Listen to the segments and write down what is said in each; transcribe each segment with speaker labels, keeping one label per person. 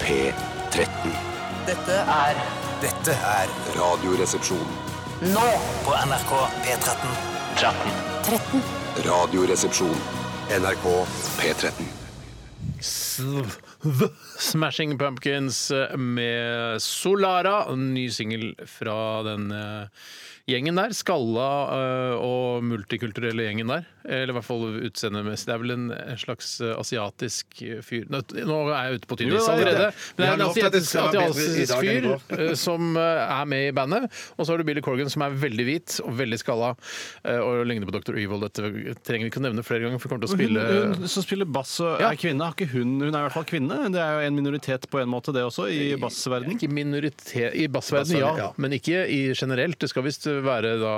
Speaker 1: P13.
Speaker 2: Dette er
Speaker 3: Dette er
Speaker 1: Radioresepsjon.
Speaker 2: nå
Speaker 3: på NRK P13.
Speaker 2: 13.
Speaker 1: Radioresepsjon. NRK P13.
Speaker 4: The Smashing Pumpkins eh, med Solara. En ny singel fra den eh, gjengen der. Skalla eh, og multikulturelle gjengen der. Eller i hvert fall utseendemessig. Det er vel en en slags eh, asiatisk fyr Nå nå er jeg ute på tynn
Speaker 5: Jo,
Speaker 4: is
Speaker 5: det er det.
Speaker 4: allerede.
Speaker 5: Vi
Speaker 4: Men det
Speaker 5: har
Speaker 4: er en
Speaker 5: lovt at det
Speaker 4: asiatisk,
Speaker 5: skal være bedre i
Speaker 4: asiatisk
Speaker 5: dag enn i
Speaker 4: fyr
Speaker 5: går.
Speaker 4: eh, som eh, er med i bandet. Og så har du Billy Corgan som er veldig hvit og veldig skalla eh, og ligner på Dr. Evil. Dette trenger vi ikke å nevne flere ganger, for vi kommer til å
Speaker 5: Hun,
Speaker 4: spille
Speaker 5: hun som spiller bass og
Speaker 4: Ja.
Speaker 5: er kvinne, har ikke hun Hun er i hvert fall kvinne. Det er jo en minoritet på en måte, det også, i bassverden.
Speaker 4: Ikke minoritet I bassverden, ja,
Speaker 5: Bassverden, ja.
Speaker 4: men ikke i generelt. Det skal visst være da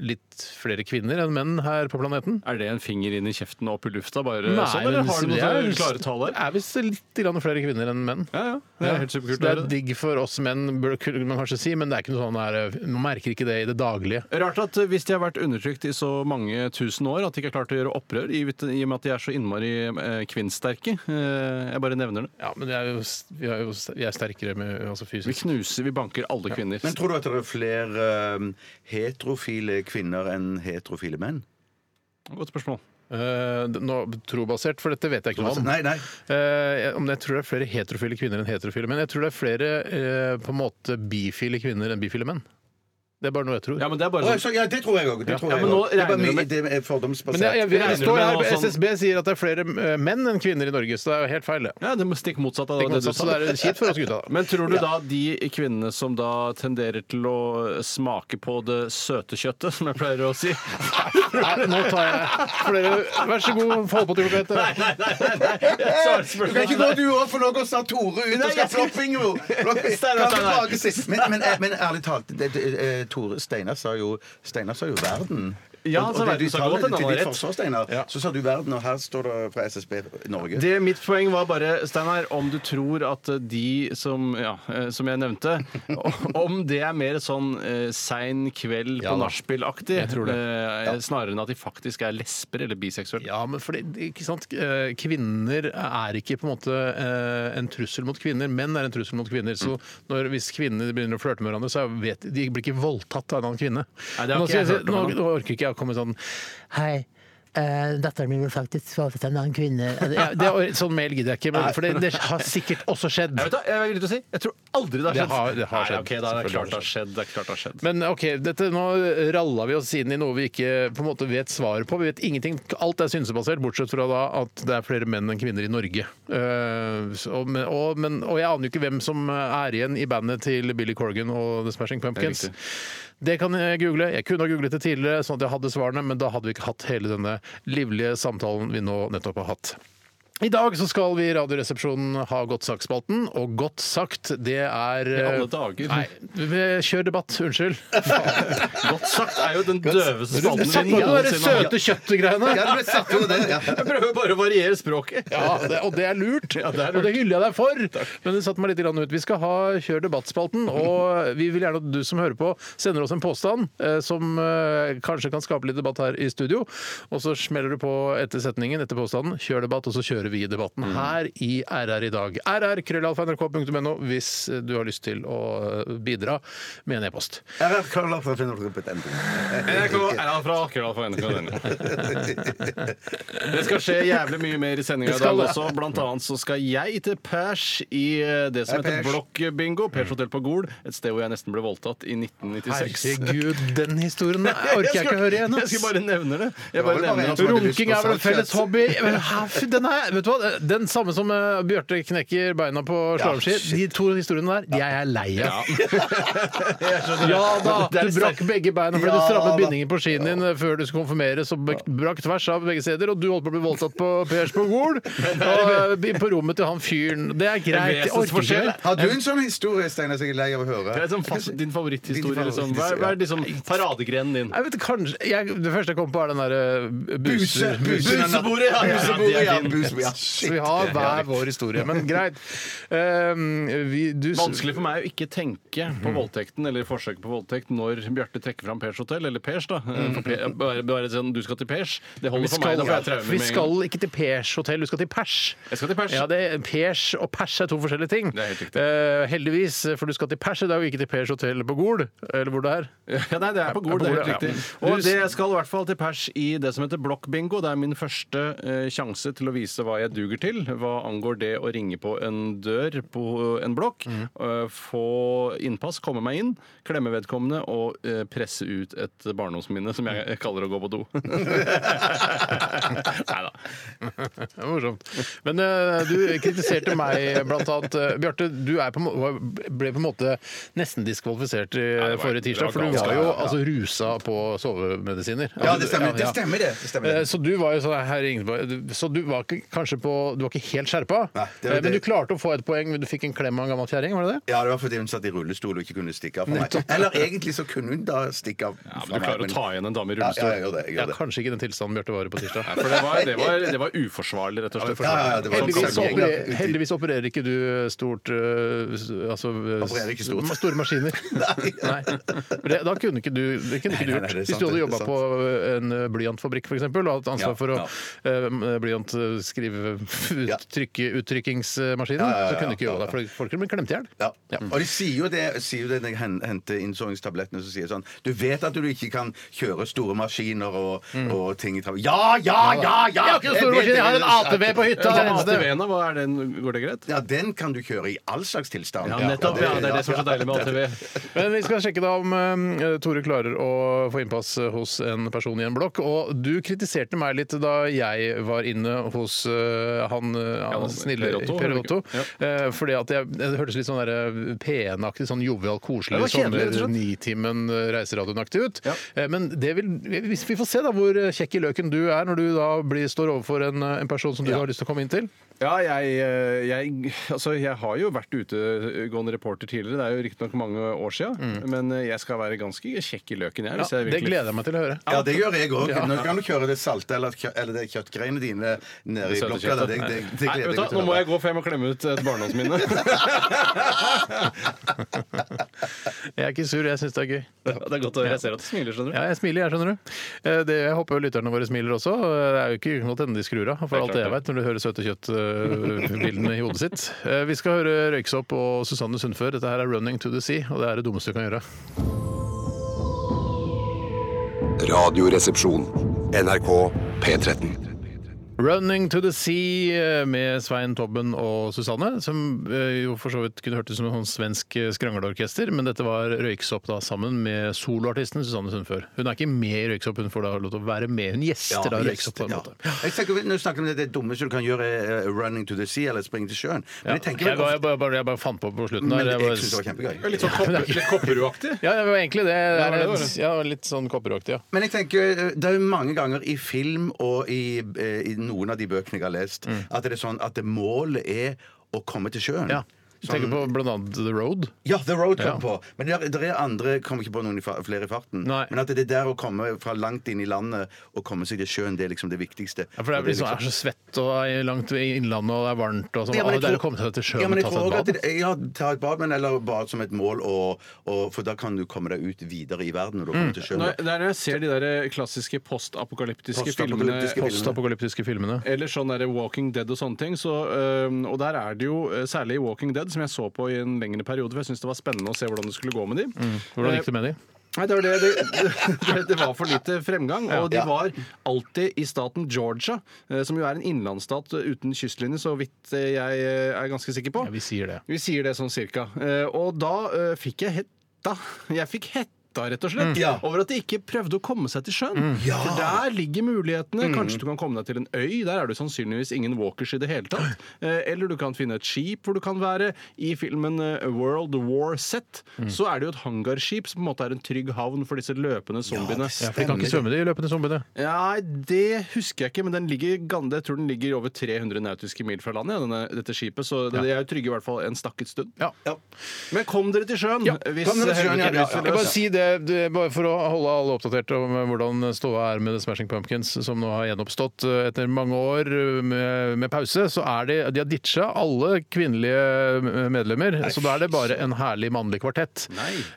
Speaker 4: litt flere kvinner enn menn her på planeten. Eh,
Speaker 5: Er det en finger inn i kjeften og opp i lufta, bare sånn, eller
Speaker 4: men
Speaker 5: har du
Speaker 4: det
Speaker 5: noen
Speaker 4: er-
Speaker 5: klare tall
Speaker 4: det
Speaker 5: her?
Speaker 4: er visst litt grann flere kvinner enn menn.
Speaker 5: Ja, ja. Det er helt
Speaker 4: Så
Speaker 5: superkult.
Speaker 4: det
Speaker 5: å
Speaker 4: er
Speaker 5: høre.
Speaker 4: digg for oss menn, bør- kunne man kanskje si, men det er ikke noe sånn her, man merker ikke det i det daglige.
Speaker 5: Rart at eh, hvis de har vært undertrykt i så mange tusen år at de ikke har klart å gjøre opprør, i, i og med at de er så innmari eh, kvinnsterke. Eh, jeg bare nevner det.
Speaker 4: Ja, men det er jo, vi, er jo, vi er sterkere med, altså
Speaker 5: Vi
Speaker 4: fysisk.
Speaker 5: knuser, vi banker alle kvinner.
Speaker 6: Men tror du at det er flere eh, heterofile kvinner enn heterofile menn?
Speaker 5: Godt spørsmål.
Speaker 4: Eh, nå, trobasert, for dette vet jeg ikke noe om.
Speaker 6: Altså, Nei, nei.
Speaker 4: Eh, om det, jeg tror det er flere heterofile kvinner enn heterofile menn. Jeg tror det er flere eh, på en måte bifile kvinner enn bifile menn. Det er bare noe jeg tror.
Speaker 5: Ja, men det er
Speaker 6: Å,
Speaker 5: bare sånn
Speaker 6: så, Altså- ja, det tror jeg òg. Det, tror
Speaker 5: Ja,
Speaker 6: jeg
Speaker 5: men nå
Speaker 6: også. det, er bare
Speaker 5: regner du
Speaker 6: mye-
Speaker 5: med-
Speaker 6: det er
Speaker 4: men jeg,
Speaker 6: fordomsbasert.
Speaker 4: jeg, jeg,
Speaker 5: regner
Speaker 4: står
Speaker 5: med
Speaker 4: her,
Speaker 5: noe sånn-
Speaker 4: SSB sier at det er flere eh, menn enn kvinner i Norge, så det er jo helt feil, det.
Speaker 5: ja, det er Stikk motsatt av
Speaker 4: Tenk
Speaker 5: det
Speaker 4: meg,
Speaker 5: du
Speaker 4: Så så
Speaker 5: sa.
Speaker 4: det er kjipt for oss gutta. da.
Speaker 5: Men tror du da de kvinnene som da tenderer til å smake på det søte kjøttet, som jeg pleier å si
Speaker 4: Nei, nå tar jeg flere. Vær så god, få holde på til klokka ett. dere.
Speaker 6: Du kan ikke gå du òg, for nå går snart Tore ut og skal floppinge
Speaker 5: Steinar, Steinar.
Speaker 6: Men, men, eh, men ærlig talt, det, det, eh, Tore Steinar sa jo Steinar sa jo verden.
Speaker 5: Ja,
Speaker 6: Og-
Speaker 5: så
Speaker 6: og
Speaker 5: verden
Speaker 6: du
Speaker 5: sa
Speaker 6: tar
Speaker 5: godt
Speaker 6: det
Speaker 5: at han
Speaker 6: til
Speaker 5: har
Speaker 6: ditt
Speaker 5: rett.
Speaker 6: forsvar, Steinar. Så sa du verden, og her står det fra SSB Norge.
Speaker 5: Det Mitt poeng var bare, Steinar, om du tror at de som, ja, eh, som jeg nevnte Om det er mer sånn eh, sein kveld
Speaker 4: Ja da.
Speaker 5: på nachspiel-aktig,
Speaker 4: Jeg tror det.
Speaker 5: eh, snarere enn at de faktisk er lesber eller biseksuelle.
Speaker 4: Ja, men fordi, ikke sant? eh, Kvinner er ikke på en måte eh, en trussel mot kvinner. Menn er en trussel mot kvinner. Så
Speaker 5: Mm.
Speaker 4: når, hvis kvinner begynner å flørte med hverandre, så vet de de blir ikke voldtatt av en annen kvinne.
Speaker 5: Nei, det har
Speaker 4: nå,
Speaker 5: ikke jeg
Speaker 4: skal jeg si-
Speaker 5: hørt om
Speaker 4: nå,
Speaker 5: ennå.
Speaker 4: nå orker ikke jeg å komme sånn
Speaker 7: Hei. eh, datteren min ble faktisk voldtatt av en annen kvinne.
Speaker 4: ja, det, er- Sånn mail gidder jeg ikke, men, for det, det har sikkert også skjedd.
Speaker 5: Jeg vet da, jeg, vil til å si, jeg tror aldri det har
Speaker 4: Det
Speaker 5: skjedd.
Speaker 4: har- det har skjedd.
Speaker 5: Nei, ok, da er
Speaker 4: Selvfølgelig
Speaker 5: det
Speaker 4: har
Speaker 5: klart det har skjedd. Det er klart det har skjedd.
Speaker 4: Men ok, dette, nå ralla vi oss inn i noe vi ikke på en måte vet svaret på. Vi vet ingenting. Alt er synsebasert, bortsett fra da at det er flere menn enn kvinner i Norge. Eh, så- men- og, men, og jeg aner jo ikke hvem som er igjen i bandet til Billy Corgan og The Smashing Pumpkins.
Speaker 5: Det er
Speaker 4: Det kan jeg google. Jeg kunne ha googlet det tidligere, sånn at jeg hadde svarene, men da hadde vi ikke hatt hele denne livlige samtalen vi nå nettopp har hatt. I dag så skal vi i Radioresepsjonen ha Godt sagt-spalten, og Godt sagt, det er eh,
Speaker 5: I alle dager.
Speaker 4: Nei, kjør debatt. Unnskyld.
Speaker 5: Godt sagt er jo den
Speaker 4: Du
Speaker 5: døveste spalten
Speaker 4: satt på
Speaker 5: min
Speaker 4: det der
Speaker 5: noensinne.
Speaker 4: søte kjøttgreiene.
Speaker 6: Ja, du ble satt over det. Ja.
Speaker 5: Jeg prøver bare å variere språket.
Speaker 4: Ja, det, og det er lurt,
Speaker 5: Ja, det er lurt.
Speaker 4: og det hyller jeg deg for. Men det satte meg litt grann ut. Vi skal ha Kjør debattspalten, og vi vil gjerne at du som hører på, sender oss en påstand eh, som eh, kanskje kan skape litt debatt her i studio. Og så smeller du på etter setningen, etter påstanden, kjør debatt, og så kjører vi debatten
Speaker 5: Mm.
Speaker 4: her i RR i dag. rr.krøllalfa.nrk.no hvis du har lyst til å eh, bidra med en e-post.
Speaker 6: Her er Karl fra Finnmark.
Speaker 5: NRK er han fra Akkurat for NRK. Det skal skje jævlig mye mer i sendinga i
Speaker 4: skal
Speaker 5: dag
Speaker 4: det.
Speaker 5: også. Blant annet så skal jeg til pers i eh, det som
Speaker 6: Hei,
Speaker 5: heter
Speaker 6: Pers.
Speaker 5: Blokkbingo. Pers hotell på Gol. Et sted hvor jeg nesten ble voldtatt i 1996.
Speaker 4: Herregud, den historien orker jeg ikke høre igjen.
Speaker 5: Jeg skal bare nevne det. Jeg bare
Speaker 6: Det var vel bare
Speaker 5: nevner
Speaker 6: en
Speaker 5: det.
Speaker 6: som hadde lyst
Speaker 4: Runking
Speaker 6: på
Speaker 4: er vel en
Speaker 6: salt
Speaker 4: felles
Speaker 6: kjøtt.
Speaker 4: hobby. Men her- Den, er, vet du hva? den samme som eh, Bjarte knekker beina på slalåmski. de to historiene der, de er jeg lei av. Ja da!
Speaker 5: Det er
Speaker 4: Du brakk begge beina fordi du
Speaker 6: Ja
Speaker 4: strammet
Speaker 6: da.
Speaker 4: bindingen på skien din eh, før du skulle konfirmeres, og brak- brakk tvers av begge steder, og du holdt på å bli voldtatt på Pers på Gol, og eh, på rommet til han fyren. Det er greit. Jeg orker ikke
Speaker 5: Vesensforskjell.
Speaker 4: mer.
Speaker 6: Har du en sånn historie, Steinar, som jeg er lei av å høre?
Speaker 5: Det er sånn fast, din favoritthistorie.
Speaker 6: Din
Speaker 5: liksom. Hva er- Hva er liksom paradegrenen din?
Speaker 4: Jeg vet, kanskje, jeg, det første jeg kom på, er den derre buser.
Speaker 6: Buse, buse,
Speaker 5: Busebordet, ja.
Speaker 6: Busebordet,
Speaker 5: Ja,
Speaker 6: ja.
Speaker 5: det er din.
Speaker 6: Busebordet, ja.
Speaker 4: Så vi har hver vår historie. Men greit. Um, vi, du,
Speaker 5: Vanskelig for meg å ikke tenke
Speaker 4: Mhm.
Speaker 5: på voldtekten eller forsøket på voldtekt når Bjarte trekker fram Pers hotell, eller Pers, da. For per, bare, bare sånn du skal til Pers.
Speaker 4: Mhm.
Speaker 5: Det
Speaker 4: Vi
Speaker 5: holder for
Speaker 4: skal,
Speaker 5: meg. Da får jeg traumer
Speaker 4: vi
Speaker 5: med en
Speaker 4: skal
Speaker 5: gang.
Speaker 4: ikke til Pers hotell, du skal til Pers.
Speaker 5: Jeg skal til Pers.
Speaker 4: Ja, det, pers og pers er to forskjellige ting.
Speaker 5: Det er helt riktig.
Speaker 4: Eh, heldigvis, for du skal til Pers i dag, og ikke til Pers hotell på Gol, eller hvor det er.
Speaker 5: Ja, nei, det er på Gol, det er helt riktig.
Speaker 4: ja.
Speaker 5: Og det skal i hvert fall til pers i det som heter blokkbingo. Det er min første eh, sjanse til å vise hva jeg duger til hva angår det å ringe på en dør på en blokk,
Speaker 6: Mhm.
Speaker 5: eh, få innpass, komme meg inn, klemme vedkommende og eh, presse ut et barndomsminne, som jeg kaller å gå på do. nei da.
Speaker 4: Det var morsomt. Men eh, du kritiserte meg blant annet. eh, Bjarte, du er på, må- var- ble på en måte nesten diskvalifisert i
Speaker 5: det var-
Speaker 4: forrige tirsdag,
Speaker 5: det
Speaker 4: for
Speaker 5: var
Speaker 4: du var
Speaker 5: ganske-
Speaker 4: jo altså, rusa på sovemedisiner. Altså,
Speaker 6: Ja, det stemmer, det. stemmer det. det, stemmer
Speaker 4: Eh,
Speaker 6: det.
Speaker 4: Så du var jo sånn her Ingeborg, Så du var ikke, kanskje på Du var ikke helt skjerpa,
Speaker 6: Nei, det
Speaker 4: Eh,
Speaker 6: var
Speaker 4: men du
Speaker 6: det.
Speaker 4: klarte å få et poeng. men Du fikk en klem av en gammel kjerring, var det det?
Speaker 6: Ja, det var fordi hun satt i rullestol og ikke kunne stikke av for meg. Eller egentlig så kunne hun da stikke av.
Speaker 5: Ja, men du klarer å ta igjen en dame i
Speaker 6: Ja, ja, jeg
Speaker 5: rullestol.
Speaker 6: gjør det. Jeg
Speaker 4: Ja,
Speaker 6: gjør det.
Speaker 4: kanskje ikke i den tilstanden Bjarte var i på tirsdag.
Speaker 5: Nei, For det var, det, var, det var uforsvarlig, rett og slett.
Speaker 6: Ja, ja, ja, det var- sånn-
Speaker 4: Heldigvis, så
Speaker 6: Ja,
Speaker 4: opererer,
Speaker 6: ja.
Speaker 4: heldigvis opererer ikke du eh, stort øh, s- altså, øh,
Speaker 6: Opererer ikke stort.
Speaker 4: s- store maskiner.
Speaker 6: Nei.
Speaker 4: For Det, da kunne ikke du, det kunne ikke du
Speaker 6: nei,
Speaker 4: gjort.
Speaker 6: nei, det er
Speaker 4: Hvis
Speaker 6: sant,
Speaker 4: du hadde
Speaker 6: det er
Speaker 4: jobba
Speaker 6: sant.
Speaker 4: på en øh, blyantfabrikk f.eks. og hatt ansvar
Speaker 6: Ja,
Speaker 4: for å
Speaker 6: ja.
Speaker 4: øh, blyant øh, skrive
Speaker 6: Ja.
Speaker 4: uttrykke, uttrykkingsmaskinen,
Speaker 6: ja, ja,
Speaker 4: så kunne du ikke
Speaker 6: ja,
Speaker 4: jobba
Speaker 6: ja.
Speaker 4: der, for folk kunne blitt klemt i hjel.
Speaker 6: Ja. Og de sier jo det, sier jo det når jeg hen- henter innsovningstablettene, så sier de sånn Du vet at du ikke kan kjøre store maskiner og, og ting i trafikk Ja, Mm. ja, ja! ja!
Speaker 4: Jeg har ikke en stor
Speaker 6: vet
Speaker 4: maskin, jeg har
Speaker 6: det,
Speaker 4: en
Speaker 6: men-
Speaker 4: ATV på hytta!
Speaker 5: Ja,
Speaker 4: det er det eneste.
Speaker 5: ATV-ene, hva er den, går det greit?
Speaker 6: Ja, den kan du kjøre i all slags tilstand.
Speaker 5: Ja, nettopp. Ja, det er det som er så deilig med ATV.
Speaker 4: Men vi skal sjekke da om eh, Tore klarer å få innpass eh, hos en person i en blokk. Og du kritiserte meg litt da jeg var inne hos eh, han, eh, han
Speaker 5: Ja,
Speaker 4: snille
Speaker 5: Per Otto,
Speaker 4: Per
Speaker 5: eller
Speaker 4: Otto.
Speaker 5: ikke? Ja.
Speaker 4: eh, fordi at jeg, det hørtes litt sånn der, eh, PN-aktig, sånn jovial, koselig sånn,
Speaker 5: Det var kjedelig, rett og slett.
Speaker 4: sommer-nitimen reiseradioen-aktig ut.
Speaker 5: Ja.
Speaker 4: Eh, men det vil, hvis vi får se da hvor eh, kjekk i løken du er når du da blir, står overfor en, eh, en person som du har lyst til å komme inn til.
Speaker 5: Ja, jeg, eh, jeg, altså, jeg har jo vært utegående reporter tidligere. Det er jo riktignok mange år siden. Men eh, jeg skal være ganske kjekk i løken,
Speaker 4: Ja,
Speaker 5: jeg. Hvis jeg
Speaker 4: det
Speaker 5: virkelig...
Speaker 4: gleder jeg meg til å høre.
Speaker 6: Ja, det gjør jeg òg. Nå kan du kjøre det salte eller, kjø- eller det kjøttgreiene dine nede i
Speaker 5: Søte
Speaker 6: blokka. da. Det,
Speaker 5: kjøttet.
Speaker 6: det,
Speaker 5: Nei,
Speaker 6: det, gleder
Speaker 5: vet du hva,
Speaker 6: jeg meg til.
Speaker 5: Nå må jeg gå, for jeg må klemme ut et barndomsminne.
Speaker 4: Jeg er ikke sur, jeg syns det er gøy.
Speaker 5: det er godt å høre. Jeg ser at du smiler, skjønner du.
Speaker 4: Ja, jeg smiler, jeg, skjønner du. Eh, Det, jeg håper jo lytterne våre smiler også. Eh, Det er jo ikke godt hende de skrur av, for alt jeg vet, når du hører søte kjøtt-bildene i hodet sitt. Eh, Vi skal høre Røyksopp og Susanne Sundfør. Dette her er 'Running to the Sea', og det er det dummeste du kan gjøre.
Speaker 1: Radioresepsjon. NRK P13.
Speaker 4: 'Running to the Sea' eh, med Svein Tobben og Susanne, som eh, jo for så vidt kunne hørtes ut som en sånn svensk eh, skrangleorkester, men dette var Røyksopp da sammen med soloartisten Susanne Sundfør. Hun er ikke med i Røyksopp, hun får da lov til å være med. Hun
Speaker 6: Ja,
Speaker 4: gjester da Røyksopp på en
Speaker 6: ja.
Speaker 4: måte.
Speaker 6: Jeg tenker, vel- når du snakker om det, det dummeste du kan gjøre, er eh, 'running to the sea' eller 'springe til sjøen'. Men jeg
Speaker 4: Jeg,
Speaker 6: tenker vel
Speaker 4: bare, jeg,
Speaker 6: ofte-
Speaker 4: bare, bare- jeg bare fant på på slutten.
Speaker 6: men
Speaker 4: der.
Speaker 6: jeg
Speaker 4: bare-
Speaker 6: syns det var kjempegøy.
Speaker 5: Litt sånn kopper- litt kopperuaktig.
Speaker 4: Ja, det var egentlig det. det,
Speaker 5: det
Speaker 4: er,
Speaker 5: var det.
Speaker 4: ja, litt sånn kopperaktig, ja.
Speaker 6: Men jeg tenker, eh, det er jo mange ganger i film og i, eh, i noen av de bøkene jeg har lest, at det er sånn at det målet er å komme til sjøen. Sånn-
Speaker 4: ja. Du tenker på blant annet The Road.
Speaker 6: Ja, The Road kom
Speaker 4: Ja.
Speaker 6: på. Men det er, det er andre kommer ikke på noen i fa flere i farten.
Speaker 4: Nei.
Speaker 6: Men at det er der å komme fra langt inn i landet og komme seg til sjøen, det er liksom det viktigste.
Speaker 4: Ja, for det er, liksom, er så svett og er langt i innlandet og det er varmt og sånn.
Speaker 6: Ja,
Speaker 4: Å,
Speaker 6: men jeg
Speaker 4: det er å
Speaker 6: tror-
Speaker 4: komme seg til sjøen
Speaker 6: ja, men
Speaker 4: og
Speaker 6: jeg
Speaker 4: ta
Speaker 6: tror
Speaker 4: seg
Speaker 6: også
Speaker 4: et
Speaker 6: at
Speaker 4: bad.
Speaker 6: det- Ja, ta et bad, men eller bad som et mål, og, og, for da kan du komme deg ut videre i verden når du
Speaker 4: Mm.
Speaker 6: kommer til sjøen.
Speaker 5: Når, det er når jeg ser de der eh, klassiske postapokalyptiske filmene
Speaker 6: Postapokalyptiske filmer.
Speaker 4: Postapokalyptiske filmene.
Speaker 5: Eller sånn der Walking Dead og sånne ting. Så, øhm, og der er det jo, øh, særlig i Walking Dead, som jeg så på i en lengre periode, for jeg syntes det var spennende å se hvordan det skulle gå med de.
Speaker 4: Mm. Hvordan
Speaker 5: Eh,
Speaker 4: gikk det med de?
Speaker 5: Nei, det var, det, det, det, det var for lite fremgang. Og de
Speaker 6: Ja.
Speaker 5: var alltid i staten Georgia, eh, som jo er en innlandsstat uten kystlinje, så vidt eh, jeg eh, er ganske sikker på.
Speaker 4: Ja, vi sier det.
Speaker 5: Vi sier det sånn cirka. Eh, Og da eh, fikk jeg hetta. Jeg fikk hetta, rett og
Speaker 4: Mm.
Speaker 5: slett,
Speaker 6: Ja.
Speaker 5: over at de ikke prøvde å komme seg til sjøen. For der ligger mulighetene.
Speaker 4: Mm.
Speaker 5: Kanskje du kan komme deg til en øy. Der er det sannsynligvis ingen walkers i det hele tatt. Eh, Eller du kan finne et skip hvor du kan være. I filmen eh, World War Z
Speaker 4: Mm.
Speaker 5: så er det jo et hangarskip som på en måte er en trygg havn for disse løpende zombiene.
Speaker 4: Ja, for de kan ikke svømme de løpende zombiene.
Speaker 5: Nei, det husker jeg ikke, men den ligger, gan- jeg tror den ligger over 300 nautiske mil fra landet, ja, denne, dette skipet, så det, jeg er jo trygge i hvert fall en stakket stund.
Speaker 4: Ja.
Speaker 5: Men kom dere til sjøen!
Speaker 4: Ja,
Speaker 5: hvis
Speaker 6: kom dere til sjøen,
Speaker 5: helvete
Speaker 6: ja, ja,
Speaker 5: lyser
Speaker 6: ja.
Speaker 4: Jeg
Speaker 5: løs.
Speaker 4: bare si det det, det, bare for å holde alle oppdatert om eh, hvordan ståa er med The Smashing Pumpkins, som nå har gjenoppstått eh, etter mange år eh, med, med pause, så er de, de har ditcha alle kvinnelige eh, medlemmer. Så da er det bare en herlig mannlig kvartett.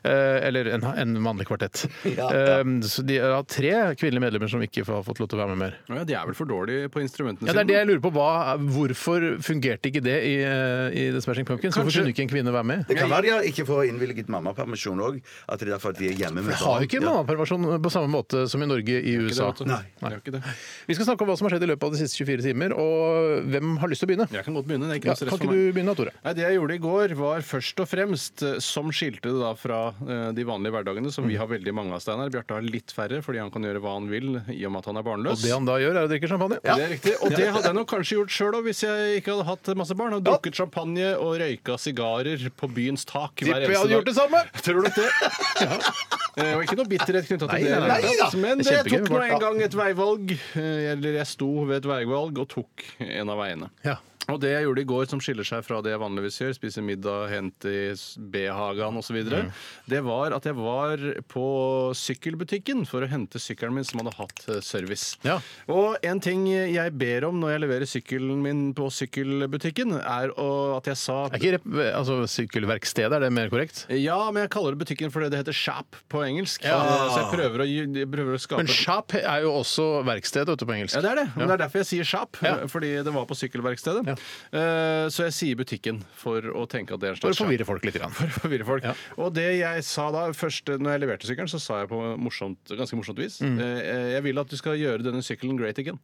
Speaker 4: Eh, eller en, en mannlig kvartett. Eh, så de har tre kvinnelige medlemmer som ikke har fått lov til å være med mer.
Speaker 5: Ja, de er vel for dårlige på
Speaker 4: Ja,
Speaker 5: instrumentene
Speaker 4: det er det jeg lurer på. Hva, hvorfor fungerte ikke det i, eh, i The Smashing Pumpkins? Hvorfor
Speaker 5: Kanskje-
Speaker 4: kunne ikke en kvinne være med?
Speaker 6: Det kan være de har ikke får innvilget mammapermisjon òg. At det er derfor at de er hjemme med
Speaker 4: Vi har jo
Speaker 6: barn.
Speaker 4: ikke
Speaker 6: Ja.
Speaker 4: mammapermisjon på samme måte som i Norge i USA.
Speaker 5: vet du.
Speaker 6: Nei.
Speaker 5: Det er jo ikke det.
Speaker 4: Vi skal snakke om hva som har skjedd i løpet av de siste 24 timer, og hvem har lyst til å begynne?
Speaker 5: Jeg kan godt begynne. Det er ikke
Speaker 4: Ja, kan
Speaker 5: noe stress
Speaker 4: ikke
Speaker 5: for
Speaker 4: du
Speaker 5: meg.
Speaker 4: begynne, Tore?
Speaker 5: Nei, Det jeg gjorde i går, var først og fremst, eh, som skilte det da fra eh, de vanlige hverdagene, som vi har veldig mange av, Steinar. Bjarte har litt færre, fordi han kan gjøre hva han vil i og med at han er barnløs.
Speaker 4: Og det han da gjør, er å drikke champagne.
Speaker 5: Det er riktig. Og det hadde jeg nok kanskje gjort sjøl òg, hvis jeg ikke hadde hatt masse barn. Hadde drukket champagne og røyka sigarer på byens tak
Speaker 4: Tipper
Speaker 5: hver
Speaker 4: jeg hadde gjort det
Speaker 5: eneste dag.
Speaker 4: samme!
Speaker 5: Tror du nok det? Eh, Og ikke noe bitterhet knytta til det.
Speaker 4: nei,
Speaker 5: i det hele tatt. Men
Speaker 4: Det er
Speaker 5: jeg
Speaker 4: kjempegøy
Speaker 5: tok
Speaker 4: med
Speaker 5: nå
Speaker 4: barn.
Speaker 5: en gang et veivalg. eh, Eller jeg sto ved et veivalg og tok en av veiene.
Speaker 4: Ja.
Speaker 5: Og det jeg gjorde i går som skiller seg fra det jeg vanligvis gjør, spise middag, hente i s- B-hagen osv.,
Speaker 4: Mm.
Speaker 5: videre, det var at jeg var på sykkelbutikken for å hente sykkelen min som hadde hatt eh, service.
Speaker 4: Ja.
Speaker 5: Og en ting jeg ber om når jeg leverer sykkelen min på sykkelbutikken, er å- at jeg sa
Speaker 4: Er ikke rep altså, sykkelverksted, er det mer korrekt?
Speaker 5: ja, men jeg kaller det butikken fordi det heter shop på engelsk.
Speaker 4: Ja.
Speaker 5: Eh, Så jeg prøver å, gi- jeg prøver å skape
Speaker 4: Men shop er jo også verksted vet du, på engelsk.
Speaker 5: ja, det er det. Men det er derfor jeg sier shop,
Speaker 4: Ja.
Speaker 5: fordi det var på sykkelverkstedet.
Speaker 4: Ja.
Speaker 5: Eh, Så jeg sier butikken for å tenke at det er en
Speaker 4: For
Speaker 5: slags
Speaker 4: å forvirre folk litt. Grann.
Speaker 5: for å forvirre folk.
Speaker 4: Ja.
Speaker 5: Og det jeg sa da, først eh, når jeg leverte sykkelen, så sa jeg på morsomt, ganske morsomt vis eh, Jeg vil at du skal gjøre denne sykkelen great again.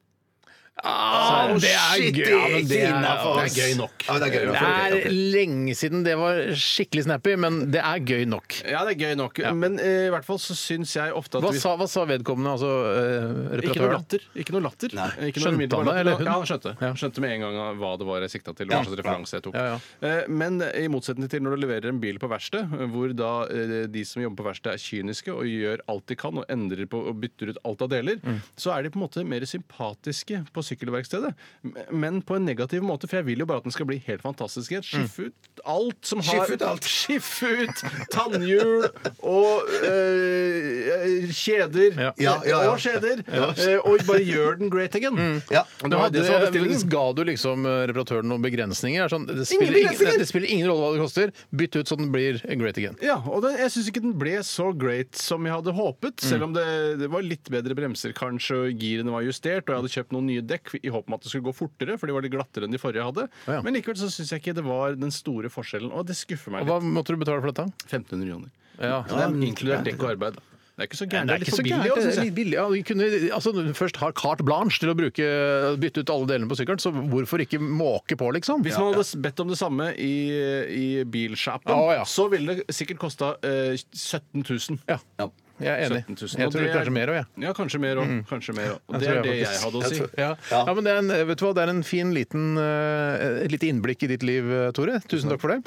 Speaker 4: Ah, det er
Speaker 6: shit,
Speaker 4: gøy!
Speaker 6: det er
Speaker 4: Ja, men det er,
Speaker 6: innenfor
Speaker 4: det
Speaker 6: oss.
Speaker 4: er gøy nok.
Speaker 6: Ja, det er gøy nok.
Speaker 4: Det er lenge siden det var skikkelig snappy, men det er gøy nok.
Speaker 5: Ja, det er gøy nok.
Speaker 4: Ja.
Speaker 5: Men eh, i hvert fall så syns jeg ofte at
Speaker 4: Hva
Speaker 5: vi
Speaker 4: sa, hva sa vedkommende, altså eh,
Speaker 5: Ikke noe
Speaker 4: reparatøren?
Speaker 5: latter. Ikke noe latter. Ikke
Speaker 4: Skjønte
Speaker 5: noe umiddelbar
Speaker 4: han det,
Speaker 5: latter.
Speaker 4: eller hun?
Speaker 5: Ja, han skjønte.
Speaker 4: Ja.
Speaker 5: Skjønte med en gang hva det var jeg sikta til. og Hva slags referanse jeg tok.
Speaker 4: Ja,
Speaker 5: Eh, Men i motsetning til når du leverer en bil på verksted, hvor da eh, de som jobber på verksted er kyniske og gjør alt de kan og endrer på og bytter ut alt av deler,
Speaker 4: Mm.
Speaker 5: så er de på en måte mer sympatiske på sykkelverkstedet. Men på en negativ måte, for jeg vil jo bare at den skal bli helt fantastisk igjen.
Speaker 4: Mm.
Speaker 5: Skiffe ut alt som har
Speaker 6: Skiffe ut alt.
Speaker 5: Skiffe ut tannhjul og eh, kjeder.
Speaker 4: Ja.
Speaker 6: Ja, ja, ja.
Speaker 5: Og skjeder. Eh, Og bare gjør den great again.
Speaker 6: Ja.
Speaker 5: Og
Speaker 4: Men
Speaker 5: det var det som var bestillingen.
Speaker 4: Ga du liksom eh, reparatøren noen begrensninger? Er Sånn, det, spiller ingen
Speaker 6: begrensninger!
Speaker 4: det spiller ingen rolle hva det koster. Bytt ut så den blir great again.
Speaker 5: Ja, og den, jeg syns ikke den ble så great som jeg hadde håpet.
Speaker 4: Mm.
Speaker 5: Selv om det, det var litt bedre bremser, kanskje, og girene var justert, og jeg hadde kjøpt noen nye dekk i håp om at det skulle gå fortere, for de var litt glattere enn de forrige jeg hadde.
Speaker 4: Å, ja.
Speaker 5: Men likevel så syns jeg ikke det var den store forskjellen, og det skuffer meg
Speaker 4: Og hva
Speaker 5: litt.
Speaker 4: måtte du betale for dette?
Speaker 5: 1500 kroner.
Speaker 4: Ja.
Speaker 5: Så det er inkludert dekk og arbeid. Det er ikke så
Speaker 4: Det
Speaker 5: gærent.
Speaker 4: er ikke så gærent.
Speaker 5: også,
Speaker 4: det
Speaker 5: synes
Speaker 4: er
Speaker 5: jeg.
Speaker 4: litt billig. Ja, vi kunne, altså, når du først har carte blanche til å bruke, bytte ut alle delene på sykkelen, så hvorfor ikke måke på, liksom?
Speaker 5: Hvis man hadde bedt om det samme i, i bilsjappen,
Speaker 4: Å, ja.
Speaker 5: så ville det sikkert kosta eh, 17 000.
Speaker 4: Ja. Jeg er enig.
Speaker 5: 17 000.
Speaker 4: Jeg
Speaker 5: Og
Speaker 4: tror
Speaker 5: det er-
Speaker 4: kanskje mer òg, jeg.
Speaker 5: Ja, kanskje mer òg. Kanskje mer også. Og
Speaker 4: Jeg
Speaker 5: det
Speaker 4: tror
Speaker 5: er
Speaker 4: jeg
Speaker 5: det
Speaker 4: faktisk-
Speaker 5: jeg hadde å si.
Speaker 4: Ja. Ja. men det er en, vet du hva, det er en fin liten eh, et lite innblikk i ditt liv, eh, Tore. Tusen takk for det.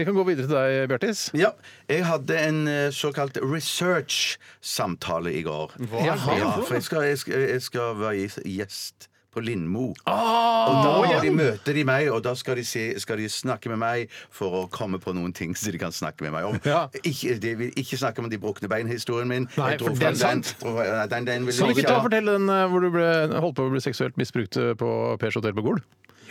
Speaker 4: Vi kan gå videre til deg, Bjartis.
Speaker 6: Ja, jeg hadde en eh, såkalt research-samtale i går. Hva
Speaker 4: er det?
Speaker 6: Ja, for jeg skal, jeg skal, jeg skal være gjes- gjest på Lindmo.
Speaker 4: Ah,
Speaker 6: og da de møter de meg, og da skal de, se, skal de snakke med meg for å komme på noen ting som de kan snakke med meg om.
Speaker 4: Ja.
Speaker 6: Ikke, de vil ikke snakke om de brukne bein-historien min.
Speaker 4: Nei,
Speaker 6: Jeg dro
Speaker 4: for
Speaker 6: frem
Speaker 4: det er
Speaker 6: den- dro- nei, Den, den vil
Speaker 4: Kan du
Speaker 6: jeg
Speaker 4: ikke ta og fortelle den eh, hvor du ble, holdt på å bli seksuelt misbrukt eh, på Pers hotell på Gol?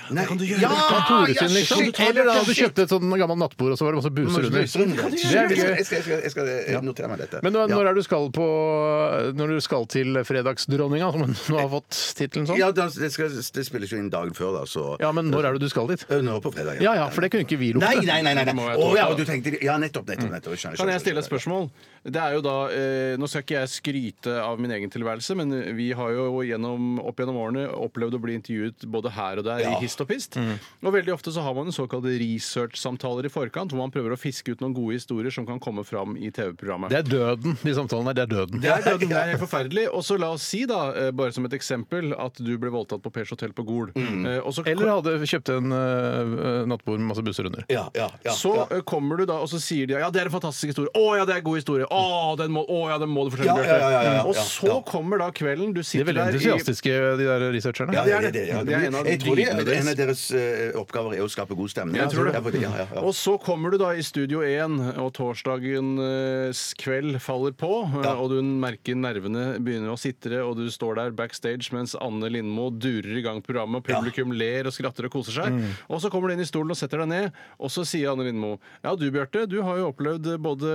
Speaker 6: Nei, kan du gjøre
Speaker 4: Av Tore sin, liksom. Eller da du
Speaker 6: Ah, shit.
Speaker 4: kjøpte et sånn gammelt nattbord, og så var det masse buser
Speaker 6: Jeg
Speaker 4: under.
Speaker 6: skal,
Speaker 4: Det er gøy.
Speaker 6: jeg skal, jeg skal eh, notere meg dette.
Speaker 4: Men nå,
Speaker 6: Ja.
Speaker 4: når er det du skal på eh, Når du skal til Fredagsdronninga, som nå har fått tittelen sånn?
Speaker 6: Ja, da, det, skal, det spilles jo inn dagen før, da, så
Speaker 4: Ja, men når er det du skal dit?
Speaker 6: Ø, Nå på fredag.
Speaker 4: Ja ja, for det kunne ikke vi lukte.
Speaker 6: Nei, nei, nei! nei, nei.
Speaker 5: Må jeg
Speaker 6: Å
Speaker 5: tolke,
Speaker 6: ja,
Speaker 5: da?
Speaker 6: og du tenkte Ja, nettopp, nettopp. nettopp. Jeg skjønner,
Speaker 5: Kan jeg
Speaker 6: skjønner,
Speaker 5: stille et
Speaker 6: skjønner.
Speaker 5: spørsmål? Det er jo da, eh, Nå skal ikke jeg skryte av min egen tilværelse, men vi har jo gjennom, opp gjennom årene opplevd å bli intervjuet både her og der i hist og pist.
Speaker 4: Mm.
Speaker 5: Og veldig ofte så har man en såkalte research-samtaler i forkant, hvor man prøver å fiske ut noen gode historier som kan komme fram i TV-programmet.
Speaker 4: Det er døden, de samtalene der. Det er døden.
Speaker 5: Det er, døden, det er helt forferdelig. Og så la oss si, da, eh, bare som et eksempel, at du ble voldtatt på Pers hotell på Gol. Eh, og så-
Speaker 4: Mm. Eller hadde kjøpt en eh, nattbord med masse busser under.
Speaker 6: Ja, ja, ja,
Speaker 5: så
Speaker 6: ja.
Speaker 5: eh, kommer du da, og så sier de ja, det er en fantastisk historie. Å ja, det er en god historie. Å, den må, å, ja, den må du fortelle,
Speaker 6: Ja, ja, ja, ja, ja, ja.
Speaker 5: Og så
Speaker 6: Ja.
Speaker 5: kommer da kvelden.
Speaker 4: De
Speaker 5: Du
Speaker 4: er
Speaker 5: sitter
Speaker 4: veldig
Speaker 5: der i
Speaker 4: entusiastiske, de der researcherne.
Speaker 6: Ja, det er det. ja,
Speaker 5: Det er en av
Speaker 6: Jeg tror de-
Speaker 5: dyrene
Speaker 6: jeg-
Speaker 5: deres.
Speaker 6: en av deres eh, oppgaver er å skape god stemning.
Speaker 5: Jeg tror det.
Speaker 6: Ja, for Ja, ja, ja.
Speaker 5: Og så kommer du da i Studio 1, og torsdagens eh, kveld faller på. eh,
Speaker 6: Ja.
Speaker 5: Og du merker nervene begynner å sitre, og du står der backstage mens Anne Lindmo durer i gang programmet, og publikum ler og skratter og koser seg.
Speaker 6: Mm.
Speaker 5: Og så kommer du inn i stolen og setter deg ned, og så sier Anne Lindmo Ja, du Bjarte, du har jo opplevd eh, både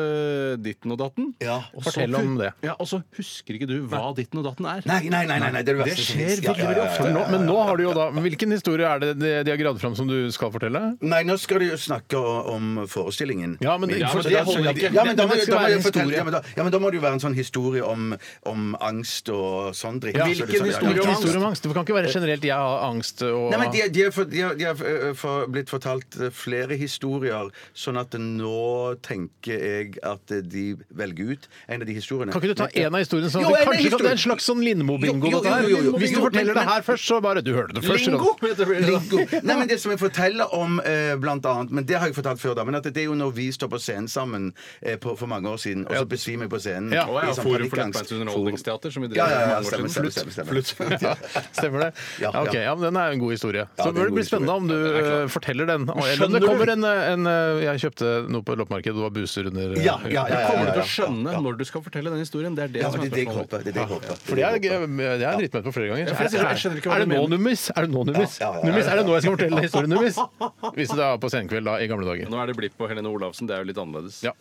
Speaker 5: ditten og datten.
Speaker 6: Ja.
Speaker 5: Og så-
Speaker 4: Fortell om det.
Speaker 5: Ja, Og så husker ikke du hva ditten og datten er.
Speaker 6: Nei, nei, nei, nei, nei, det er det
Speaker 5: Det
Speaker 6: verste som
Speaker 5: skjer
Speaker 6: finnes. Ja,
Speaker 5: veldig,
Speaker 6: ja, ja,
Speaker 5: veldig
Speaker 6: ja,
Speaker 5: ofte.
Speaker 6: ja, ja,
Speaker 4: Nå,
Speaker 6: ja.
Speaker 4: men nå har du jo da Hvilken historie er det de de har gravd fram som du skal fortelle?
Speaker 6: Nei, nå skal du jo snakke o- om forestillingen.
Speaker 4: Ja, men det-
Speaker 5: Ja, men
Speaker 4: for-
Speaker 5: det holder
Speaker 4: skjønner jeg
Speaker 5: ikke.
Speaker 6: Ja, men da må,
Speaker 4: Det
Speaker 6: da,
Speaker 4: skal
Speaker 6: må
Speaker 4: være
Speaker 6: jeg fortelle,
Speaker 4: historie.
Speaker 6: ja, men da, ja, men da må det jo være en sånn historie om, om angst og sånn drikke.
Speaker 5: Ja,
Speaker 6: Så det
Speaker 5: hvilken
Speaker 6: er sånn- ja,
Speaker 5: historie
Speaker 6: ja,
Speaker 4: Ikke
Speaker 6: ja.
Speaker 4: historie om angst. Det kan ikke være generelt 'jeg har angst' og
Speaker 6: Nei, men De, de, er for, de, har- de har eh, for, blitt fortalt eh, flere historier, sånn at nå tenker jeg at eh, de velger ut en av de historiene.
Speaker 4: Kan ikke du ta én av historiene? Sånn
Speaker 6: Jo,
Speaker 4: at vi
Speaker 6: en av
Speaker 4: kanskje kan, det er en
Speaker 6: historiene.
Speaker 4: slags sånn Lindmo-bingo,
Speaker 6: Jo, jo,
Speaker 4: dette her.
Speaker 6: jo, jo, jo, jo,
Speaker 4: Hvis du
Speaker 6: jo,
Speaker 4: forteller
Speaker 6: men-
Speaker 4: det her først, så bare Du hørte det først. eller?
Speaker 5: heter det.
Speaker 6: Ringo. Nei, men Det som jeg forteller om, eh, blant annet Men det har jeg fortalt før, da. Men at det er jo når vi står på scenen sammen eh, på, for mange år siden, og så besvimer jeg på scenen.
Speaker 4: Ja.
Speaker 5: Å ja,
Speaker 6: i sånn
Speaker 5: Forum for
Speaker 6: panikkangst.
Speaker 5: lettbeint underholdningsteater, som vi
Speaker 6: Ja,
Speaker 5: drev med
Speaker 6: ja, ja,
Speaker 5: mange år
Speaker 6: stemmer,
Speaker 5: siden.
Speaker 6: stemmer, stemmer, stemmer.
Speaker 4: Flutt. Ja, stemmer det?
Speaker 6: Ja,
Speaker 4: Ja, ok,
Speaker 6: ja.
Speaker 4: ja, men Den er jo en god historie.
Speaker 6: Ja,
Speaker 4: Så bør
Speaker 6: det er en
Speaker 4: det
Speaker 6: god
Speaker 4: blir spennende om du
Speaker 5: det er klart.
Speaker 4: eh, forteller den. Og, eller om
Speaker 5: skjønner
Speaker 4: det kommer
Speaker 5: du-
Speaker 4: en, en eh, Jeg kjøpte noe på loppemarkedet, det var buser under eh,
Speaker 6: Ja, ja, ja, ja,
Speaker 5: Kommer du
Speaker 6: ja,
Speaker 5: til
Speaker 6: ja.
Speaker 5: å skjønne når du skal fortelle den historien? Det er det
Speaker 6: Ja,
Speaker 5: som er
Speaker 6: det er det jeg
Speaker 5: spørsmålet.
Speaker 6: håper. Det er det jeg håper.
Speaker 4: For det er, det er dritmett på flere ganger.
Speaker 5: Ja, for jeg
Speaker 4: Er-
Speaker 5: sier- jeg skjønner ikke hva
Speaker 4: er
Speaker 5: du
Speaker 4: det nå,
Speaker 5: mener.
Speaker 4: nummis? Er det nå, nummis?
Speaker 6: Ja, ja, ja, ja,
Speaker 4: Nummis, Er det
Speaker 6: ja.
Speaker 4: nå jeg skal fortelle historien, nummis? Hvis det da er på senkveld da, i gamle dager.
Speaker 5: Nå er det blitt på Helene Olafsen, det er jo litt annerledes.
Speaker 4: Ja.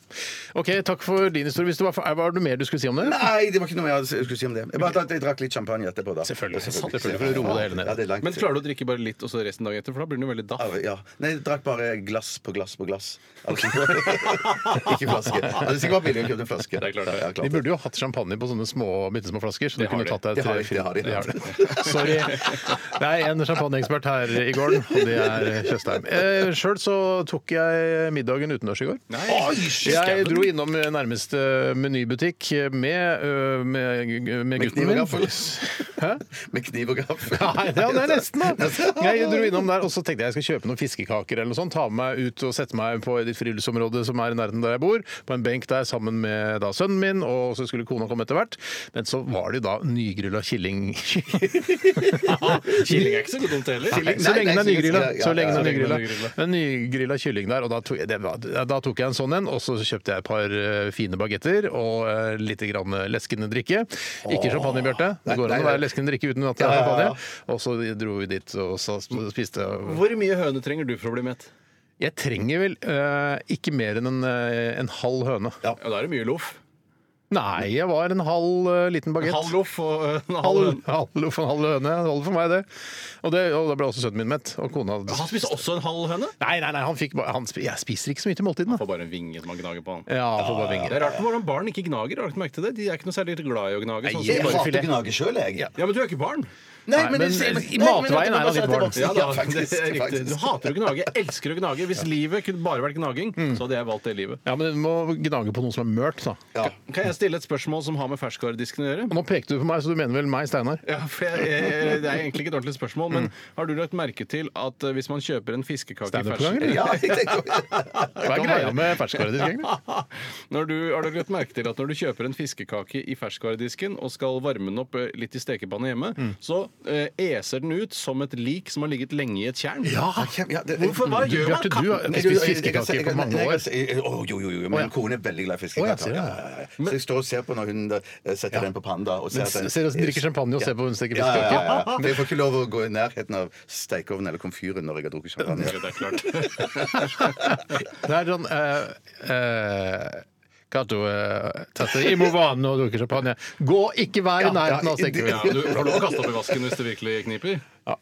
Speaker 4: OK, takk for din historie. Hvis du var, er- var det noe mer du skulle si om det?
Speaker 6: Nei, det var ikke noe jeg hadde- skulle si om det. Jeg bare at jeg drakk litt champagne etterpå, da.
Speaker 4: Selvfølgelig. Selvfølgelig, for å roe det hele ned.
Speaker 6: Ja, det er langt.
Speaker 5: Men klarer du å drikke bare litt og så resten dagen etter, for da blir den jo veldig daff.
Speaker 6: Ja. Nei, jeg drakk bare glass på glass på glass. Altså, ikke flaske. Ja, Det er sikkert bare billig å kjøpe en flaske.
Speaker 5: Det er klart det.
Speaker 6: Ja,
Speaker 4: De burde jo hatt champagne på sånne små, bitte små flasker. Så du
Speaker 5: Det har
Speaker 4: kunne
Speaker 5: de.
Speaker 4: tatt deg
Speaker 6: Det har
Speaker 4: tre
Speaker 6: de, det har de.
Speaker 4: det. Sorry. Det er en champagneekspert her i gården, og det er Tjøstheim. Eh, Sjøl så tok jeg middagen utendørs i går.
Speaker 5: Nei.
Speaker 4: Jeg dro innom eh, nærmeste menybutikk med, øh, med, med gutten
Speaker 6: kniv og
Speaker 4: min.
Speaker 6: gaffel.
Speaker 4: Hæ?
Speaker 6: Med kniv og gaffel.
Speaker 4: Nei, ja, det er nesten, da! Jeg dro innom der, og så tenkte jeg jeg skal kjøpe noen fiskekaker eller noe sånt. Ta med meg ut og sette meg på et friluftsområde som er i nærheten der jeg bor, på en benk der sammen med da sønnen min, og så skulle kona komme etter hvert. Men så var det jo da nygrilla killing.
Speaker 5: Killing er ikke så dumt heller.
Speaker 4: Nei, så lenge den er nygrilla.
Speaker 6: ja,
Speaker 4: Så lenge
Speaker 5: ja,
Speaker 4: den er
Speaker 5: så lenge den er
Speaker 4: nygrilla. En nygrilla kylling der, og da tok, jeg- det var, da tok jeg en sånn en. Og så kjøpte jeg et par eh, fine bagetter og eh, litt grann eh, leskende drikke. Ikke champagne, Bjarte. Det
Speaker 6: Nei,
Speaker 4: går an
Speaker 6: nei,
Speaker 4: å være
Speaker 6: nei.
Speaker 4: leskende drikke uten at det er
Speaker 6: Ja, ja, ja.
Speaker 4: champagne. Og så dro vi dit og så spiste.
Speaker 5: Hvor mye høne trenger du for å bli mett?
Speaker 4: Jeg trenger vel eh, ikke mer enn en, eh, en halv høne.
Speaker 5: Ja, da er det mye loff.
Speaker 4: Nei, jeg var en halv eh, liten bagett.
Speaker 5: Halv loff og eh, en halv
Speaker 4: Halv,
Speaker 5: høne.
Speaker 4: halv, halv høne. Det holder for meg, det. Og, det. og da ble også sønnen min mett. Og kona
Speaker 5: Han spiser også en halv høne?
Speaker 4: Nei, nei, nei han fikk, bare- han, sp- jeg spiser ikke så mye til måltidene.
Speaker 5: Får bare en vinge som han gnager på. han.
Speaker 4: Ja, får bare vinger.
Speaker 5: Det er rart med hvordan barn ikke gnager. Har du ikke merket det? De er ikke noe særlig glad i å gnage. Sånn som
Speaker 6: Jeg
Speaker 5: de bare...
Speaker 6: hater å gnage sjøl, jeg.
Speaker 5: Ja, men du er ikke barn.
Speaker 6: Nei,
Speaker 4: men
Speaker 6: det-
Speaker 4: i
Speaker 6: nei, men
Speaker 4: matveien
Speaker 6: det
Speaker 4: er han litt
Speaker 6: bare
Speaker 4: barn.
Speaker 6: sånn at
Speaker 5: Ja,
Speaker 6: det
Speaker 5: da,
Speaker 6: vokser-
Speaker 5: det er riktig. Du hater å gnage, elsker å gnage. Hvis livet kunne bare vært gnaging, så hadde jeg valgt det livet.
Speaker 4: Ja, men du må gnage på noe som er mørkt, da.
Speaker 6: Ja.
Speaker 5: Kan jeg stille et spørsmål som har med ferskvaredisken å gjøre?
Speaker 4: Og nå pekte du på meg, så du mener vel meg, Steinar?
Speaker 5: Ja, for jeg, jeg, Det er egentlig ikke et ordentlig spørsmål, men har du lagt merke til at eh, hvis man kjøper en fiskekake i fersk-
Speaker 4: Standup-program, eller?
Speaker 6: Ja, jeg tenker
Speaker 4: Hva er greia med ferskvaredisk, egentlig?
Speaker 5: Når du, har du lagt merke til at når du kjøper en fiskekake i ferskvaredisken og skal varme den opp eh, litt i stekepanna hjemme,
Speaker 6: Mm.
Speaker 5: så eh, eser den ut som et lik som har ligget lenge i et tjern?
Speaker 6: ja, det-
Speaker 5: Hvorfor? Hva
Speaker 4: Du,
Speaker 5: gjør man?
Speaker 4: Bjarte, du har spist
Speaker 6: Nei, jeg- jeg- jeg-
Speaker 4: fiskekaker på
Speaker 6: jeg-
Speaker 4: mange
Speaker 6: nei,
Speaker 4: år.
Speaker 6: jeg- jeg- å, Jo, jo, jo.
Speaker 4: Å, ja.
Speaker 6: Min kone er veldig glad i
Speaker 4: Å, ja,
Speaker 6: fiskekaker.
Speaker 4: ser du det?
Speaker 6: Ja, ja, ja. Så jeg står og ser på når hun eh, setter den på panda. Og
Speaker 4: Men
Speaker 6: at den-
Speaker 4: ser oss drikke champagne og ser på hun steker
Speaker 6: Ja, ja, ja,
Speaker 4: fiskekaker.
Speaker 6: ja. Men Jeg får ikke lov å gå i nærheten av stekeovnen eller komfyren når jeg har drukket champagne.
Speaker 5: Det er klart.
Speaker 4: Det er sånn eh, eh, Kato, eh, tette, i movanen og drukker champagne. Gå ikke vær i nærheten av
Speaker 5: Ja,
Speaker 4: stekefisk.
Speaker 5: du har lov å kaste opp i vasken hvis det virkelig kniper.
Speaker 6: Ja,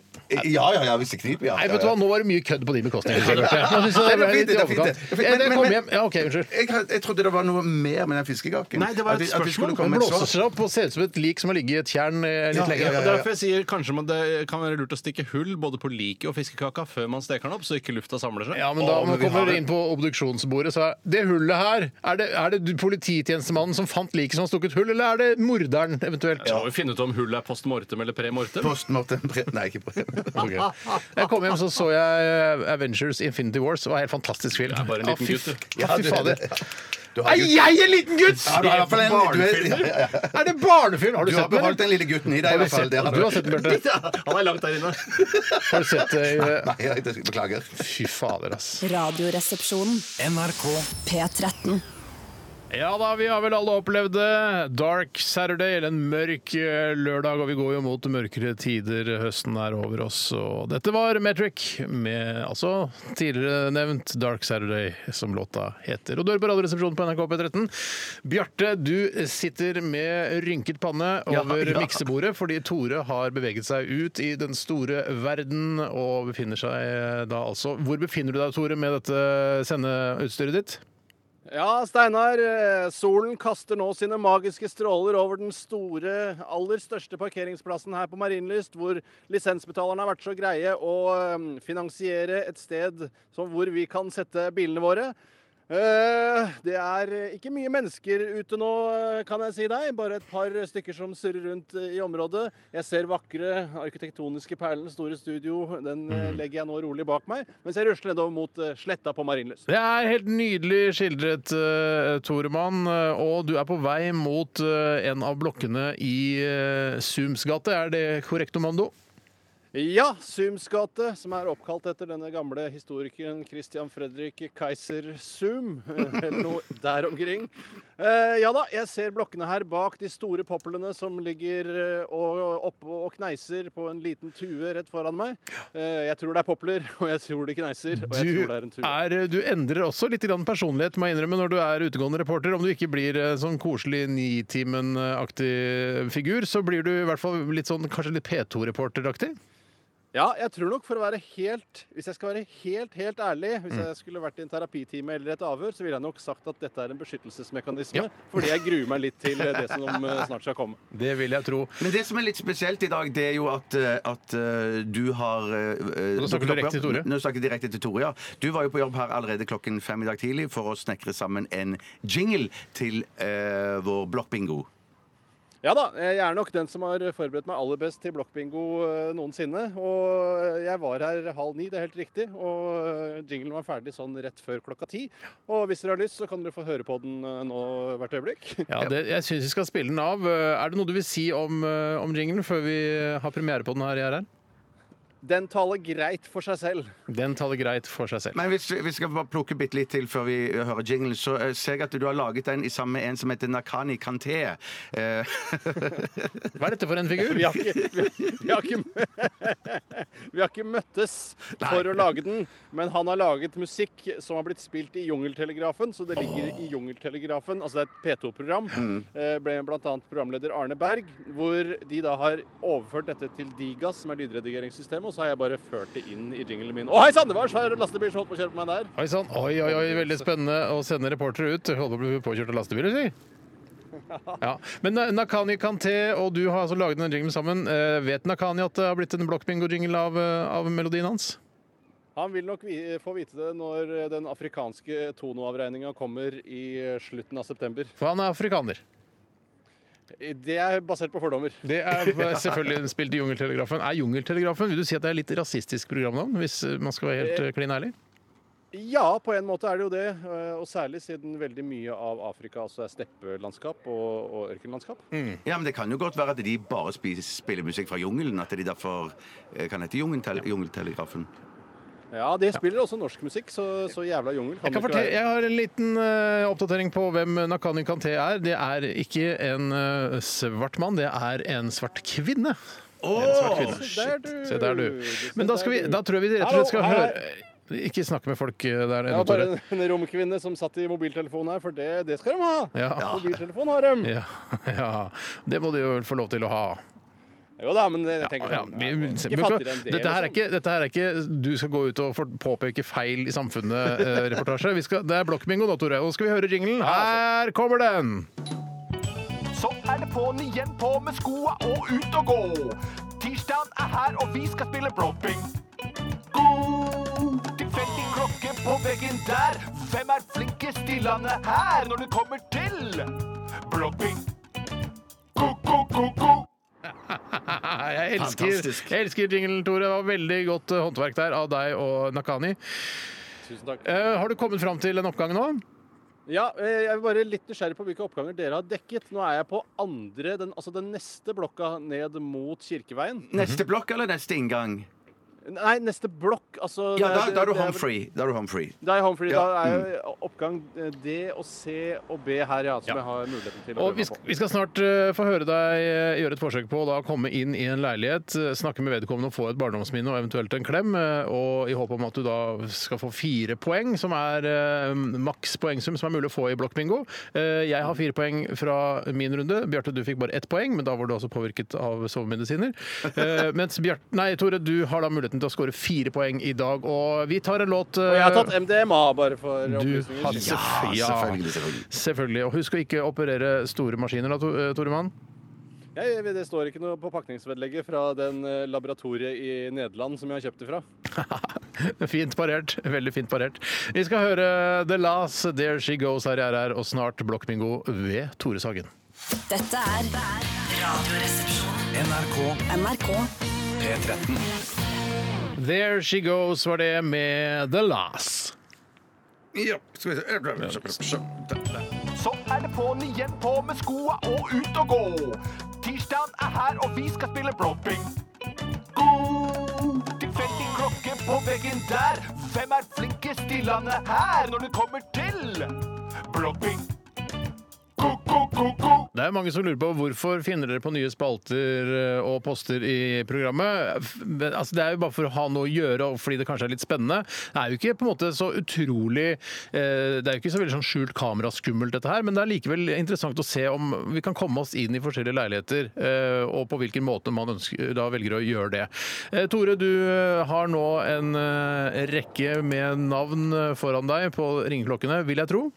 Speaker 6: ja, ja, hvis det kniper, ja.
Speaker 4: Nei,
Speaker 6: ja,
Speaker 4: vet du
Speaker 6: ja.
Speaker 4: hva, Nå var det mye kødd på de bekostningene. Bjarte. Nå synes jeg Det
Speaker 6: Nei, det
Speaker 4: ble
Speaker 6: er
Speaker 4: litt
Speaker 6: fint,
Speaker 4: i
Speaker 6: det er fint,
Speaker 4: overkant.
Speaker 6: det er fint.
Speaker 4: Ja, det
Speaker 6: Men-
Speaker 4: kom
Speaker 6: men-
Speaker 4: hjem. Ja, OK, unnskyld.
Speaker 6: Jeg, had- jeg trodde det var noe mer med den fiskekaken.
Speaker 5: Nei, det var et
Speaker 6: At vi- at vi
Speaker 5: spørsmål.
Speaker 6: skulle
Speaker 4: Den
Speaker 6: komme med et
Speaker 4: blåser seg opp og ser ut som et lik som har ligget i et tjern eh, litt
Speaker 6: Ja,
Speaker 4: lenger.
Speaker 6: ja,
Speaker 5: Og
Speaker 6: ja, ja.
Speaker 5: Derfor jeg sier kanskje man det kan være lurt å stikke hull både på liket og fiskekaka før man steker den opp, så ikke lufta samler seg.
Speaker 4: Ja, men da
Speaker 6: Å,
Speaker 4: man
Speaker 6: men vi
Speaker 4: kommer
Speaker 6: har det.
Speaker 4: inn på obduksjonsbordet, så er det hullet her Er det, er det du- polititjenestemannen som fant liket som har stukket hull, eller er det morderen eventuelt?
Speaker 5: Så må vi finne ut om hullet er post mortem eller pre mortem.
Speaker 6: Postmortem Brett- Nei, ikke Brett.
Speaker 4: Ok. Jeg kom hjem, så så jeg eh, Avengers Infinity Wars. Det var en helt fantastisk film.
Speaker 5: er bare en liten
Speaker 4: fy-
Speaker 5: gutt, du.
Speaker 4: Ja, fy fader.
Speaker 6: Du har
Speaker 4: Er
Speaker 6: gutt-
Speaker 4: jeg en liten gutt?!
Speaker 6: Ja, du har i hvert fall en- du er-
Speaker 4: Barnefilm?
Speaker 6: ja, ja,
Speaker 4: Er det barnefilm? Har du,
Speaker 6: Du har
Speaker 4: sett den?
Speaker 6: beholdt den lille gutten i deg, i
Speaker 4: Har du
Speaker 6: hvert fall.
Speaker 4: sett-
Speaker 6: Det har
Speaker 4: du har sett den, Bjarte?
Speaker 8: Han er langt der inne.
Speaker 4: Har du sett det?
Speaker 6: Nei, jeg beklager.
Speaker 4: Fy fader, ass.
Speaker 9: Radioresepsjonen.
Speaker 10: NRK
Speaker 9: P13.
Speaker 4: Ja da, vi har vel alle opplevd det. Dark Saturday, eller en mørk eh, lørdag. Og vi går jo mot mørkere tider. Høsten er over oss. Og dette var Metric med altså tidligere nevnt Dark Saturday, som låta heter. Og du hører på Radioresepsjonen på NRK P13. Bjarte, du sitter med rynket panne over miksebordet fordi Tore har beveget seg ut i den store verden og befinner seg eh, da altså Hvor befinner du deg, Tore, med dette sendeutstyret ditt?
Speaker 5: Ja, Steinar. eh, Solen kaster nå sine magiske stråler over den store, aller største parkeringsplassen her på Marienlyst, hvor lisensbetalerne har vært så greie å eh, finansiere et sted som hvor vi kan sette bilene våre. Eh, Det er ikke mye mennesker ute nå, eh, kan jeg si deg. Bare et par stykker som surrer rundt eh, i området. Jeg ser vakre arkitektoniske perlen, store studio. Den eh, legger jeg nå rolig bak meg, mens jeg rusler nedover mot eh, sletta på Marienlyst.
Speaker 4: Det er helt nydelig skildret, uh, Toremann. eh, Og du er på vei mot eh, en av blokkene i uh, Sums gate. Er det korrekt, Omando?
Speaker 5: Ja, Sums gate, som er oppkalt etter denne gamle historikeren Christian Fredrik Kaiser Zoom, eller noe der omkring. Eh, ja da, jeg ser blokkene her bak de store poplene som ligger eh, og, oppe og kneiser på en liten tue rett foran meg. Eh, jeg tror det er popler, og jeg tror det kneiser, og jeg
Speaker 4: Du,
Speaker 5: tror det er en tue.
Speaker 4: er, eh, du endrer også litt grann personlighet, må jeg innrømme, når du er utegående reporter. Om du ikke blir eh, sånn koselig Nitimen-aktig figur, så blir du i hvert fall litt sånn kanskje litt P2-reporteraktig.
Speaker 5: Ja, jeg tror nok for å være helt Hvis jeg skal være helt, helt ærlig, hvis jeg skulle vært i en terapitime eller et avhør, så ville jeg nok sagt at dette er en beskyttelsesmekanisme,
Speaker 4: Ja.
Speaker 5: fordi jeg gruer meg litt til eh, det som eh, snart skal komme.
Speaker 4: Det vil jeg tro.
Speaker 6: Men det som er litt spesielt i dag, det er jo at, eh, at eh, du har eh,
Speaker 4: Nå snakker du
Speaker 6: dukket
Speaker 4: direkte
Speaker 6: opp-
Speaker 4: til Tore.
Speaker 6: Nå snakker jeg direkte til Tore, ja. Du var jo på jobb her allerede klokken fem i dag tidlig for å snekre sammen en jingle til eh, vår blokkbingo.
Speaker 5: Ja da, jeg er nok den som har forberedt meg aller best til blokkbingo eh, noensinne. Og eh, jeg var her halv ni, det er helt riktig. Og eh, jinglen var ferdig sånn rett før klokka ti. Og hvis dere har lyst, så kan dere få høre på den eh, nå hvert øyeblikk.
Speaker 4: Ja, det, jeg syns vi skal spille den av. Eh, Er det noe du vil si om, eh, om jinglen før vi har premiere på den her i RR?
Speaker 5: Den taler greit for seg selv.
Speaker 4: Den taler greit for seg selv.
Speaker 6: Men hvis vi vi skal bare plukke bitte litt til før vi eh, hører jinglen, så eh, ser jeg at du har laget den i sammen med en som heter Nakani Kante. Eh,
Speaker 4: Hva er dette for en figur?
Speaker 5: Vi har ikke, vi, vi har ikke, mø- vi har ikke møttes for å lage den, men han har laget musikk som har blitt spilt i Jungeltelegrafen, så det ligger i Jungeltelegrafen. Altså det er et P2-program,
Speaker 4: Mm.
Speaker 5: eh, ble blant annet programleder Arne Berg, hvor de da har overført dette til Digas, som er lydredigeringssystemet, og så har jeg bare ført det inn i jinglen min. Å hei sann, det var en svær lastebil som holdt på å kjøre på meg der.
Speaker 4: Oi sann, oi, oi, oi, veldig spennende å sende reportere ut. Holder på å bli påkjørt av lastebiler, si. Ja. Men eh, Nakani Kante og du har altså laget en jingle sammen. Eh, Vet Nakani at det har blitt en blokkbingo-jingle av, eh, av melodien hans?
Speaker 5: Han vil nok vi, få vite det når eh, den afrikanske tonoavregninga kommer i eh, slutten av september. Eh,
Speaker 4: For han er afrikaner.
Speaker 5: Det er basert på fordommer.
Speaker 4: Det er eh, selvfølgelig innspilt i Jungeltelegrafen. Er Jungeltelegrafen Vil du si at det er litt rasistisk programnavn, hvis eh, man skal være helt eh, klin ærlig?
Speaker 5: Ja, på en måte er det jo det. eh, Og særlig siden veldig mye av Afrika altså er steppelandskap og, og ørkenlandskap.
Speaker 6: ja, men det kan jo godt være at de bare spis, spiller musikk fra jungelen, at de derfor eh, kan hete Jungeltel Jungeltelegrafen.
Speaker 5: Ja, de spiller også norsk musikk, så, så jævla jungel kan
Speaker 4: Jeg, kan
Speaker 5: det ikke
Speaker 4: fortelle,
Speaker 5: være.
Speaker 4: jeg har en liten eh, oppdatering på hvem Nakani Kante er. Det er ikke en eh, svart mann, det er en svart kvinne. En svart kvinne.
Speaker 5: Se der, Mm, du.
Speaker 4: Se der, du.
Speaker 5: Se
Speaker 4: Men da, skal vi,
Speaker 5: der, du.
Speaker 4: da tror jeg vi rett og slett skal
Speaker 5: Hallo,
Speaker 4: høre Ikke snakke med folk eh, der
Speaker 5: Ja,
Speaker 4: ennå,
Speaker 5: bare
Speaker 4: Tore.
Speaker 5: en, en romkvinne som satt i mobiltelefonen her, for det, det skal de ha!
Speaker 4: Ja.
Speaker 5: Mobiltelefon har de!
Speaker 4: Ja, ja. Det må de jo vel få lov til å ha.
Speaker 5: Jo da,
Speaker 11: eh,
Speaker 5: men jeg tenker
Speaker 4: Ja,
Speaker 5: sånn,
Speaker 4: vi,
Speaker 5: ja,
Speaker 4: se-
Speaker 5: ikke
Speaker 4: vi skal-
Speaker 5: fattigere enn det,
Speaker 4: dette, her er
Speaker 5: liksom.
Speaker 4: ikke, dette her er ikke du skal gå ut og for- påpeke feil i eh, samfunnet-reportasje. det er blokkbingo nå, Tore. Og skal vi høre jinglen?
Speaker 5: altså.
Speaker 4: Her kommer den!
Speaker 12: Så er det på'n igjen, på med skoa og ut og gå. Tirsdagen er her, og vi skal spille blopping. God tilfeldig klokke på veggen der. Hvem er flinkest i landet her når det kommer til blopping? Ko-ko-ko-ko.
Speaker 4: Jeg elsker,
Speaker 6: Fantastisk.
Speaker 4: jeg elsker jinglen, Tore. Det var veldig godt eh, håndverk der av deg og Nakani.
Speaker 5: Tusen takk.
Speaker 4: Eh, har du kommet fram til en oppgave nå?
Speaker 11: Ja, eh, jeg er bare litt nysgjerrig på hvilke oppganger dere har dekket. Nå er jeg på andre, den, altså den neste blokka ned mot Kirkeveien.
Speaker 6: Neste blokk eller neste inngang?
Speaker 11: Nei, neste blokk, altså
Speaker 6: Ja,
Speaker 11: det
Speaker 6: da, da er du
Speaker 11: det
Speaker 6: home free. Da er du home free.
Speaker 11: Da er jeg home free.
Speaker 6: Ja,
Speaker 11: Da
Speaker 4: Mm.
Speaker 11: er jo oppgang eh, D og C og B her, ja, som jeg har muligheten til å
Speaker 4: Og vi,
Speaker 11: prøve
Speaker 4: sk-
Speaker 11: meg på.
Speaker 4: vi skal snart eh, få høre deg eh, gjøre et forsøk på å da komme inn i en leilighet, eh, snakke med vedkommende og få et barndomsminne og eventuelt en klem, eh, og i håp om at du da skal få fire poeng, som er eh, maks poengsum som er mulig å få i blokkbingo. Eh, jeg har fire poeng fra min runde. Bjarte, du fikk bare ett poeng, men da var du også påvirket av sovemedisiner. Eh, mens Bjarte Nei, Tore, du har da muligheten til å skåre fire poeng i dag, og vi tar en låt
Speaker 11: Og jeg har tatt MDMA, bare for
Speaker 4: du har
Speaker 11: opplysninger.
Speaker 4: selvfølgelig, ja, selvfølgelig, selvfølgelig. Og husk å ikke operere store maskiner, da, To- eh, Toremann.
Speaker 11: Jeg, det står ikke noe på pakningsvedlegget fra den eh, laboratoriet i Nederland som jeg har kjøpt det fra.
Speaker 4: Fint parert. Veldig fint parert. Vi skal høre The Last There She Goes her i RR, og snart Blokkmingo ved Tore Sagen.
Speaker 9: Dette er Radioresepsjonen.
Speaker 3: NRK
Speaker 9: NRK.
Speaker 3: P13.
Speaker 4: There She Goes var det med The Last.
Speaker 6: Ja, skal vi se.
Speaker 13: Så er det på'n igjen, på med skoa og ut og gå. Tirsdagen er her, og vi skal spille blåbing. God tilfeldig klokke på veggen der. Hvem er flinkest i landet her når det kommer til blåbing? Ko-ko-ko-ko.
Speaker 4: Det er mange som lurer på hvorfor finner dere på nye spalter eh, og poster i programmet. F- men, Altså, det er jo bare for å ha noe å gjøre og fordi det kanskje er litt spennende. Det er jo ikke på en måte så utrolig eh, Det er jo ikke så veldig sånn skjult kameraskummelt, dette her, men det er likevel interessant å se om vi kan komme oss inn i forskjellige leiligheter, eh, og på hvilken måte man ønsker, da velger å gjøre det. Eh, Tore, du eh, har nå en eh, rekke med navn eh, foran deg på ringeklokkene, vil jeg tro.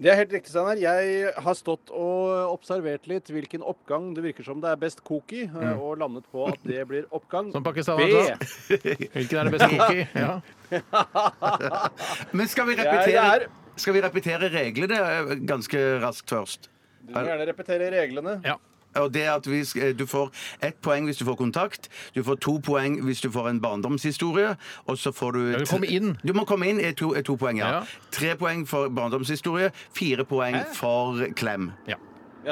Speaker 11: Det er helt riktig, Steinar. Jeg har stått og observert litt hvilken oppgang det virker som det er best kok i, eh, og landet på at det blir oppgang
Speaker 4: Som pakistaner.
Speaker 11: B.
Speaker 4: altså. Hvilken er det beste cookie? Ja.
Speaker 6: Men skal vi
Speaker 11: Jeg er
Speaker 6: repetere,
Speaker 11: der.
Speaker 6: skal vi repetere reglene eh, ganske raskt først?
Speaker 11: Du må gjerne repetere reglene.
Speaker 6: Og det er at vi, sk- eh, Du får ett poeng hvis du får kontakt, du får to poeng hvis du får en barndomshistorie. Og så får du
Speaker 4: du
Speaker 6: tre-
Speaker 4: komme inn.
Speaker 6: Du må komme inn er to, er to poeng, ja.
Speaker 4: Ja.
Speaker 6: Tre poeng for barndomshistorie, fire poeng for klem.
Speaker 11: Ja,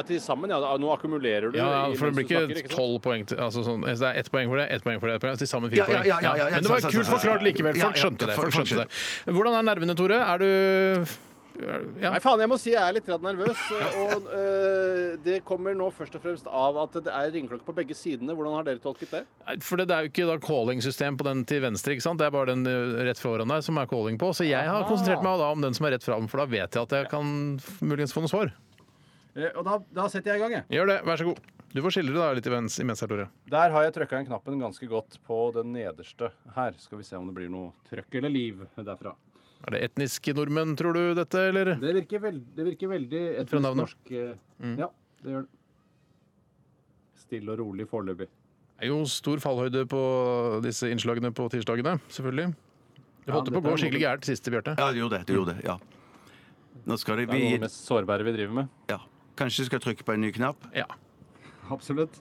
Speaker 11: til sammen, ja. Nå akkumulerer du.
Speaker 4: Ja,
Speaker 11: i-
Speaker 4: for det
Speaker 11: mens
Speaker 4: blir
Speaker 11: du snakker,
Speaker 4: ikke tolv poeng til altså sånn, altså Det er ett poeng for det, ett poeng for det, ett poeng, Altså, til sammen fire
Speaker 6: Ja, ja, ja, ja,
Speaker 4: poeng.
Speaker 6: ja, ja,
Speaker 4: Men det var
Speaker 6: sant, sant,
Speaker 4: kult
Speaker 6: sant,
Speaker 4: forklart
Speaker 6: sant.
Speaker 4: likevel.
Speaker 6: Ja,
Speaker 4: Folk
Speaker 6: ja,
Speaker 4: skjønte det.
Speaker 6: folk
Speaker 4: Folk skjønte det.
Speaker 6: skjønte
Speaker 4: Hvordan er nervene, Tore? Er du ja.
Speaker 11: Nei, faen, jeg må si jeg er litt redd nervøs. Og eh, det kommer nå først og fremst av at det er ringeklokke på begge sidene. Hvordan har dere tolket det?
Speaker 4: For det er jo ikke da calling-system på den til venstre, ikke sant? Det er bare den eh, rett foran deg som er calling på. Så jeg
Speaker 6: Ah.
Speaker 4: har konsentrert meg da om den som er rett fram, for da vet jeg at jeg kan f- muligens få noe svar.
Speaker 11: Eh, og da, da setter jeg i gang, jeg.
Speaker 4: Gjør det, vær så god. Du får skille deg litt imens, imens her, Tore.
Speaker 11: Der har jeg trøkka inn knappen ganske godt på den nederste her. Skal vi se om det blir noe trøkk eller liv derfra.
Speaker 4: Er det etniske nordmenn, tror du, dette, eller?
Speaker 11: Det virker, veld, det virker veldig
Speaker 4: fra navnet. Mm.
Speaker 11: norsk. eh, Ja, det gjør det. Stille og rolig foreløpig.
Speaker 4: Det er jo stor fallhøyde på disse innslagene på tirsdagene, selvfølgelig. Det holdt
Speaker 11: Ja,
Speaker 4: på å gå
Speaker 11: dette er noe-
Speaker 4: skikkelig gærent siste, Bjarte.
Speaker 6: Ja, du gjorde det. du gjorde det, ja. Nå skal det,
Speaker 11: Det er noe av det
Speaker 6: vi,
Speaker 11: mest sårbare vi driver med.
Speaker 6: ja. Kanskje du skal trykke på en ny knapp?
Speaker 4: Ja,
Speaker 11: Absolutt.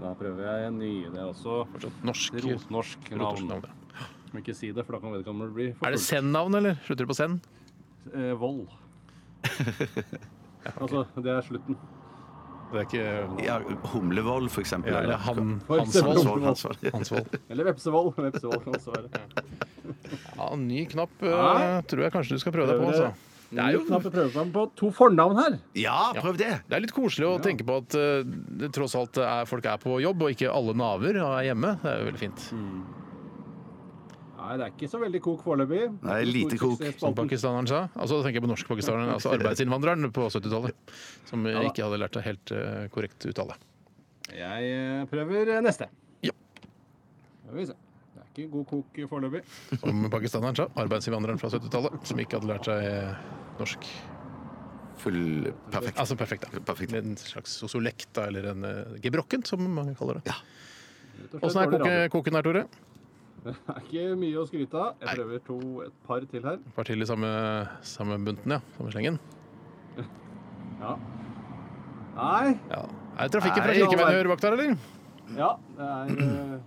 Speaker 11: Da prøver jeg en ny. Det er også
Speaker 4: fortsatt norsk
Speaker 11: rotnorsk navn.
Speaker 4: rotorsnavn, ja.
Speaker 11: Må ikke si det, for da kan vedkommende bli
Speaker 4: Er det
Speaker 11: forfulgt.
Speaker 4: Zen-navn, eller? Slutter det på Zen?
Speaker 11: Eh, vold. Altså, det er slutten.
Speaker 4: Det er ikke
Speaker 6: Ja, Humlevold, for eksempel.
Speaker 4: ja,
Speaker 6: eller?
Speaker 4: eller han,
Speaker 11: For
Speaker 4: Hansvold.
Speaker 11: eksempel.
Speaker 6: Hansvold, Hansvold.
Speaker 4: Hansvold.
Speaker 11: Eller vepsevold. Vepsevold kan også være.
Speaker 4: Ja, ny knapp eh,
Speaker 11: Nei.
Speaker 4: tror jeg kanskje du skal prøve deg på.
Speaker 11: Prøver det.
Speaker 4: Altså. Det er jo
Speaker 11: Knappe prøver man på to fornavn her.
Speaker 6: Ja, prøv det!
Speaker 4: det er litt koselig å tenke på at eh, det tross alt er, folk er på jobb, og ikke alle naver er hjemme. Det er jo veldig fint.
Speaker 11: Nei, det er ikke så veldig kok foreløpig.
Speaker 6: Nei, lite
Speaker 11: Stor
Speaker 6: kok.
Speaker 11: suksess på
Speaker 4: Som
Speaker 11: alten.
Speaker 4: pakistaneren sa. Altså, da tenker jeg på norskpakistaneren, altså arbeidsinnvandreren på 70-tallet. Som eh,
Speaker 11: da.
Speaker 4: ikke hadde lært seg helt eh, korrekt uttale.
Speaker 11: Jeg eh, prøver eh, neste.
Speaker 4: Ja.
Speaker 11: Skal vi se. Det er ikke god kok foreløpig.
Speaker 4: Som pakistaneren sa, arbeidsinnvandreren fra 70-tallet som ikke hadde lært seg eh, norsk.
Speaker 6: Full perfekt.
Speaker 4: Altså perfekt, da.
Speaker 6: Perfekt.
Speaker 4: Med en slags sosiolekt, da, eller en eh, gebrokken, som mange kaller det.
Speaker 11: Rett og slett
Speaker 4: Åssen er
Speaker 11: dårlig
Speaker 4: koke,
Speaker 11: radio.
Speaker 4: koken her, Tore?
Speaker 11: Det er ikke mye å skryte av. Jeg prøver to, et par til her.
Speaker 4: Var til i samme, samme bunten, ja. Samme slengen.
Speaker 11: Ja. Nei.
Speaker 4: Ja. Er det trafikken fra
Speaker 6: Nei, nå,
Speaker 4: Kirkeveien
Speaker 6: men-
Speaker 4: du hører bak der, eller?
Speaker 11: Ja, det er eh,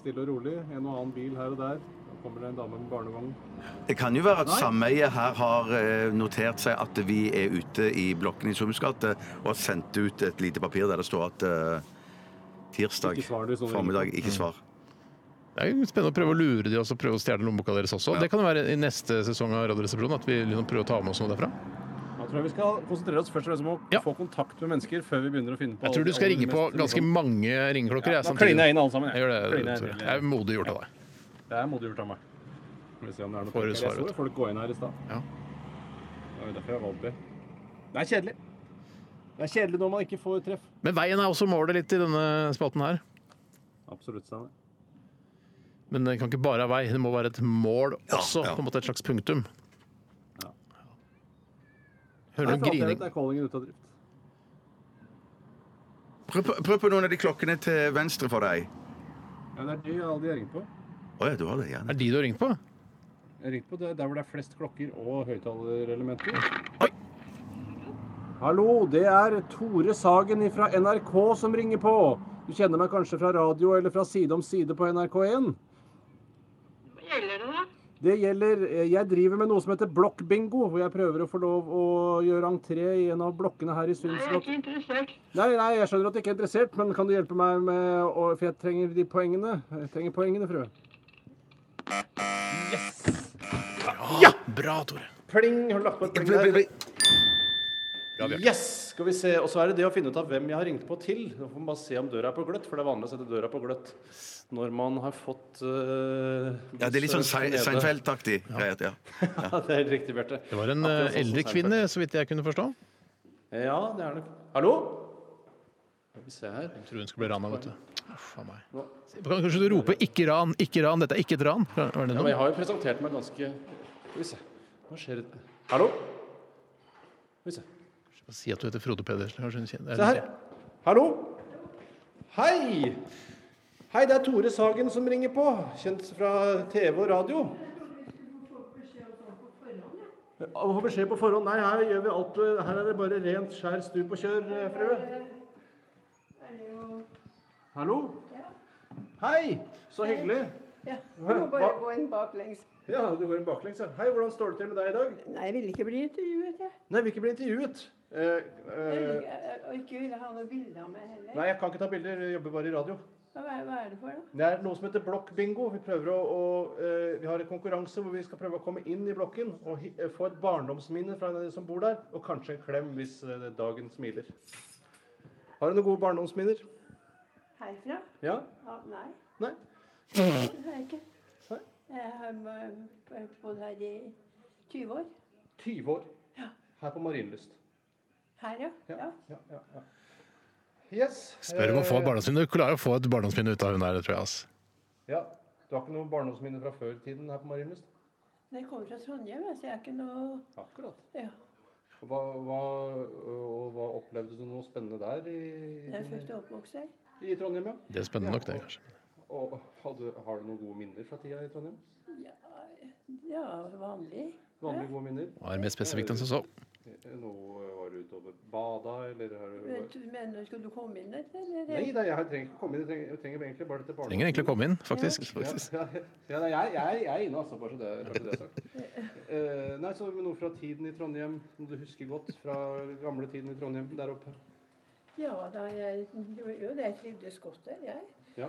Speaker 11: stille og rolig. En og annen bil her og der. Kommer det en dame med barnevogn?
Speaker 6: Det kan jo være at sameiet her har eh, notert seg at vi er ute i blokken i Sums gate, og har sendt ut et lite papir der det står at eh, tirsdag
Speaker 11: Ikke svar, du står der.
Speaker 6: formiddag ikke svar.
Speaker 4: Det er jo spennende å prøve å lure de og så prøve å stjele lommeboka deres også. Det kan jo være i neste sesong av Radioresepsjonen at vi liksom prøver å ta med oss noe derfra.
Speaker 11: Jeg tror jeg vi skal konsentrere oss først og fremst om å
Speaker 4: Ja.
Speaker 11: få kontakt med mennesker før vi begynner å finne på
Speaker 4: Jeg tror du skal ringe på ganske mange ringeklokker.
Speaker 11: ja, Da kliner jeg inn alle sammen.
Speaker 4: Jeg gjør det.
Speaker 11: Kliner jeg
Speaker 4: Tore.
Speaker 11: inn,
Speaker 4: Det er modig gjort av deg.
Speaker 11: Det er modig gjort av meg. Skal vi se om det er noe
Speaker 4: Får du
Speaker 11: folk her.
Speaker 4: svar,
Speaker 11: Jeg så
Speaker 4: vet
Speaker 11: jo folk gå inn her i stad.
Speaker 4: Ja.
Speaker 11: Det var jo derfor jeg valgte det. Det er kjedelig. Det er kjedelig når man ikke får treff.
Speaker 4: Men veien er også målet litt i denne spalten her.
Speaker 11: Absolutt, Steinar.
Speaker 4: Men det kan ikke bare være vei, det må være et mål også. På en måte et slags punktum. Hører du
Speaker 11: Nei, for alt jeg vet
Speaker 4: grining?
Speaker 11: Er callingen ute av drift?
Speaker 6: Prøv, på- prøv på noen av de klokkene til venstre for deg.
Speaker 11: Ja, det er de alle de har ringt på.
Speaker 6: Å ja, du har det. Ja.
Speaker 4: Er det de du har ringt på?
Speaker 11: Jeg har ringt på det der hvor det er flest klokker og høyttalerelementer.
Speaker 4: Oi.
Speaker 11: Hallo, det er Tore Sagen fra NRK som ringer på. Du kjenner meg kanskje fra radio eller fra Side om side på NRK1? Det gjelder eh, Jeg driver med noe som heter blokkbingo, hvor jeg prøver å få lov å gjøre entré i en av blokkene her i Sundsvall. Nei, nei, jeg skjønner at du ikke er interessert, men kan du hjelpe meg med å For jeg trenger de poengene. Jeg trenger poengene, frue.
Speaker 4: Bra, Tore.
Speaker 11: Pling! Har du lagt på et pling
Speaker 6: Bli- bli-
Speaker 11: der?
Speaker 6: bli-
Speaker 11: Yes! Skal vi se. Og så er det det å finne ut av hvem jeg har ringt på til. Nå får man bare se om døra er på gløtt, for det er vanlig å sette døra på gløtt når man har fått eh,
Speaker 6: Ja, det er litt sånn
Speaker 11: besøk nede.
Speaker 6: Se- Seinfeld-aktig. greier, Ja.
Speaker 11: Ja, det er helt riktig, Bjarte.
Speaker 4: Det var en eh,
Speaker 11: Akkurat sånn som
Speaker 4: eldre
Speaker 11: Seinfeld.
Speaker 4: kvinne, så vidt jeg kunne forstå.
Speaker 11: Ja, det er nok Hallo? Skal vi se her.
Speaker 4: Jeg tror hun skulle bli rana, vet du. Uff, faen meg. Kan- Kanskje du roper 'ikke ran', 'ikke ran', dette er ikke et ran? Var det
Speaker 11: Ja, men
Speaker 4: noe?
Speaker 11: jeg har jo presentert meg ganske Skal vi se. Hva skjer det Hallo? Skal vi se.
Speaker 4: Si at du heter Frode Pedersen. kanskje hun kjenner-
Speaker 11: Se her. Hallo? Hei! Hei, det er Tore Sagen som ringer på. Kjent fra TV og radio. Å få beskjed på forhånd? Nei, her gjør vi alt. Her er det bare rent skjær stup og kjør, eh, frue. Hallo? Hei! Så hyggelig.
Speaker 14: Ja,
Speaker 11: Hva-
Speaker 14: må bare gå inn baklengs.
Speaker 11: Ja, du går inn baklengs, ja. Hei, hvordan står det til med deg i dag?
Speaker 14: Nei, jeg ville ikke bli intervjuet, jeg.
Speaker 11: Nei, jeg vil ikke bli intervjuet. Eh, eh,
Speaker 14: Jeg- Og ikke ville ha noe bilde av meg heller.
Speaker 11: nei, jeg kan ikke ta bilder. Jeg jobber bare i radio.
Speaker 14: Hva er, hva er det for noe?
Speaker 11: Det er noe som heter blokkbingo. Vi prøver å, å eh, Vi har en konkurranse hvor vi skal prøve å komme inn i blokken og hi, eh, få et barndomsminne fra de som bor der, og kanskje en klem hvis eh, dagen smiler. Har du noen gode barndomsminner?
Speaker 14: Herfra?
Speaker 11: Ja?
Speaker 14: Ja, nei,
Speaker 11: Nei?
Speaker 14: det har jeg ikke. Jeg har eh, bodd her i 20 år.
Speaker 11: 20 år. Her på Marienlyst.
Speaker 14: Her, ja. ja.
Speaker 11: Ja, ja, ja. Yes.
Speaker 4: Spør om å få
Speaker 11: eh,
Speaker 4: et barndomsminne. Du klarer å få et barndomsminne ut av hun der, tror jeg. ass.
Speaker 11: Ja. Du har ikke noe barndomsminne fra før tiden her på Marienlyst?
Speaker 14: Men Jeg kommer fra Trondheim, jeg, så jeg er ikke noe
Speaker 11: Akkurat.
Speaker 14: ja.
Speaker 11: Hva, hva, og hva opplevde du noe spennende der
Speaker 14: Jeg er
Speaker 11: i,
Speaker 14: født og oppvokst her.
Speaker 11: i Trondheim? ja?
Speaker 4: Det er spennende nok, det, kanskje.
Speaker 11: Og har du, har du noen gode minner fra tida i Trondheim?
Speaker 14: Ja, vanlig.
Speaker 11: Vanlige gode minner?
Speaker 4: Var mer spesifikt enn som så.
Speaker 11: Noe, var du ute og bada, eller har du
Speaker 14: Men du mener, skulle du komme inn der? Eller?
Speaker 11: Nei da, jeg trenger ikke komme inn. Jeg trenger, jeg trenger egentlig bare dette
Speaker 4: Trenger egentlig å komme inn, faktisk.
Speaker 11: Ja,
Speaker 4: faktisk.
Speaker 11: ja, ja, nei, jeg, jeg, jeg er inne, altså. Bare så det, bare så det er sagt. Eh, nei, så noe fra tiden i Trondheim som du husker godt fra gamle tiden i Trondheim der oppe.
Speaker 14: Ja, da, jeg gjorde jo det. Jeg trivdes godt der, jeg.
Speaker 11: Ja.
Speaker 14: Det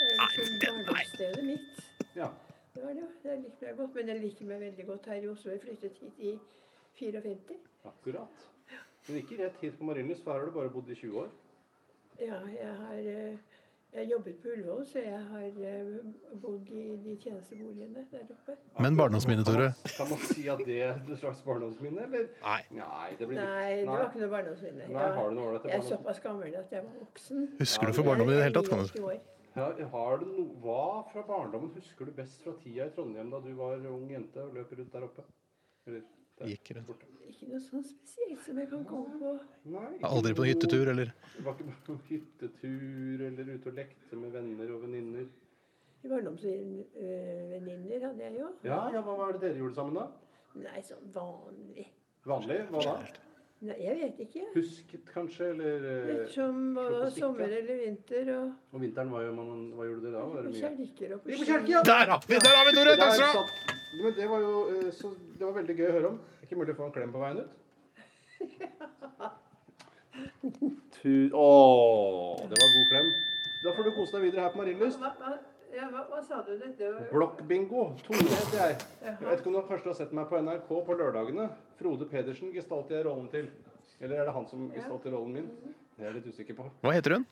Speaker 14: var jo liksom barndomsstedet mitt.
Speaker 11: ja.
Speaker 14: Det var det. Jeg likte meg godt, men jeg liker meg veldig godt her i Oslo. Jeg flyttet hit i 54.
Speaker 11: Akkurat. Men ikke rett hit på Marienlyst, for her har du bare bodd i 20 år.
Speaker 14: Ja, jeg har eh, jeg jobbet på Ullevål, så jeg har eh, bodd i de tjenesteboligene der oppe.
Speaker 4: Men barndomsminne, Tore.
Speaker 11: Kan man si at det er et slags barndomsminne, eller?
Speaker 4: Nei.
Speaker 11: Nei, det blir litt-
Speaker 14: Nei, det var ikke noe barndomsminne.
Speaker 11: Nei, har du noe ålreit
Speaker 14: jeg er
Speaker 11: barndomsminne?
Speaker 14: såpass gammel at jeg var voksen.
Speaker 4: Husker du for barndommen i det hele tatt? Kan du?
Speaker 14: Jeg er 89 år.
Speaker 11: Ja, har du no, hva fra barndommen husker du best fra tida i Trondheim da du var ung jente og løp rundt der oppe? Eller, der.
Speaker 4: Gikk rundt.
Speaker 14: Ikke noe sånn spesielt som jeg kan komme på.
Speaker 11: Nei, ikke
Speaker 4: Aldri på noen hyttetur, eller?
Speaker 11: noe- Var ikke på noen hyttetur eller ute og lekte med venner og venninner?
Speaker 14: Barndomsvenninner hadde jeg jo.
Speaker 11: Ja, ja, hva var det dere gjorde sammen da?
Speaker 14: Nei, sånn vanlig.
Speaker 11: Vanlig? Hva da?
Speaker 14: Nei, jeg vet ikke.
Speaker 11: Husket kanskje, eller eh,
Speaker 14: Litt som
Speaker 11: slå på
Speaker 14: både
Speaker 11: sikte.
Speaker 14: sommer eller vinter og
Speaker 11: Om vinteren, hva, gjør man, hva gjorde dere da? Var
Speaker 14: på
Speaker 11: det mye?
Speaker 14: kjelker
Speaker 11: Ja,
Speaker 14: og på
Speaker 11: på
Speaker 14: ski.
Speaker 11: kjelker, ja.
Speaker 4: Der har vi- der har vi Tore, takk skal du ha.
Speaker 11: Der satt- Men det var jo eh, så, det var veldig gøy å høre om. Det er ikke mulig å få en klem på veien ut? Tu Åh, det var en god klem. Da får du kose deg videre her på Marienlyst.
Speaker 14: Hva, hva, ja, hva, hva sa du? Dette var
Speaker 11: Blokkbingo. Tore heter jeg. Jeg vet ikke om du kanskje har sett meg på NRK på lørdagene. Frode Pedersen gestalter jeg rollen til. Eller er det han som gestalter rollen min? Det er jeg litt usikker på.
Speaker 4: Hva heter hun?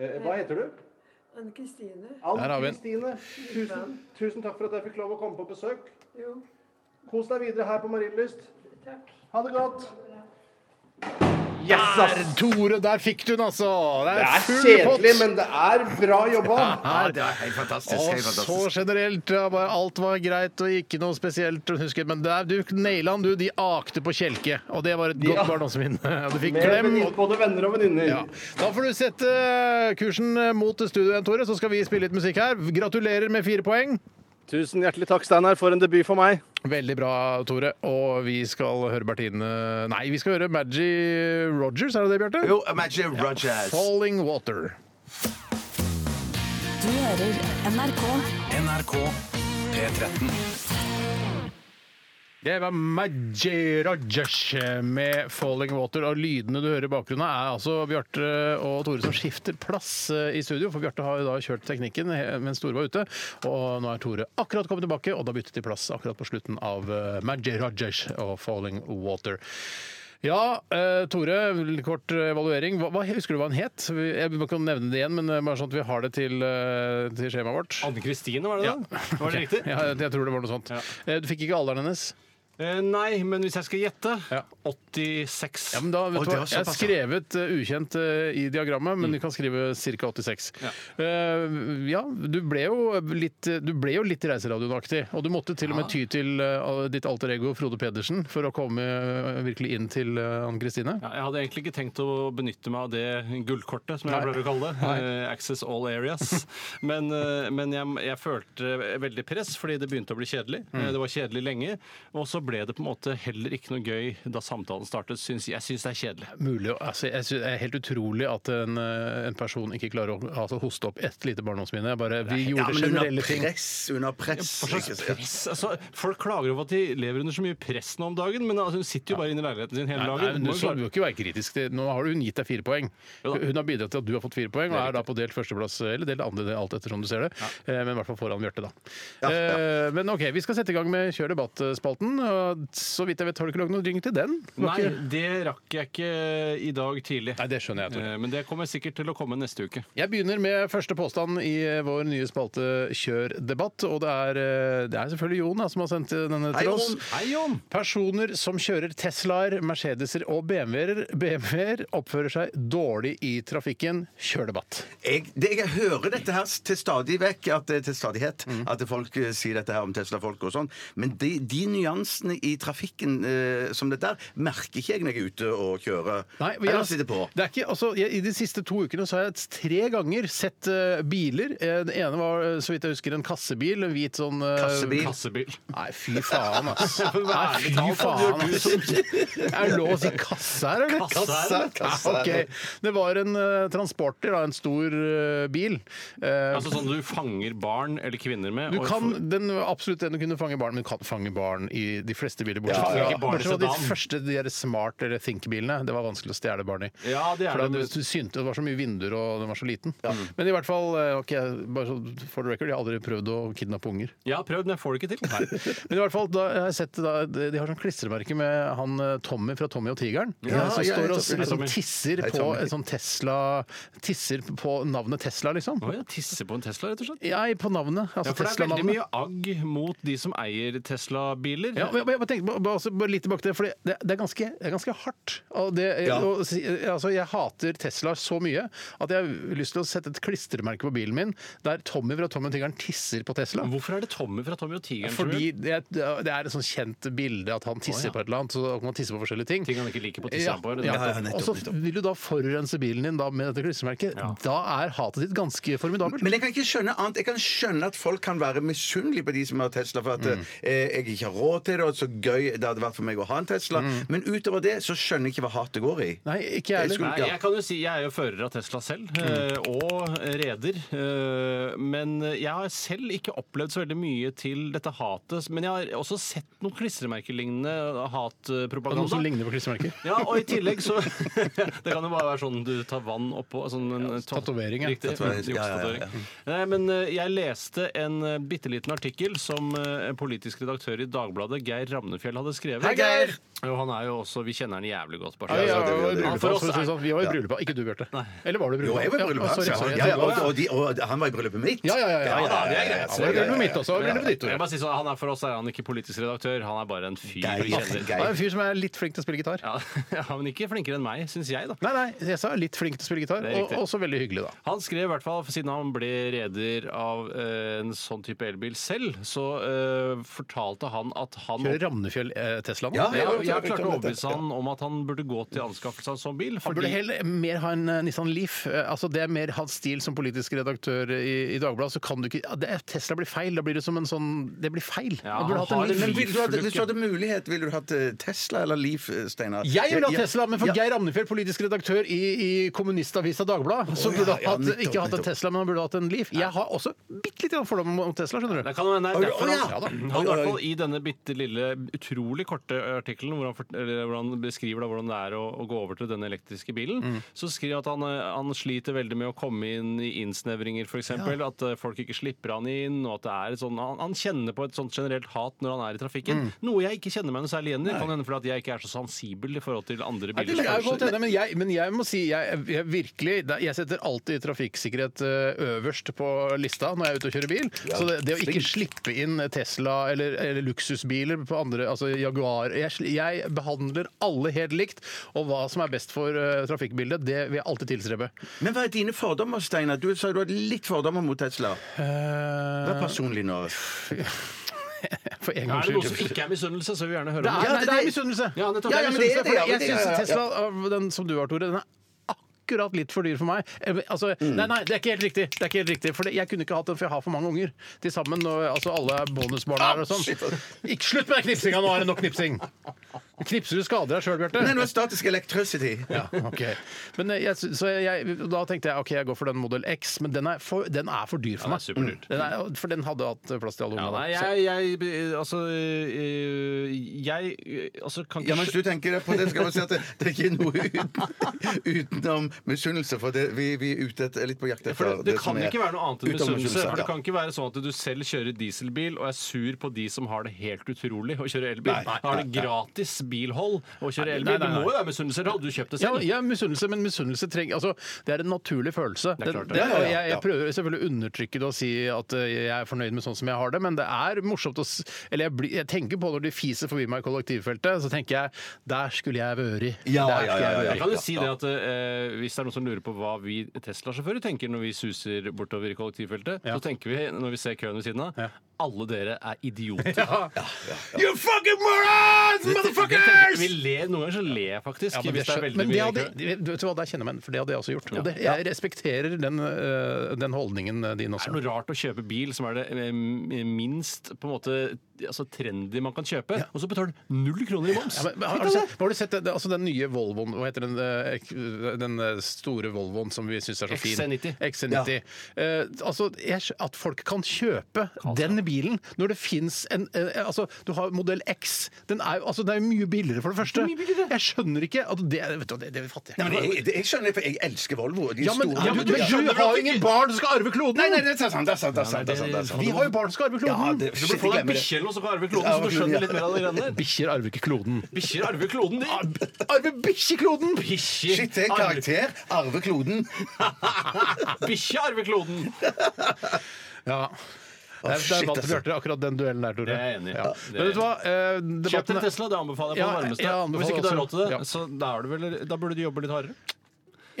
Speaker 11: Eh, hva heter du?
Speaker 14: Anne Kristine.
Speaker 4: Der har vi
Speaker 11: Ann
Speaker 4: den.
Speaker 11: Kristine, tusen, tusen takk for at jeg fikk lov å komme på besøk.
Speaker 14: Jo,
Speaker 11: Kos deg videre her på Marienlyst.
Speaker 14: takk.
Speaker 11: Ha det godt.
Speaker 4: Der, Tore, der fikk du den, altså! Det er,
Speaker 11: Det er
Speaker 4: full
Speaker 11: kjedelig,
Speaker 4: pott.
Speaker 11: men det er bra jobba.
Speaker 6: Ja, det er helt fantastisk.
Speaker 4: Og
Speaker 6: Helt
Speaker 4: så
Speaker 6: fantastisk.
Speaker 4: generelt. Ja, bare alt var greit og ikke noe spesielt. Husker, jeg, men der, du naila den, du. De akte på kjelke. Og det var et godt barndomsminne. Og du fikk
Speaker 11: Med
Speaker 4: klem.
Speaker 11: venninner- både venner og venninner.
Speaker 4: Ja. Da får du sette eh, kursen mot studio igjen, Tore, så skal vi spille litt musikk her. Gratulerer med fire poeng.
Speaker 11: Tusen hjertelig takk, Steinar, for en debut for meg.
Speaker 4: Veldig bra, Tore. Og vi skal høre Bertine Nei, vi skal høre Maggie Rogers, er det det, Bjarte?
Speaker 6: Jo, Imagine Rogers.
Speaker 4: Falling Water.
Speaker 9: Du hører NRK.
Speaker 3: NRK P13.
Speaker 4: Det var Maggie Rogers med 'Falling Water'. Og lydene du hører i bakgrunnen, er altså Bjarte og Tore som skifter plass eh, i studio. For Bjarte har jo da kjørt teknikken he- mens Tore var ute. Og nå er Tore akkurat kommet tilbake, og da byttet de plass akkurat på slutten av eh, Maggie Rogers og 'Falling Water'. Ja, eh, Tore, litt kort eh, evaluering. Hva, hva Husker du hva han het? Vi- Jeg kan nevne det igjen, men eh, bare sånn at vi har det til, eh, til skjemaet vårt.
Speaker 5: Anne Kristine, var det
Speaker 4: Ja.
Speaker 5: det? Var det riktig?
Speaker 4: Ja, jeg, jeg tror det var noe sånt. Eh, Du fikk ikke alderen hennes?
Speaker 5: Eh, nei, men hvis jeg skal gjette
Speaker 4: Ja.
Speaker 5: 86.
Speaker 4: Ja, men da, vet
Speaker 6: Å,
Speaker 4: du
Speaker 6: det
Speaker 4: hva?
Speaker 6: var
Speaker 4: Jeg har
Speaker 6: såpass, ja.
Speaker 4: skrevet eh, ukjent eh, i diagrammet, men du kan skrive ca. 86. Ja. ja, du ble jo litt, eh, du ble jo litt reiseradioenaktig. Og du måtte til og med ty til eh, ditt alter ego Frode Pedersen for å komme eh, virkelig inn til eh, Anne Kristine.
Speaker 5: Ja, jeg hadde egentlig ikke tenkt å benytte meg av det gullkortet, som jeg
Speaker 4: Nei.
Speaker 5: pleier å kalle det. eh, access all areas. Men, eh, men jeg, jeg følte veldig press, fordi det begynte å bli kjedelig.
Speaker 11: Mm.
Speaker 5: Eh, Det var kjedelig lenge. Og så ble det på en måte heller ikke noe gøy da samtalen startet. Syns, jeg syns det er kjedelig.
Speaker 4: Mulig, å- altså, jeg synes, det er helt utrolig at en, eh, en person ikke klarer å altså, hoste opp ett lite barndomsminne. Bare, vi
Speaker 6: Ja,
Speaker 4: gjorde
Speaker 6: men under
Speaker 4: generelle ting.
Speaker 6: press, under press.
Speaker 5: Hva slags
Speaker 6: ikke sant?
Speaker 5: press? Altså, folk klager over at de lever under så mye press nå om dagen, men altså, hun sitter jo bare inne i leiligheten sin hele
Speaker 4: Nei, nei,
Speaker 5: dagen.
Speaker 4: men du
Speaker 5: Må jo
Speaker 4: skal
Speaker 5: klare-
Speaker 4: jo ikke være kritisk. til- Nå har hun gitt deg fire poeng.
Speaker 5: Jo da.
Speaker 4: Hun har bidratt til at du har fått fire poeng, og er da på delt førsteplass, eller delt andre, det er alt ettersom du ser det. Eh, Men i hvert fall foran Bjarte, da. Eh, Men OK, vi skal sette i gang med Kjør debatt-spalten. og Så vidt jeg vet, har du ikke lagd noen drink til den? Du har
Speaker 5: Nei,
Speaker 4: ikke-
Speaker 5: det rakk jeg ikke i dag tidlig.
Speaker 4: Nei, det skjønner jeg. Tore.
Speaker 5: Eh, Men det kommer sikkert til å komme neste uke.
Speaker 4: Jeg begynner med første påstand i vår nye spalte Kjør debatt. Og det er, eh, det er selvfølgelig Jon da, som har sendt eh, denne
Speaker 6: Hei,
Speaker 4: til oss.
Speaker 6: Jon.
Speaker 5: Hei, Jon!
Speaker 4: Personer som kjører Teslaer, Mercedeser og BMW-er BMW oppfører seg dårlig i trafikken. Kjør debatt.
Speaker 6: jeg, det, jeg hører dette her til stadig vekk, at, eh, til stadighet, at folk eh, sier dette her om Tesla-folk og sånn, men de, de nyansene i trafikken eh, som dette er, merker ikke jeg når jeg er ute og kjører.
Speaker 4: Nei, men jeg-
Speaker 6: Eller sitter på.
Speaker 4: Det er ikke, altså, jeg, I de siste to ukene så har jeg tre ganger sett eh, biler. Eh, Den ene var, eh, så vidt jeg husker, en kassebil. En hvit sånn eh,
Speaker 6: Kassebil.
Speaker 5: Kassebil.
Speaker 4: Nei, fy faen, ass. Nei, fy
Speaker 5: Ærlig talt,
Speaker 4: faen,
Speaker 5: du- du
Speaker 4: ass.
Speaker 5: som-
Speaker 4: Er det lov å si kasse her, eller?
Speaker 5: Kasse,
Speaker 4: Ja, ok. Det var en eh, transporter, da, en stor eh, bil. Eh,
Speaker 5: Altså sånn du fanger barn eller kvinner med.
Speaker 4: Du
Speaker 5: og-
Speaker 4: kan den, absolutt den du kunne fange barn, men du kan fange barn i de fleste biler. Bortsett
Speaker 5: Ja, ja, ja.
Speaker 4: fra- bortsett fra de
Speaker 5: Barnesedan.
Speaker 4: første de der smart- eller think-bilene. Det var vanskelig å stjele barn i.
Speaker 5: Ja, det er
Speaker 4: For da,
Speaker 5: det.
Speaker 4: du synte, det var så mye vinduer, og den var så liten. Men i hvert fall, eh, ok, bare så for the record, jeg har aldri prøvd å kidnappe unger.
Speaker 5: Jeg har prøvd, men jeg får det ikke til.
Speaker 4: Men i hvert fall, da, jeg har sett, det da, de de har sånn klistremerke med han eh, Tommy fra Tommy og tigeren.
Speaker 6: Ja,
Speaker 4: som
Speaker 6: ja,
Speaker 4: står og
Speaker 6: Tommy.
Speaker 4: liksom
Speaker 5: Tommy.
Speaker 4: tisser
Speaker 6: Hei,
Speaker 4: på
Speaker 6: Tommy.
Speaker 4: en sånn Tesla Tisser på navnet Tesla, liksom.
Speaker 5: Å ja, tisse på en Tesla, rett og slett.
Speaker 4: Ja, på navnet. Altså
Speaker 5: Ja, for det er veldig
Speaker 4: Tesla-navnet.
Speaker 5: mye agg mot de som eier Tesla-biler.
Speaker 4: Ja, men jeg, men jeg bare tenkte, bare, bare- bare litt tilbake til det, for det, det, er ganske, det er ganske hardt. Og det,
Speaker 6: Ja.
Speaker 4: og, si- altså, jeg hater Tesla så mye at jeg har lyst til å sette et klistremerke på bilen min der Tommy fra Tommy og Tigeren tisser på Tesla.
Speaker 5: Hvorfor er det Tommy fra Tommy og Tigeren? tror
Speaker 4: Fordi
Speaker 5: du?
Speaker 4: det, er- det er et sånn kjent bilde at han tisser
Speaker 5: Å, ja.
Speaker 4: på et eller annet, så kan man tisse på forskjellige ting.
Speaker 5: Ting han ikke liker på tissa på. eller?
Speaker 4: ja.
Speaker 6: Ja, ja, nettopp,
Speaker 4: og så vil du da forurense bilen din da med dette klistremerket.
Speaker 5: Ja.
Speaker 4: Da er hatet ditt ganske formidabelt.
Speaker 6: Men jeg kan ikke
Speaker 4: Mm.
Speaker 6: skjønne annet. Jeg kan skjønne at folk kan være misunnelige på de som har Tesla, for at eh, jeg ikke har råd til det, og og så gøy det hadde vært for meg å ha en Tesla. Men utover det så skjønner jeg ikke hva hatet går i.
Speaker 4: Mm. Nei, ikke jeg heller.
Speaker 6: skulle-
Speaker 5: Nei,
Speaker 6: ja.
Speaker 5: jeg kan jo si jeg er jo fører av Tesla selv,
Speaker 4: Mm.
Speaker 5: eh, og reder. eh, Men jeg har selv ikke opplevd så veldig mye til dette hatet. Men jeg har også sett noe klistremerkelignende
Speaker 4: Og Noe som
Speaker 5: hatpropaganda.
Speaker 4: ligner på klistremerker.
Speaker 5: Ja, og i tillegg så Det kan jo bare være sånn du tar vann oppå. Sånn en to-
Speaker 4: tatovering, ja.
Speaker 5: Riktig. mm,
Speaker 6: Tatovering, ja, ja, ja, ja.
Speaker 5: juksetatovering. Nei, men eh, jeg leste en eh, bitte liten artikkel som eh, en politisk redaktør i Dagbladet, Geir Ramnefjell, hadde skrevet.
Speaker 6: Hei, Geir!
Speaker 5: Og han er jo også Vi kjenner han jævlig godt. Bare.
Speaker 4: Ja, ja,
Speaker 5: så-
Speaker 4: vi var i
Speaker 5: Ja, for
Speaker 4: bryllupet, for å
Speaker 5: oss
Speaker 4: si det
Speaker 5: er-
Speaker 4: sånn. Vi var i bryllupet, ikke du, Bjarte. Eller var du i
Speaker 6: Jo,
Speaker 4: bryllupet?
Speaker 6: jeg var i bryllupet
Speaker 4: Ja, sorry,
Speaker 6: hans.
Speaker 4: sorry,
Speaker 6: Ja, ja,
Speaker 4: jeg
Speaker 6: og,
Speaker 4: tenkte-
Speaker 6: og, de- og han var i bryllupet mitt.
Speaker 4: Ja, ja, ja. ja,
Speaker 6: Ja,
Speaker 4: ja, ja,
Speaker 6: ja, ja, ja,
Speaker 4: ja.
Speaker 6: ja.
Speaker 4: Så var det bryllupet mitt, og så var det bryllupet ditt.
Speaker 5: Jeg må bare si sånn, han er For oss er han ikke politisk redaktør, han er bare en fyr
Speaker 6: Geir,
Speaker 5: vi kjenner.
Speaker 6: Geir.
Speaker 4: Det er en fyr som er litt flink til å spille gitar.
Speaker 5: Ja, ja, men ikke flinkere enn meg, syns jeg, da.
Speaker 4: Nei, nei, jeg sa litt flink til å spille gitar,
Speaker 5: Det er
Speaker 4: og
Speaker 5: riktig.
Speaker 4: også veldig hyggelig, da.
Speaker 5: Han skrev i hvert fall, for siden han ble reder av eh, en sånn type elbil selv, så eh, fortalte han at han
Speaker 4: Kjører Ramnefjell eh, Teslaen?
Speaker 6: Ja,
Speaker 5: ja,
Speaker 6: jeg
Speaker 5: jeg
Speaker 6: har
Speaker 5: klarte å
Speaker 6: hørt om dette.
Speaker 5: overbevise han om at han burde gå til anskaffelse av en sånn bil.
Speaker 4: Han burde
Speaker 5: fordi-
Speaker 4: heller mer ha en eh, Nissan Leaf. Eh, Altså, det er mer hans stil som politisk redaktør i, i Dagbladet. Så kan du ikke ja, det, er- Tesla blir feil. Da blir det som en sånn Det blir feil.
Speaker 5: Ja,
Speaker 4: Han burde
Speaker 5: han
Speaker 4: hatt en
Speaker 5: har
Speaker 4: Leaf.
Speaker 5: en
Speaker 6: Men ville du hatt,
Speaker 5: Bilfluke.
Speaker 6: hvis du hadde mulighet, ville du hatt eh, Tesla eller Leaf, eh, Steinar?
Speaker 4: Jeg ville hatt
Speaker 6: Ja,
Speaker 4: Tesla, men for
Speaker 6: ja.
Speaker 4: Geir Amnefjell, politisk redaktør i, i kommunistavisa Dagbladet, så
Speaker 6: Å,
Speaker 4: burde
Speaker 6: ja, ja,
Speaker 4: han hatt,
Speaker 6: nettopp,
Speaker 4: ikke hatt en
Speaker 6: nettopp.
Speaker 4: Tesla, men han burde hatt en Leaf. Jeg har også bitte litt fordom om Tesla, skjønner
Speaker 5: Det
Speaker 4: du.
Speaker 5: kan jo hende det er
Speaker 6: Oi,
Speaker 5: derfor
Speaker 6: oi,
Speaker 5: han,
Speaker 6: ja.
Speaker 5: han,
Speaker 6: Oi,
Speaker 5: i hvert
Speaker 6: oi.
Speaker 5: fall i denne bitte lille, utrolig korte artikkelen hvor han, fort- eller, hvor han beskriver da, hvordan det er å, å gå over til denne elektriske bilen,
Speaker 6: Mm.
Speaker 5: så skriver han at han, eh, han sliter veldig med å komme inn i innsnevringer, f.eks. eksempel At eh, folk ikke slipper han inn. og at det er et sånn, han, han kjenner på et sånt generelt hat når han er i trafikken.
Speaker 6: Mm.
Speaker 5: Noe jeg ikke kjenner meg noe særlig igjen i. Det Kan hende fordi at jeg ikke er så sensibel i forhold til andre
Speaker 4: Jeg
Speaker 5: biler.
Speaker 4: er godt enig, men, jeg, men jeg må si jeg, jeg virkelig det- Jeg setter alltid trafikksikkerhet eh, øverst på lista når jeg er ute og kjører bil. Så det, det å ikke slippe inn Tesla eller, eller luksusbiler på andre Altså Jaguar jeg, sli- jeg behandler alle helt likt, og hva som er best for eh, trafikkbildet, det vil jeg alltid tilstrebe.
Speaker 6: Men hva er dine fordommer, Steinar? Du sa du hadde litt fordommer mot Tesla. Vær personlig nå.
Speaker 4: For en
Speaker 5: Er
Speaker 4: gangs
Speaker 5: det noe som
Speaker 4: skyld.
Speaker 5: ikke er misunnelse, så vil vi gjerne høre
Speaker 4: Det
Speaker 5: om
Speaker 4: er,
Speaker 5: det.
Speaker 6: Ja,
Speaker 4: nei,
Speaker 6: det-
Speaker 4: det er
Speaker 6: det-
Speaker 4: misunnelse.
Speaker 5: Ja, nettopp.
Speaker 4: Det er
Speaker 6: Ja, ja, men det er
Speaker 4: misunnelse,
Speaker 6: det, ja,
Speaker 4: fordi
Speaker 6: det er
Speaker 4: Jeg
Speaker 6: det, ja,
Speaker 4: syns
Speaker 6: ja.
Speaker 4: Tesla, av den som du har, Tore, den er akkurat litt for dyr for meg. Eh, Altså,
Speaker 5: Mm.
Speaker 4: nei, nei, det er ikke helt riktig. Det er ikke helt riktig for det- jeg kunne ikke hatt den, for jeg har for mange unger til sammen. Og, altså, alle er bonusbarn
Speaker 5: Ah,
Speaker 4: her og sånn. Ikke slutt med den knipsinga! Nå er det nok knipsing! Knipser du skader deg sjøl, Bjarte?
Speaker 6: Nei, nå er statisk electricity.
Speaker 4: Ja, ok. Men eh, jeg, sy- så jeg, da tenkte jeg ok, jeg går for den modell X, men den er for, den er for dyr for
Speaker 5: Den
Speaker 4: meg.
Speaker 5: er
Speaker 4: Mm.
Speaker 5: superdyr.
Speaker 4: Den er, for den hadde hatt plass til alle
Speaker 5: Ja,
Speaker 4: ungene.
Speaker 5: nei,
Speaker 4: Så-
Speaker 5: jeg, jeg Altså, øh, jeg øh, altså, kan
Speaker 6: Ja, men Hvis du tenker deg på det, skal man si at det, det er ikke noe uten, utenom misunnelse. For det, vi, vi er ute etter, litt på jakt
Speaker 5: For
Speaker 6: etter
Speaker 5: det, det kan
Speaker 6: som er
Speaker 5: ikke være noe annet enn
Speaker 6: utenom
Speaker 5: misunnelse. For det
Speaker 6: ja.
Speaker 5: kan ikke være sånn at du selv kjører dieselbil og er sur på de som har det helt utrolig å kjøre elbil.
Speaker 6: Nei,
Speaker 5: da har det gratis bilhold å kjøre
Speaker 4: nei,
Speaker 5: elbil.
Speaker 4: nei, nei.
Speaker 5: Du må jo være misunnelse. da, Du kjøpte
Speaker 4: Ja,
Speaker 5: selv.
Speaker 4: ja, misunnelse, men misunnelse trenger altså, Det er en naturlig følelse.
Speaker 5: Det er klart det.
Speaker 4: Den- den-
Speaker 6: Ja, ja, ja.
Speaker 4: Jeg, jeg prøver selvfølgelig å undertrykke det og si at eh, jeg er fornøyd med sånn som jeg har det, men det er morsomt å s- Eller jeg, blir- jeg tenker på når de fiser forbi meg i kollektivfeltet, så tenker jeg der skulle jeg vært.
Speaker 6: Ja,
Speaker 4: Der skulle
Speaker 6: ja, ja,
Speaker 4: jeg
Speaker 6: ja,
Speaker 4: vært.
Speaker 5: Jeg kan jo si det at eh, Hvis det er noen som lurer på hva vi Tesla-sjåfører tenker når vi suser bortover i kollektivfeltet, så tenker vi når vi ser køen ved siden av alle dere er idioter.
Speaker 4: You fucking morons,
Speaker 5: Det tenker-
Speaker 4: motherfuckers!
Speaker 5: Vi ler, noen ganger så ler jeg faktisk.
Speaker 4: Ja, men
Speaker 5: hvis
Speaker 4: det,
Speaker 5: det er
Speaker 4: skjøn-
Speaker 5: veldig
Speaker 4: men det
Speaker 5: mye
Speaker 4: hadde,
Speaker 5: kø.
Speaker 4: du vet hva, der kjenner jeg meg igjen, for det hadde jeg også gjort. Og det, jeg respekterer den, eh, den holdningen eh, din
Speaker 5: Er
Speaker 4: også.
Speaker 5: det noe rart å kjøpe bil som er det eh, minst på en måte altså trendy man kan kjøpe, og så betaler du null kroner i moms?
Speaker 4: Ja, men, men har, har, du sett, har du sett det, det- altså den nye Volvoen Hva heter den, eh, ek- den eh, store Volvoen som vi syns er så fin?
Speaker 5: XC90.
Speaker 4: XC90. Eh, altså, jeg, at folk kan kjøpe den bilen når det fins en eh, altså, Du har modell X. Den er jo altså, den er jo mye billigere, for det første. Jeg skjønner ikke at det, vet du, hva, det, det fatter jeg
Speaker 6: Nei,
Speaker 4: ikke.
Speaker 6: men jeg, det- jeg skjønner det, for jeg elsker Volvo. og De
Speaker 4: Ja, men,
Speaker 6: store,
Speaker 4: ja, men, men du har jo ingen barn som skal arve kloden!
Speaker 6: Nei, nei, det er sant, det er sant. Det er sant, det er sant, det er sant.
Speaker 4: Vi har jo barn som skal arve kloden!
Speaker 6: Ja, det-
Speaker 5: Du burde få deg en bikkje eller noe som kan arve kloden, så du skjønner litt mer av de greiene der.
Speaker 4: Bikkjer arver ikke kloden.
Speaker 5: Bikkjer arver kloden,
Speaker 4: Ah,
Speaker 5: de.
Speaker 4: Arve bikkjekloden!
Speaker 5: Bikkjer
Speaker 6: Shit, det er en
Speaker 5: arver-
Speaker 6: karakter. Arve kloden.
Speaker 5: Bikkje arver kloden!
Speaker 4: Ja. Det er, det er
Speaker 6: shit,
Speaker 4: vant til
Speaker 6: altså.
Speaker 4: Bjarte, akkurat den duellen der, Tore.
Speaker 5: Det er jeg enig i.
Speaker 4: Ja.
Speaker 5: Det er
Speaker 4: Men vet du hva? Eh,
Speaker 5: Kjøp
Speaker 4: debatten
Speaker 5: en
Speaker 4: er-
Speaker 5: Tesla, det anbefaler jeg på
Speaker 4: Ja,
Speaker 5: det varmeste.
Speaker 4: jeg anbefaler
Speaker 5: Hvis ikke du har råd til det,
Speaker 4: også-
Speaker 5: så da, er du vel, da burde du jobbe litt hardere.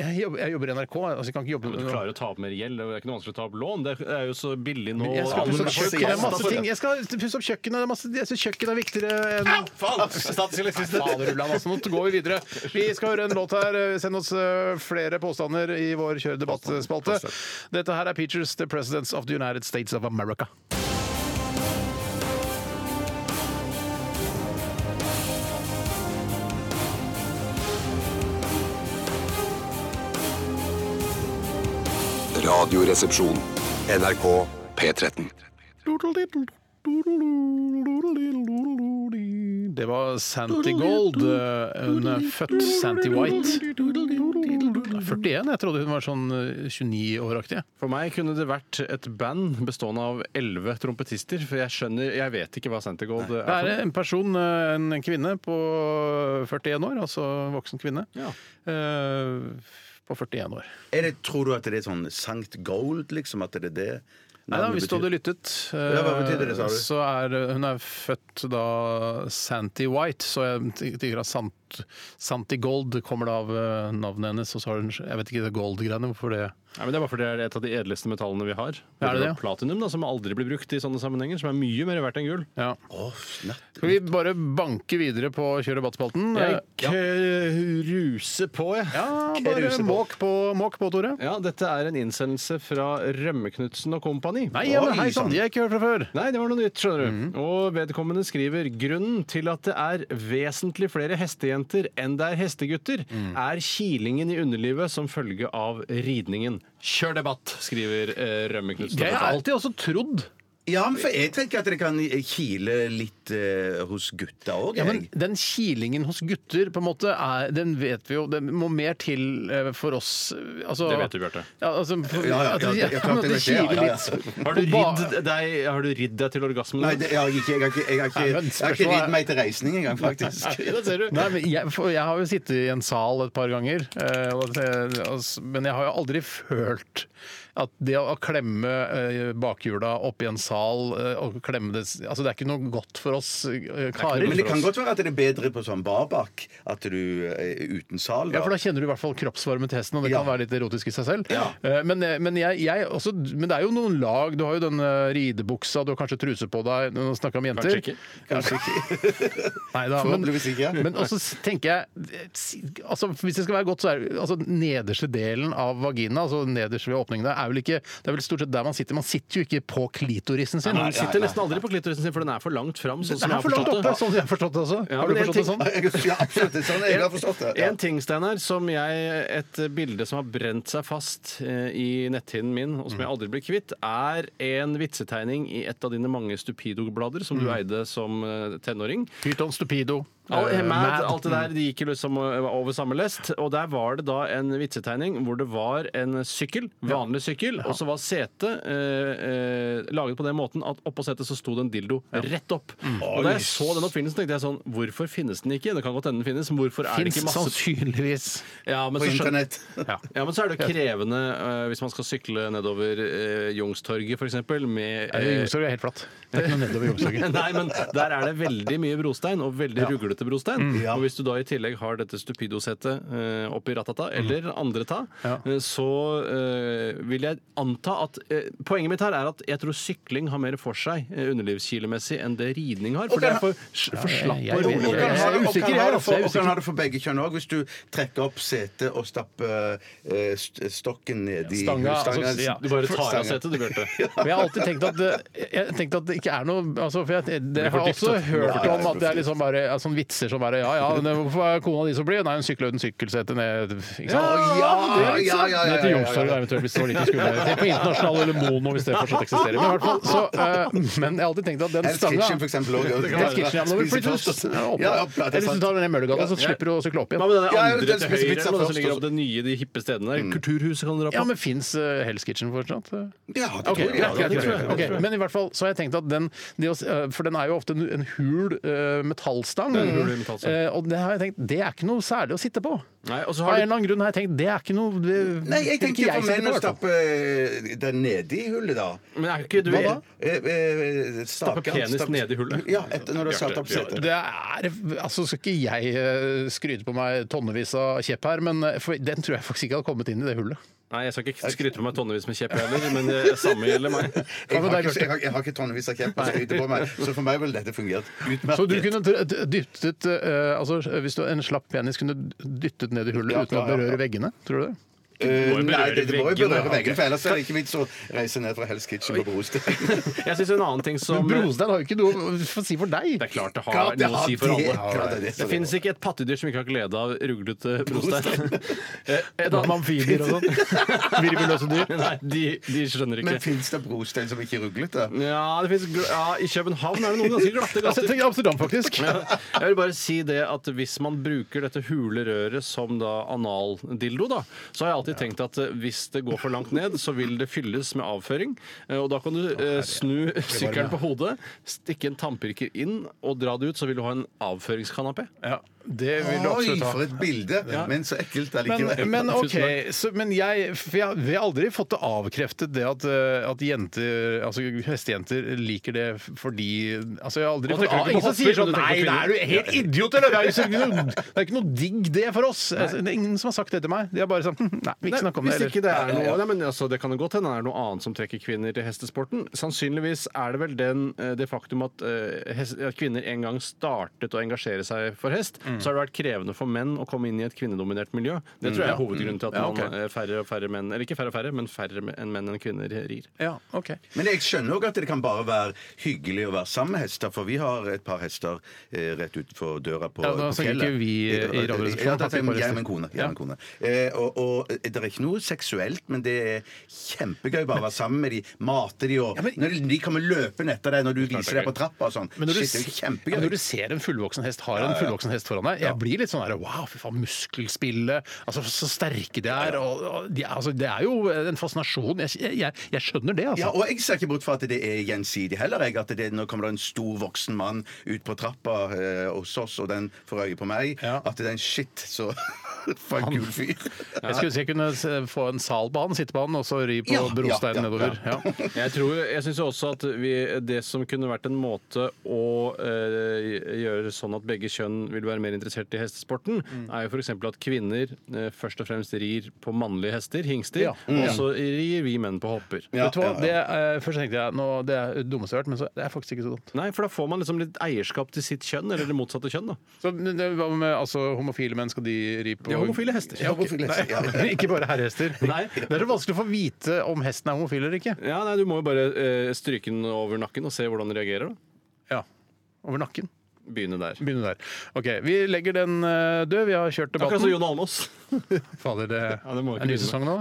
Speaker 4: Jeg jobber, jeg jobber i NRK, altså jeg kan ikke jobbe
Speaker 5: Men du klarer å ta opp mer gjeld, det er ikke noe vanskelig å ta opp lån. Det er jo så billig nå.
Speaker 4: jeg skal
Speaker 5: Alle
Speaker 4: pusse opp
Speaker 5: kjøper
Speaker 4: kjøkkenet. Det er masse
Speaker 5: Tesla for-
Speaker 4: ting. Jeg skal pusse opp kjøkkenet. Det er masse, jeg synes kjøkkenet er viktigere enn Fader, Ulland, altså. Nå går vi videre. Vi skal høre en låt her. Send oss eh, flere påstander i vår kjøre debattspalte. Dette her er Peaches, The Presidents of the United States of America.
Speaker 1: Radioresepsjon. NRK P13.
Speaker 4: Det var Santi Gold. eh, Hun er født Santi White. 41? Jeg trodde hun var sånn eh, 29-åraktig.
Speaker 5: For meg kunne det vært et band bestående av elleve trompetister, for jeg skjønner Jeg vet ikke hva Santigold er.
Speaker 4: Det
Speaker 5: for
Speaker 4: er
Speaker 5: noe.
Speaker 4: en person, eh, en kvinne på 41 år, altså en voksen kvinne, eh, på 41 år.
Speaker 6: Er det, tror du at det er sånn Sankt Gold, liksom? At det er det?
Speaker 4: Nei da, hvis du hadde lyttet, eh,
Speaker 6: Ja, hva betyr det, sa du?
Speaker 4: så er eh, hun er født da Santi White, så jeg tenker at Sant, Santi Gold kommer da av eh, navnet hennes, og så har hun Jeg vet ikke det Gold-greiene, hvorfor det
Speaker 5: Nei, men det er bare fordi det er et av de edleste metallene vi har.
Speaker 4: Er det det?
Speaker 5: Platinum, da, som aldri blir brukt i sånne sammenhenger, som er mye mer verdt enn gull.
Speaker 4: Ja.
Speaker 6: Å, snatt.
Speaker 4: Skal vi bare banke videre på Kjør debattspalten?
Speaker 5: Jeg
Speaker 4: Ja,
Speaker 5: ruser på, jeg.
Speaker 4: ja bare
Speaker 5: ruser på.
Speaker 4: måk på, måk på, Tore.
Speaker 5: Ja, dette er en innsendelse fra Rømmeknutsen og kompani.
Speaker 4: Nei, ja, men hei sånn. sann, de har jeg ikke Mhm. hørt fra før.
Speaker 5: Nei, det var noe nytt, skjønner du. Og vedkommende skriver grunnen til at det er vesentlig flere hestejenter enn det er hestegutter,
Speaker 4: Mhm.
Speaker 5: er kilingen i underlivet som følge av ridningen. Kjør debatt, skriver eh, Rømmeknutsen.
Speaker 4: Det har jeg alltid også trodd.
Speaker 6: Ja, men for jeg tenker at det kan kile litt eh, hos gutta òg,
Speaker 4: Ja, men
Speaker 6: jeg.
Speaker 4: den kilingen hos gutter, på en måte, er, den vet vi jo Det må mer til eh, for oss eh, altså,
Speaker 5: Det vet du, Bjarte.
Speaker 4: Ja, altså, for,
Speaker 6: Ja, ja, ja, det- jeg
Speaker 4: at-
Speaker 6: klart
Speaker 4: men at
Speaker 6: det
Speaker 4: det
Speaker 6: vet jeg, ja,
Speaker 4: kiler
Speaker 6: ja, ja.
Speaker 4: litt.
Speaker 5: Har du
Speaker 4: På ba-
Speaker 5: ridd deg, har du ridd deg til orgasmen?
Speaker 6: Nei, det, jeg har ikke, jeg har ikke, jeg har ikke,
Speaker 4: Nei, men
Speaker 6: jeg har ikke
Speaker 4: spørsmålet er-
Speaker 6: ridd meg til reisning engang, faktisk.
Speaker 5: det ser du.
Speaker 4: Nei, men jeg, for jeg har jo sittet i en sal et par ganger, eh, og det- altså, men jeg har jo aldri følt at det å klemme eh, bakhjula oppi en sal eh, og klemme det altså, Det er ikke noe godt for oss eh, karer.
Speaker 6: Men det kan godt være at det er bedre på sånn barbak, at du eh, er uten sal.
Speaker 4: Ja, for
Speaker 6: Da.
Speaker 4: da kjenner du i hvert fall kroppsvarmen til hesten, og det
Speaker 6: Ja.
Speaker 4: kan være litt erotisk i seg selv.
Speaker 6: Ja.
Speaker 4: Eh, Men, men, jeg, jeg også, men det er jo noen lag. Du har jo denne ridebuksa, du har kanskje truse på deg. Nå snakker jeg om jenter.
Speaker 5: Kanskje ikke.
Speaker 4: Nei da, men,
Speaker 6: Forhåpentligvis ikke.
Speaker 4: men også s- tenker jeg altså, Hvis det skal være godt, så er altså, nederste delen av vagina, altså nederst ved åpningen der, er vel ikke Det er vel stort sett der man sitter. Man sitter jo ikke på klitorisen sin.
Speaker 5: Man sitter nesten aldri på klitorisen sin, for den er for langt fram. Sånn
Speaker 4: Det
Speaker 5: som
Speaker 4: er
Speaker 5: jeg har
Speaker 4: for langt
Speaker 5: forstått
Speaker 4: oppe,
Speaker 5: det.
Speaker 4: sånn jeg har forstått det også.
Speaker 5: Ja,
Speaker 4: har
Speaker 5: men
Speaker 4: du
Speaker 5: en
Speaker 4: forstått det
Speaker 5: ting-
Speaker 4: sånn?
Speaker 6: Ja, absolutt. det er Sånn, jeg har forstått det. Ja.
Speaker 5: En ting, Steinar, som jeg Et bilde som har brent seg fast eh, i netthinnen min, og som jeg aldri blir kvitt, er en vitsetegning i et av dine mange Stupido-blader som du eide som eh, tenåring.
Speaker 4: Pyton stupido.
Speaker 5: All,
Speaker 4: eh,
Speaker 5: mad,
Speaker 4: mad.
Speaker 5: alt det der de gikk jo liksom over samme lest. Og der var det da en vitsetegning hvor det var en sykkel, vanlig sykkel, og så var setet eh, eh, laget på den måten at oppå setet så sto det en dildo rett opp. Og da jeg så den oppfinnelsen, tenkte jeg sånn Hvorfor finnes den ikke? Det kan godt hende den finnes, men hvorfor er det
Speaker 4: Fins
Speaker 5: ikke masse
Speaker 4: sannsynligvis.
Speaker 5: ja, men
Speaker 6: På
Speaker 5: så skjøn-
Speaker 6: internett.
Speaker 5: Ja. ja, men så er det jo krevende eh, hvis man skal sykle nedover eh, Youngstorget f.eks. med
Speaker 4: Nei,
Speaker 5: eh,
Speaker 4: Youngstorget er helt flatt. Det er ikke noe nedover Youngstorget.
Speaker 5: Nei, men der er det veldig mye brostein, og veldig ruglete brostein.
Speaker 4: Mm.
Speaker 6: Ja.
Speaker 5: Og hvis du da i tillegg har dette stupidosetet eh, oppi ratata, eller andre ta,
Speaker 4: Mm. Ja.
Speaker 5: eh, så eh, vil jeg anta at eh, Poenget mitt her er at jeg tror sykling har mer for seg eh, underlivskilemessig enn det ridning har. For det er for, for slapp
Speaker 4: jeg- jeg-
Speaker 5: og rolig.
Speaker 4: jeg- jeg-
Speaker 6: ha det-
Speaker 4: usikker,
Speaker 6: og kan
Speaker 4: jeg,
Speaker 6: ha det
Speaker 4: altså,
Speaker 6: for-
Speaker 4: jeg er
Speaker 6: Og kan ha
Speaker 4: usikker.
Speaker 6: det for begge kjønn òg. Hvis du trekker opp setet og stapper eh, st stokken ned i
Speaker 4: Stanga, altså, ja.
Speaker 5: Du bare tar av setet, du, Bjarte.
Speaker 4: Men jeg har alltid tenkt at, det- jeg tenkte at det ikke er noe altså, for jeg, Dere
Speaker 5: for
Speaker 4: har
Speaker 5: dypt,
Speaker 4: også
Speaker 5: da.
Speaker 4: hørt
Speaker 6: Ja,
Speaker 4: om at det er liksom bare ja, sånne vitser som bare Ja ja, men hvorfor er kona di så blid? Nei, hun sykler uten sykkelsete ned ikke sant?
Speaker 6: ja, ja, ja, ja,
Speaker 4: Ned til
Speaker 6: ja, ja,
Speaker 4: Youngstorget
Speaker 6: ja.
Speaker 4: eventuelt, hvis det var litt skummelt. Til På internasjonal eller Mono, hvis det fortsatt eksisterer. Men, i hvert fall, så, eh, men jeg har alltid tenkt at den
Speaker 6: Hell's Kitchen, for
Speaker 4: stanga
Speaker 6: eksempel. Også,
Speaker 4: Det er sketsjen, ja, men da vil du flytte oss- ja, opp.
Speaker 6: Ja, opp, ja, det er
Speaker 4: Eller hvis du
Speaker 6: sant.
Speaker 4: tar den ned Møllergata, så
Speaker 5: Ja.
Speaker 4: slipper du å sykle opp
Speaker 5: Hva
Speaker 4: igjen.
Speaker 5: med den
Speaker 6: Ja,
Speaker 5: andre
Speaker 6: det er
Speaker 5: til
Speaker 6: spise
Speaker 5: høyre,
Speaker 6: pizza
Speaker 5: eller noe
Speaker 6: først,
Speaker 5: som ligger
Speaker 6: og
Speaker 5: opp det nye, de hippe stedene der? Kulturhuset kan du dra på.
Speaker 4: Mm. Ja, men fins uh, Hell's Kitchen fortsatt?
Speaker 6: Ja, det
Speaker 4: Ok,
Speaker 6: tror jeg, ja,
Speaker 4: greit,
Speaker 6: det
Speaker 4: greit,
Speaker 6: tror jeg.
Speaker 4: greit. Ok, Men i hvert fall så har jeg tenkt at den det å s- eh, For den er jo ofte en- en hul eh, metallstang.
Speaker 5: Det er en hul metallstang.
Speaker 4: Eh, Og det har jeg tenkt, det er ikke noe særlig å sitte på.
Speaker 5: Nei, og så
Speaker 4: Av
Speaker 5: har
Speaker 4: en
Speaker 5: du
Speaker 4: eller annen grunn har jeg tenkt det er ikke noe det,
Speaker 6: Nei, jeg
Speaker 4: vil ikke
Speaker 6: tenker på
Speaker 4: sitte
Speaker 6: menn å
Speaker 4: i hvert fall.
Speaker 6: stappe eh, den nedi hullet, da.
Speaker 5: Men er ikke du
Speaker 4: Hva da?
Speaker 6: Eh, eh, staken,
Speaker 5: penis
Speaker 6: stapp-
Speaker 5: nedi hullet?
Speaker 6: Ja, etter når du har satt opp
Speaker 5: Bjarte,
Speaker 6: setet.
Speaker 4: Det er, altså Skal ikke jeg eh, skryte på meg tonnevis av kjepp her, men eh, for, den tror jeg faktisk ikke hadde kommet inn i det hullet.
Speaker 5: Nei, jeg skal ikke skryte på meg tonnevis med kjepp heller, men det samme gjelder meg.
Speaker 6: Jeg
Speaker 4: Hva med
Speaker 6: har
Speaker 4: deg,
Speaker 6: ikke, jeg har, jeg har ikke tonnevis av kjemper å skryte på meg, så for meg ville dette fungert utmerket.
Speaker 4: Så du kunne d- d- dyttet eh, altså Hvis du en slapp penis kunne dyttet ned i hullet
Speaker 6: Ja,
Speaker 4: uten å
Speaker 6: ja, ja, ja.
Speaker 4: berøre veggene? Tror du det?
Speaker 6: Eh,
Speaker 5: må jo
Speaker 6: nei,
Speaker 5: berøre
Speaker 6: det, det må jo
Speaker 5: veggene.
Speaker 6: berøre
Speaker 5: Ok.
Speaker 6: veggene, for ellers er det ikke vits å reise ned fra Hell's Kitchen på brosteinen.
Speaker 5: Jeg synes en annen ting som
Speaker 4: Men Brostein har jo ikke noe å si for deg.
Speaker 5: Det er klart det har
Speaker 6: Klart det
Speaker 5: noe å
Speaker 6: har
Speaker 5: si for
Speaker 6: det.
Speaker 5: alle.
Speaker 6: Klart det er det
Speaker 5: Det
Speaker 6: som er
Speaker 5: fins
Speaker 6: bra.
Speaker 5: ikke et pattedyr som ikke har glede av ruglete brostein. Eh, et annet-
Speaker 4: Amfibier og sånn. Virveløse dyr.
Speaker 5: Nei, de, de skjønner
Speaker 6: Men
Speaker 5: ikke.
Speaker 6: fins det brostein som ikke er ruglete?
Speaker 5: Ja, det finnes, gl- ja, I København er det noen ganske glatte
Speaker 4: Jeg har sett
Speaker 5: gater.
Speaker 4: det i Amsterdam, faktisk.
Speaker 5: Ja, Jeg vil bare si det at Hvis man bruker dette hule røret som da analdildo, da, så har jeg alltid tenkt at eh, hvis det går for langt ned, så vil det fylles med avføring. Eh, Og Da kan du eh, snu sykkelen på hodet, stikke en tannpirker inn og dra det ut, så vil du ha en avføringskanapé.
Speaker 4: Ja, det vil du
Speaker 6: Oi,
Speaker 4: absolutt ha.
Speaker 6: for et bilde! Men så ekkelt allikevel.
Speaker 4: Men, men ok,
Speaker 5: Tusen takk.
Speaker 4: så, men jeg, for jeg, vi har aldri fått det avkreftet det at, eh, at jenter, altså hestejenter liker det fordi altså jeg har aldri
Speaker 5: Man
Speaker 4: fått
Speaker 5: tenker ikke på
Speaker 4: Ingen som
Speaker 5: hopper,
Speaker 4: sier sånn
Speaker 5: men du
Speaker 4: Nei,
Speaker 5: tenker på
Speaker 4: da er du helt idiot, eller? Det er, jo så- det er jo ikke noe digg det for oss. Altså, det er ingen som har sagt det til meg. De er bare sånn hm, Nei, vi ikke snakke om det.
Speaker 5: Hvis
Speaker 4: Eller.
Speaker 5: ikke det er noe, nei, men altså, det kan jo godt hende det er noe annet som trekker kvinner til hestesporten. Sannsynligvis er det vel den, eh, det faktum at, eh, hest, at kvinner en gang startet å engasjere seg for hest,
Speaker 4: Mm.
Speaker 5: så har det vært krevende for menn å komme inn i et kvinnedominert miljø. Det tror jeg er hovedgrunnen til at
Speaker 4: Ja,
Speaker 5: man, eh, færre og færre menn, eller ikke færre og færre, men færre men- enn menn enn kvinner rir.
Speaker 4: Ja, ok.
Speaker 6: Men jeg skjønner òg at det kan bare være hyggelig å være sammen med hester, for vi har et par hester eh, rett utenfor døra på
Speaker 4: Ja, da
Speaker 6: på
Speaker 4: snakker
Speaker 6: fjellet.
Speaker 4: ikke vi eh, i Radioresepsjonen,
Speaker 6: Ja, da
Speaker 4: faktisk,
Speaker 6: tenker
Speaker 4: bare
Speaker 6: jeg
Speaker 4: hester.
Speaker 6: og min kone. Jeg
Speaker 4: Ja.
Speaker 6: og min kone. Eh, og, og det er ikke noe seksuelt, men det er kjempegøy bare å være sammen med de, mate de og
Speaker 4: Ja, men-
Speaker 6: Når de- de kommer løpende etter deg når du viser deg på trappa og sånn.
Speaker 4: Men når, du,
Speaker 6: Shit, det
Speaker 4: se-
Speaker 6: er jo
Speaker 4: ja, men når
Speaker 6: kjempegøy.
Speaker 4: du ser en fullvoksen hest har en fullvoksen hest foran deg, jeg blir litt sånn her Wow, fy faen, muskelspillet. Altså, så sterke de er. Og, og de, er- altså, det er jo en fascinasjon. Jeg, jeg, jeg skjønner det,
Speaker 6: Ja,
Speaker 4: altså.
Speaker 6: og jeg ser ikke bort fra at det er gjensidig heller. Jeg, at det er, nå kommer det en stor voksen mann ut på trappa eh, hos oss, og den får øye på meg.
Speaker 4: Ja.
Speaker 6: At det er en shit, så For en kul fyr.
Speaker 4: Jeg skulle ønske jeg kunne se- få en sal på han, sitte på han, og så ri på
Speaker 6: Ja,
Speaker 4: brosteinen
Speaker 6: ja, ja,
Speaker 4: nedover. Ja.
Speaker 5: Jeg, tror, jeg syns også at vi, det som kunne vært en måte å eh, gjøre sånn at begge kjønn vil være mer interessert i hestesporten, er jo f.eks. at kvinner eh, først og fremst rir på mannlige hester, hingster,
Speaker 4: Ja.
Speaker 5: og så rir vi menn på hopper.
Speaker 4: Vet du hva? Det, eh, først tenkte jeg nå, det er det dummeste jeg har hørt, men så, det er faktisk ikke så dumt.
Speaker 5: Nei, for da får man liksom litt eierskap til sitt kjønn, eller det motsatte kjønn, da.
Speaker 4: Så, men det- hva med altså, homofile menn, skal de ri på
Speaker 5: Ja, homofile hester.
Speaker 4: Ja, ok.
Speaker 6: Homofile hester, ja.
Speaker 4: Nei, ikke bare herrehester.
Speaker 5: Nei.
Speaker 4: Det er så vanskelig å få vite om hesten er homofil eller ikke.
Speaker 5: Ja, nei, Du må jo bare eh, stryke den over nakken og se hvordan den reagerer. da.
Speaker 4: Ja. Over nakken.
Speaker 5: Begynne der.
Speaker 4: Begynne der. Ok, Vi legger den eh, død. Vi har kjørt debatten.
Speaker 5: Akkurat som Jon Almaas.
Speaker 4: Fader, det,
Speaker 5: Ja, det må
Speaker 4: er
Speaker 5: vi
Speaker 4: en ny
Speaker 5: ikke
Speaker 4: sesong nå.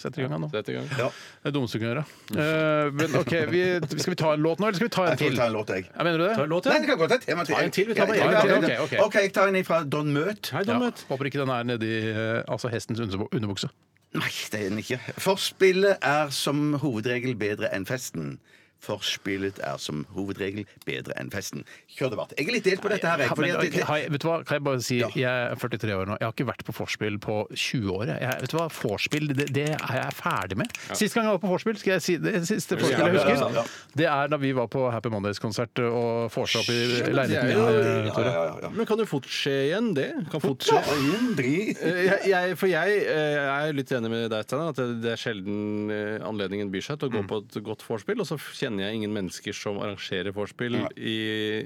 Speaker 4: Sett i gang han nå. Det
Speaker 5: Sett i gang.
Speaker 6: Ja.
Speaker 4: er det dummeste du kan gjøre. Eh, men ok, vi, Skal vi ta en låt nå, eller skal vi ta en
Speaker 6: Jeg tror
Speaker 4: til?
Speaker 6: jeg tar en låt, jeg.
Speaker 4: Ja, mener du det?
Speaker 5: Ta en låt,
Speaker 6: Nei,
Speaker 5: ja.
Speaker 6: det kan godt være et tema til.
Speaker 5: Ta en til, vi tar
Speaker 6: Ja,
Speaker 5: bare
Speaker 6: ja,
Speaker 4: en
Speaker 6: ja,
Speaker 4: til.
Speaker 6: ja.
Speaker 4: Ok, ok.
Speaker 6: OK, jeg tar en fra Don Møt.
Speaker 5: Hei,
Speaker 4: Ja,
Speaker 5: Dommet.
Speaker 4: håper ikke den er nedi eh, altså hestens underbu- underbukse.
Speaker 6: Nei, det er den ikke. Forspillet er som hovedregel bedre enn festen. Forspillet er som hovedregel bedre enn festen. Kjør debatt. Jeg er litt delt på dette her. Jeg,
Speaker 4: Ja,
Speaker 6: fordi
Speaker 4: men,
Speaker 6: at
Speaker 4: ok,
Speaker 6: det,
Speaker 4: har jeg- vet du hva, kan jeg bare si
Speaker 6: Ja.
Speaker 4: jeg er 43 år nå. Jeg har ikke vært på vorspiel på 20 år. jeg. Jeg, vet du hva, Vorspiel det, det er jeg ferdig med. Sist gang jeg var på vorspiel, skal jeg si det siste vorspielet jeg
Speaker 6: ja, ja, ja.
Speaker 4: husker, det er da vi var på Happy Mondays-konsert og vorsa opp i leiligheten
Speaker 5: det er
Speaker 4: min
Speaker 5: jo-
Speaker 4: her, Tore.
Speaker 6: ja, ja, ja.
Speaker 5: Men kan jo fort skje igjen, det. Kan fort skje.
Speaker 6: Ingen dri-
Speaker 5: Eh, jeg, jeg, for jeg eh, er litt enig med deg, Steinar, at det, det er sjelden eh, anledningen byr seg
Speaker 4: Mm.
Speaker 5: til å gå på et godt vorspiel. Og så kjenner jeg ingen mennesker som arrangerer vorspiel i,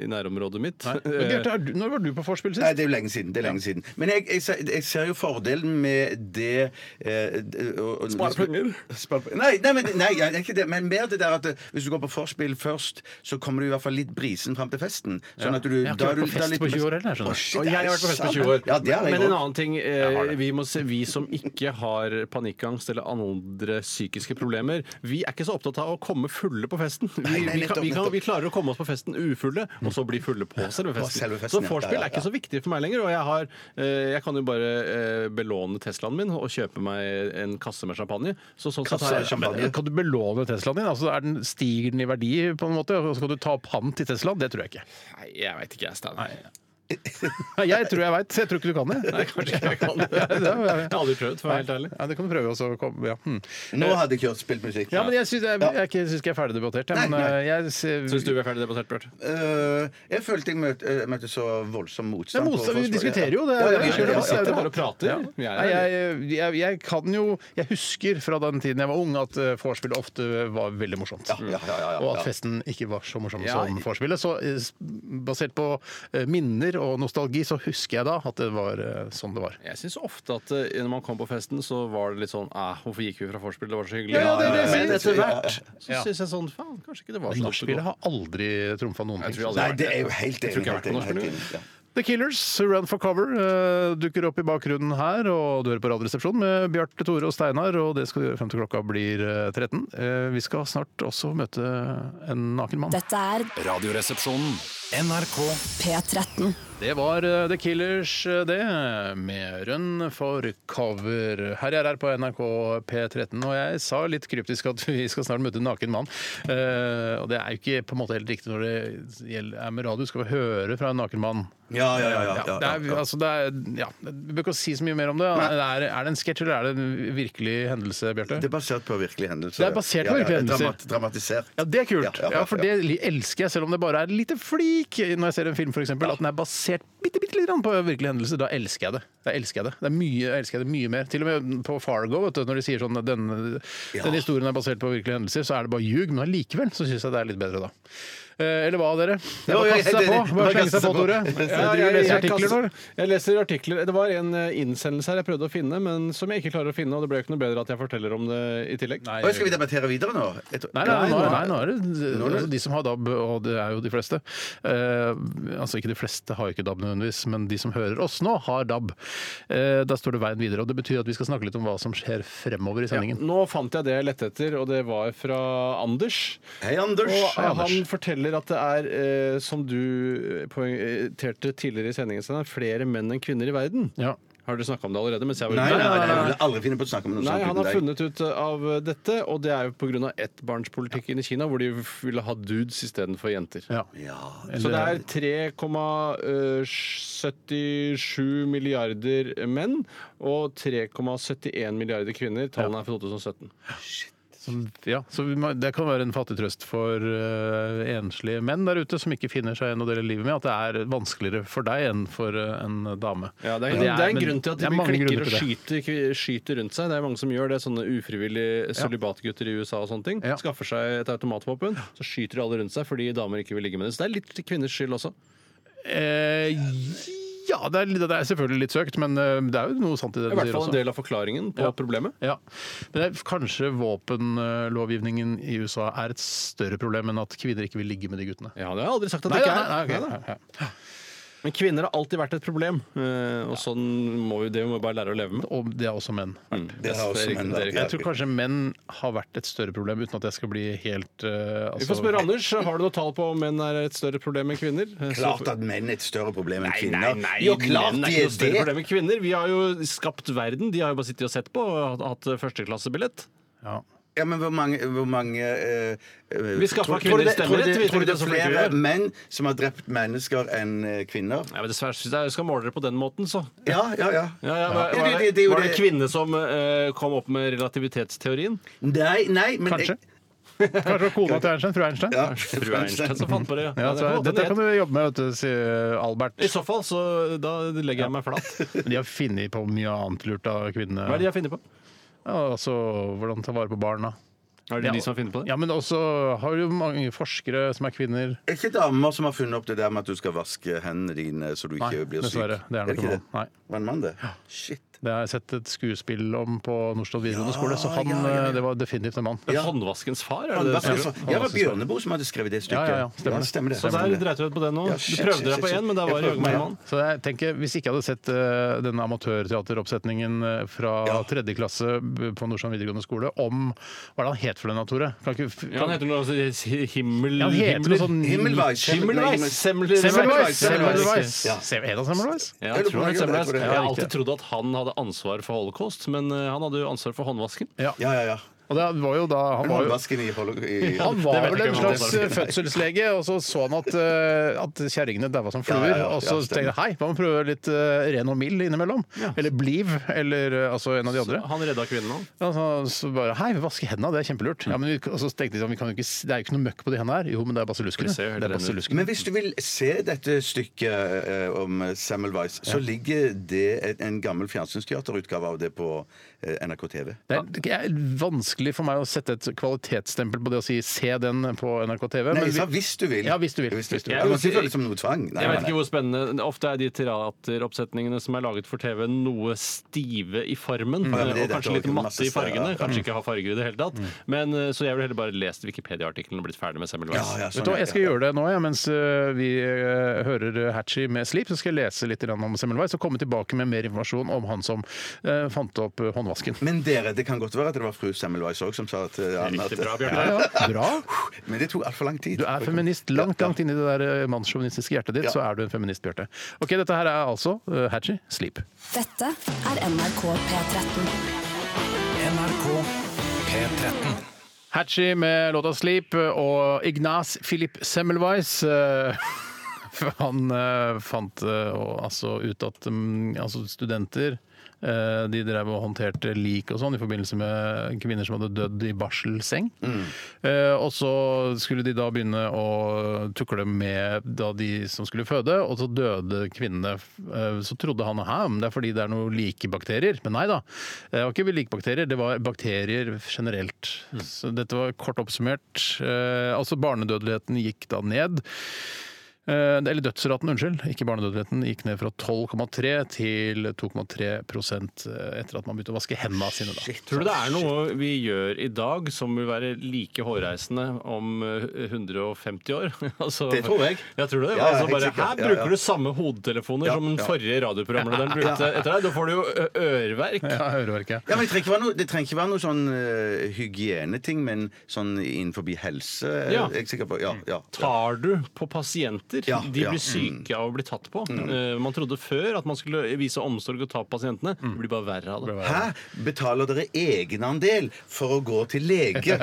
Speaker 5: i nærområdet mitt.
Speaker 4: Men
Speaker 5: Eh,
Speaker 4: Bjarte, er du- når var du på vorspiel
Speaker 6: Nei,
Speaker 4: sist?
Speaker 6: det er jo lenge siden. det er lenge siden Men jeg, jeg, ser- jeg ser jo fordelen med det eh, d- og- og-
Speaker 5: Spare penger.
Speaker 6: Spare pe- Nei, nei, men, nei jeg, er ikke det, men mer det der at eh, hvis du går på vorspiel først, så kommer du i hvert fall litt brisen fram til festen. Sånn at du,
Speaker 4: Jeg har ikke
Speaker 6: da er
Speaker 4: vært
Speaker 6: du-
Speaker 4: på
Speaker 6: da er
Speaker 4: fest
Speaker 6: litt-
Speaker 4: på 20 år heller, skjønner du.
Speaker 6: Å, shit,
Speaker 5: Og jeg har vært på fest på
Speaker 6: sant.
Speaker 5: 20 år.
Speaker 6: Ja, det har jeg
Speaker 5: Men en
Speaker 6: også.
Speaker 5: annen ting eh, vi, må se, vi som ikke har panikkangst eller andre psykiske problemer, vi er ikke så opptatt av å komme fulle på festen. Vi,
Speaker 6: Nei, nei,
Speaker 5: vi, kan,
Speaker 6: nettopp,
Speaker 5: vi, kan,
Speaker 6: nettopp. Mm.
Speaker 5: vi klarer å komme oss på festen ufulle, og så bli fulle på selve
Speaker 6: På
Speaker 5: festen.
Speaker 6: selve festen,
Speaker 5: Så
Speaker 6: ja.
Speaker 5: vorspiel
Speaker 6: Ja, ja,
Speaker 5: er ikke så viktig for meg lenger. Og jeg, har, eh, jeg kan jo bare eh, belåne Teslaen min og kjøpe meg en kasse med champagne. Så sånn sett
Speaker 6: Kasse
Speaker 5: har
Speaker 6: med
Speaker 5: jeg
Speaker 6: champagne.
Speaker 4: Men Kan du belåne Teslaen din? Altså, er den, stiger den i verdi, på en måte? Og så skal du ta pant i Teslaen? Det tror jeg ikke.
Speaker 5: Nei, jeg veit ikke, jeg, Steinar.
Speaker 4: Nei, Jeg tror jeg veit. Jeg tror ikke du kan det.
Speaker 5: Nei, Kanskje ikke jeg kan det.
Speaker 4: Ja, det
Speaker 5: Jeg
Speaker 4: er-
Speaker 5: har aldri prøvd, for å være helt ærlig.
Speaker 4: Ja, det kan du prøve. og så komme- ja. hm.
Speaker 6: Nå hadde jeg ikke hørt spilt musikk.
Speaker 4: ja, men Jeg syns jeg, jeg, ikke- syns ikke jeg er ferdig debattert. Jeg,
Speaker 6: Nei,
Speaker 4: men,
Speaker 6: nei.
Speaker 4: eh, jeg, ser-
Speaker 5: Syns du vi er ferdig debattert, Bjarte?
Speaker 6: Øh, jeg følte jeg møtte, øh, møtte så
Speaker 4: Det
Speaker 6: voldsom
Speaker 4: er
Speaker 6: motstand. på
Speaker 4: motstand, vi
Speaker 6: Forsvaret.
Speaker 4: diskuterer jo. Det er,
Speaker 6: Ja, ja, ja,
Speaker 4: vi
Speaker 6: ja,
Speaker 4: kjører
Speaker 6: ja,
Speaker 4: debatt, det
Speaker 5: sitter
Speaker 4: er
Speaker 5: bare og
Speaker 4: debatt.
Speaker 5: prater. Vi er
Speaker 4: Nei, jeg, jeg, jeg kan jo Jeg husker fra den tiden jeg var ung, at eh, vorspiel ofte var veldig morsomt.
Speaker 6: ja, ja, ja, ja, ja.
Speaker 4: Og at festen ikke var så morsom
Speaker 5: Ja,
Speaker 4: som vorspielet. Så eh, s- basert på eh, minner minner og nostalgi, så husker jeg da at det var eh, sånn det var.
Speaker 5: Jeg syns ofte at eh, når man kom på festen, så var det litt sånn eh, Hvorfor gikk vi fra vorspiel? Det var så hyggelig.
Speaker 4: Ja, ja, det er det jeg
Speaker 5: Men
Speaker 4: sier.
Speaker 5: etter hvert så
Speaker 4: Ja.
Speaker 5: syns jeg sånn Faen, kanskje ikke det var så
Speaker 4: Nachspielet har aldri trumfa noen
Speaker 5: Jeg
Speaker 4: ting.
Speaker 5: tror aldri jeg har
Speaker 6: Nei,
Speaker 5: vært
Speaker 6: det er jo helt
Speaker 5: Jeg tror
Speaker 6: enig.
Speaker 5: ikke jeg har vært på
Speaker 6: helt enig,
Speaker 5: nachspiel.
Speaker 6: helt enig, ja.
Speaker 4: The Killers, Run for Cover, eh, dukker opp i bakgrunnen her, og du hører på Radioresepsjonen med Bjarte, Tore og Steinar, og det skal du gjøre frem til klokka blir eh, 13. Eh, Vi skal snart også møte en naken mann.
Speaker 9: Dette er
Speaker 3: Radioresepsjonen. NRK
Speaker 9: P13.
Speaker 4: Det var eh, The Killers, eh, det, med Run for cover. Her jeg er på NRK P13, og jeg sa litt kryptisk at vi skal snart møte en naken mann. Eh, og det er jo ikke på en måte helt riktig når det gjelder, er med radio, skal vi høre fra en naken mann.
Speaker 6: Ja, ja, ja. ja, ja,
Speaker 4: det er,
Speaker 6: ja.
Speaker 4: altså, det er, ja. Vi bør ikke si så mye mer om det. Er, er det en sketsj, eller er det en virkelig hendelse, Bjarte?
Speaker 6: Det er basert på virkelige hendelser.
Speaker 4: Det er basert på
Speaker 6: Ja, ja,
Speaker 4: virkelige hendelser.
Speaker 6: dramat- Dramatisert.
Speaker 4: Ja, det er kult.
Speaker 6: Ja, ja,
Speaker 4: Ja, for
Speaker 6: ja.
Speaker 4: det li- elsker jeg, selv om det bare er et lite flik når jeg ser en film, f.eks. eksempel At den er basert bitte, bitte litt på virkelige hendelser. Da elsker jeg det. Da elsker jeg det. Det er mye, jeg elsker det mye mer. Til og med på Fargo, vet du, når de sier sånn at den, den historien er basert på virkelige hendelser, så er det bare ljug. Men allikevel så syns jeg det er litt bedre da. Eh, Eller hva, dere? Det er
Speaker 6: Jo,
Speaker 4: bare å
Speaker 6: jo,
Speaker 4: kaste
Speaker 6: jeg-
Speaker 4: seg på.
Speaker 6: det-
Speaker 4: Bare
Speaker 6: bare
Speaker 4: slenge
Speaker 6: kaste
Speaker 4: seg på,
Speaker 6: seg
Speaker 4: Tore.
Speaker 6: på.
Speaker 5: Ja,
Speaker 4: Du
Speaker 5: jeg-
Speaker 4: leser
Speaker 5: jeg
Speaker 4: artikler nå,
Speaker 5: kaster-
Speaker 4: eller?
Speaker 5: Jeg leser artikler. Det var en eh, innsendelse her jeg prøvde å finne, men som jeg ikke klarer å finne. Og det ble jo ikke noe bedre at jeg forteller om det i tillegg.
Speaker 4: Nei,
Speaker 6: Oi, skal vi debattere videre nå? Jeg tror-
Speaker 4: Nei, nei, nå,
Speaker 5: Nei,
Speaker 4: er-
Speaker 5: nei.
Speaker 4: nei, nå er det altså, de som har DAB, og det er jo de fleste. Eh, altså ikke de fleste har jo ikke DAB nødvendigvis, men de som hører oss nå, har DAB. Eh, da står det veien videre, og det betyr at vi skal snakke litt om hva som skjer fremover i sendingen.
Speaker 5: Nå fant jeg det jeg lette etter, og det var fra Anders.
Speaker 6: Hei, Anders.
Speaker 5: Og
Speaker 4: Hei, Anders.
Speaker 5: han forteller at det er, eh, som du poengterte tidligere i sendingen, Steinar, flere menn enn kvinner i verden.
Speaker 4: Ja.
Speaker 5: Har dere snakka om det allerede? Mens jeg var
Speaker 6: Nei,
Speaker 5: ute?
Speaker 6: nei, nei, jeg ville aldri finne på å snakke om noe
Speaker 5: Nei,
Speaker 6: sånt
Speaker 5: han
Speaker 6: uten
Speaker 5: har
Speaker 6: deg.
Speaker 5: funnet ut eh, av dette, og det er jo pga. ettbarnspolitikken i Kina, hvor de ville ha dudes istedenfor jenter.
Speaker 4: Ja.
Speaker 5: Så det er 3,77 milliarder menn og 3,71 milliarder kvinner. Tallene er fra 2017.
Speaker 4: Som- Ja, så vi må, Det kan være en fattig trøst for eh, enslige menn der ute som ikke finner seg en å dele livet med, at det er vanskeligere for deg enn for eh, en dame.
Speaker 5: Ja, det, er,
Speaker 4: Men
Speaker 5: det er en
Speaker 4: men
Speaker 5: grunn til at
Speaker 4: det
Speaker 5: de
Speaker 4: er mange
Speaker 5: klikker
Speaker 4: grunner
Speaker 5: og
Speaker 4: til det.
Speaker 5: skyter, kvi- skyter rundt seg. Det er mange som gjør det. Sånne ufrivillig sølibatgutter i USA og sånne ting.
Speaker 4: Ja.
Speaker 5: Skaffer seg et automatvåpen, så skyter de alle rundt seg fordi damer ikke vil ligge med det. Så det er litt kvinners skyld også.
Speaker 4: Eh, ja, det er, det er selvfølgelig litt søkt, men eh, det er jo noe sant i det
Speaker 5: I
Speaker 4: du
Speaker 5: hvert
Speaker 4: sier
Speaker 5: fall
Speaker 4: også.
Speaker 5: en del av forklaringen på
Speaker 4: Ja.
Speaker 5: problemet.
Speaker 4: Ja. Men det er, kanskje våpenlovgivningen i USA er et større problem enn at kvinner ikke vil ligge med de guttene.
Speaker 5: Ja, det har jeg aldri sagt at
Speaker 4: Nei,
Speaker 5: det
Speaker 4: nei,
Speaker 5: ikke er.
Speaker 4: nei, ok.
Speaker 5: Neida.
Speaker 4: Ja, ja.
Speaker 5: Men kvinner har alltid vært et problem, eh, og sånn må vi, det må vi bare lære å leve med.
Speaker 4: Og det er også menn.
Speaker 6: Det har også menn, da.
Speaker 4: Jeg tror kanskje menn har vært et større problem, uten at jeg skal bli helt eh,
Speaker 5: Vi
Speaker 4: altså-
Speaker 5: får spørre Anders. Har du noe tall på om menn er et større problem enn kvinner? Eh, så-
Speaker 6: Klart at menn er et større problem enn kvinner.
Speaker 5: nei,
Speaker 6: jo, klart
Speaker 5: menn er
Speaker 6: de
Speaker 5: ikke
Speaker 6: er
Speaker 5: noe større
Speaker 6: det!
Speaker 5: problem enn kvinner. Vi har jo skapt verden. De har jo bare sittet og sett på og hatt- hatt førsteklassebillett.
Speaker 4: Ja.
Speaker 6: Ja, men hvor mange, hvor mange eh, eh,
Speaker 5: Vi skaffer
Speaker 6: tror-
Speaker 5: kvinner
Speaker 6: tror du det-
Speaker 5: stemmerett,
Speaker 6: tror du det-
Speaker 5: vi tror
Speaker 6: Tror du
Speaker 5: ikke
Speaker 6: det
Speaker 5: så
Speaker 6: er
Speaker 5: flinke vi
Speaker 6: flere
Speaker 5: er.
Speaker 6: menn som har drept mennesker enn eh, kvinner?
Speaker 5: Nei, men dessverre synes jeg jeg skal måle dere på den måten, så.
Speaker 6: Ja, ja, ja.
Speaker 5: Ja, ja, var,
Speaker 6: Ja,
Speaker 5: var,
Speaker 6: det- det- det er
Speaker 5: det,
Speaker 6: jo
Speaker 5: var det en
Speaker 6: det-
Speaker 5: kvinne som eh, kom opp med relativitetsteorien?
Speaker 6: Nei, nei, men
Speaker 4: Kanskje. Kanskje det var kona til Einstein? Fru Einstein?
Speaker 6: Ja,
Speaker 5: Fru Einstein som fant på det.
Speaker 4: Ja,
Speaker 5: det
Speaker 4: så,
Speaker 5: kan godt
Speaker 4: dette
Speaker 5: hende
Speaker 4: kan
Speaker 5: det.
Speaker 4: du jobbe med, vet du, sier Albert.
Speaker 5: I så fall, så da legger jeg meg flat.
Speaker 4: Men De har funnet på mye annet lurt av kvinnene.
Speaker 5: Hva er det de har funnet på?
Speaker 4: Ja, altså, hvordan ta vare på barna.
Speaker 5: Er det de som har funnet på det?
Speaker 4: Ja, men også har jo mange forskere som er kvinner.
Speaker 6: Er ikke damer som har funnet opp det der med at du skal vaske hendene dine så du ikke
Speaker 4: Nei,
Speaker 6: blir syk?
Speaker 4: dessverre. Det er nok
Speaker 6: ikke
Speaker 4: en
Speaker 6: det.
Speaker 4: mann. Nei.
Speaker 6: Var det en mann, det? Shit.
Speaker 4: Det har jeg sett et skuespill om på Norstad videregående skole, så han, eh,
Speaker 6: ja, ja, ja.
Speaker 4: det var definitivt en mann.
Speaker 5: Ja. Håndvaskens far? Er
Speaker 6: Han
Speaker 5: det
Speaker 6: var,
Speaker 5: det? du sier?
Speaker 6: så, jeg var Bjørneboe som hadde skrevet det stykket.
Speaker 4: Ja, ja, ja. Stemmer det.
Speaker 6: stemmer det. Altså,
Speaker 5: Så der dreit du ut på den nå.
Speaker 6: Ja,
Speaker 5: Du
Speaker 6: shit,
Speaker 5: prøvde
Speaker 6: shit,
Speaker 5: deg på
Speaker 6: shit,
Speaker 5: én, men der
Speaker 6: shit.
Speaker 5: var
Speaker 6: Jeg
Speaker 5: det
Speaker 6: prøvde
Speaker 5: Jørgen
Speaker 6: meg, ja.
Speaker 5: Mann.
Speaker 4: Så jeg tenker, Hvis ikke jeg hadde sett eh, denne amatørteateroppsetningen eh, fra tredje klasse b- på Nordsjøen videregående skole om Hva er det han het for den, da, Tore? Kan ikke, f-
Speaker 5: Ja, han heter noe altså, Himmel...
Speaker 4: Ja, han heter noe sånn
Speaker 6: Himmelweis.
Speaker 5: Himmelweis! Semmelweis.
Speaker 4: Semmelweis!
Speaker 5: Semmelweis.
Speaker 4: Semmelweis.
Speaker 6: Ja.
Speaker 4: Se- Het han Semmelweis?
Speaker 5: Ja, jeg tror han heter Semmelweis.
Speaker 6: Jeg tror det.
Speaker 5: Jeg har alltid
Speaker 4: riktig.
Speaker 5: trodd at han hadde ansvar for holocaust, men eh, han hadde jo ansvar for håndvasken.
Speaker 6: Ja, ja, ja.
Speaker 4: Og det var jo da han var jo
Speaker 6: Håndvasken i, holo- i
Speaker 4: han
Speaker 5: det
Speaker 4: var
Speaker 5: vet
Speaker 4: vel
Speaker 5: jeg
Speaker 4: en
Speaker 5: ikke om han
Speaker 4: slags eh, fødselslege, og så så han at, eh, at kjerringene daua som
Speaker 6: Ja,
Speaker 4: fluer.
Speaker 6: ja, ja,
Speaker 4: og så
Speaker 6: ja,
Speaker 4: tenkte
Speaker 6: stemmer.
Speaker 4: jeg hei, hva med å prøve litt eh, ren og mild innimellom? Eller Bliv, eller eh, altså en av de andre.
Speaker 5: Han redda kvinnen hans.
Speaker 4: Ja, så, så bare Hei, vi vasker hendene, det er kjempelurt. Ja, men vi, og så tenkte de sånn, vi kan jo ikke, s- det er jo ikke noe møkk på de hendene her. Jo, men det er basilluskene.
Speaker 5: Det ser jo helt
Speaker 4: Det er
Speaker 5: rene ut.
Speaker 4: basilluskene.
Speaker 6: Men hvis du vil se dette stykket eh, om Semmelweis, så ligger det et, en gammel fjernsynsteaterutgave av det på eh, NRK TV.
Speaker 4: Det er, det er vanskelig for meg å sette et kvalitetsstempel på det å si 'se den' på NRK TV.
Speaker 6: Nei,
Speaker 4: men
Speaker 6: jeg sa
Speaker 4: vi-
Speaker 6: hvis du vil.
Speaker 4: Ja, hvis du vil.
Speaker 6: Hvis du vil.
Speaker 5: Ja,
Speaker 6: Jeg må
Speaker 5: hvis-
Speaker 6: ikke føle det som noe tvang. Nei,
Speaker 5: jeg vet
Speaker 6: nei, nei.
Speaker 5: ikke hvor spennende Ofte er de teateroppsetningene som er laget for TV, noe stive i formen.
Speaker 6: Mm. Ja, men det-
Speaker 5: og
Speaker 6: dette
Speaker 5: kanskje
Speaker 6: var
Speaker 5: litt
Speaker 6: ikke masse
Speaker 5: matte i fargene.
Speaker 6: sted, ja. Mm.
Speaker 5: Kanskje ikke har farger i det hele tatt. Men, eh, så jeg ville heller bare lest Wikipedia-artikkelen og blitt ferdig med Semmelweis.
Speaker 6: Ja, ja,
Speaker 4: Vet du hva, Jeg skal gjøre det nå, jeg, mens øh, vi øh, hører øh, Hatchie med 'Sleep'. Så skal jeg lese litt grann om Semmelweis og komme tilbake med mer informasjon om han som øh, fant opp øh, håndvasken.
Speaker 6: Men dere, det kan godt være at det var fru Semmelweis òg som sa at eh, Anna,
Speaker 5: Riktig bra,
Speaker 6: at
Speaker 5: Bjørn.
Speaker 4: Ja, bra.
Speaker 6: Men det tok altfor lang tid.
Speaker 4: Du er feminist. Langt langt inni det der øh, mannssjåvinistiske hjertet ditt,
Speaker 6: Ja.
Speaker 4: så er du en feminist, Bjarte. Ok, Dette her er altså øh, Hatchie 'Sleep'.
Speaker 9: Dette er NRK P13.
Speaker 3: NRK P13.
Speaker 4: Hatchie med låta 'Sleep' og Ignaz Philip Semmelweis. eh, for Han eh, fant eh, og, altså, ut at mm, altså, studenter eh, de drev og håndterte lik og sånn i forbindelse med kvinner som hadde dødd i barselseng. Eh, og så skulle de da begynne å tukle med da de som skulle føde, og så døde kvinnene. Eh, så trodde han at det er fordi det er noen likebakterier. Men nei da, Eh, det var ikke likebakterier, det var bakterier generelt. Så dette var kort oppsummert. Eh, altså barnedødeligheten gikk da ned. Eh, Eller dødsraten, unnskyld. Ikke barnedødeligheten. Gikk ned fra 12,3 til 2,3 prosent, eh, etter at man begynte å vaske hendene sine. da.
Speaker 5: Tror du det er noe vi gjør i dag som vil være like hårreisende om eh, 150 år? Altså-
Speaker 6: Det tror jeg.
Speaker 5: Ja, tror du det?
Speaker 6: Ja, ja,
Speaker 5: altså
Speaker 6: helt
Speaker 5: bare,
Speaker 6: sikkert.
Speaker 5: her
Speaker 6: Ja,
Speaker 5: bruker
Speaker 6: ja.
Speaker 5: du samme hodetelefoner
Speaker 6: Ja,
Speaker 5: som den
Speaker 6: ja.
Speaker 5: forrige radioprogramlederen brukte etter deg. Da får du jo ø- øreverk.
Speaker 4: Ja, øreverket.
Speaker 6: Ja, men det, trenger ikke være noe, det trenger ikke være noe sånn eh, hygieneting, men sånn innenfor helse eh,
Speaker 5: Ja. Mm.
Speaker 6: er jeg sikker på. Ja, ja.
Speaker 5: Tar du på pasienter?
Speaker 6: Ja,
Speaker 5: de
Speaker 6: ja. Mm.
Speaker 5: blir syke av å bli tatt på. Eh, Man trodde før at man skulle vise omsorg og ta på pasientene. Det
Speaker 6: Mm.
Speaker 5: blir bare verre av det.
Speaker 6: Hæ? Betaler dere egenandel for å gå til lege?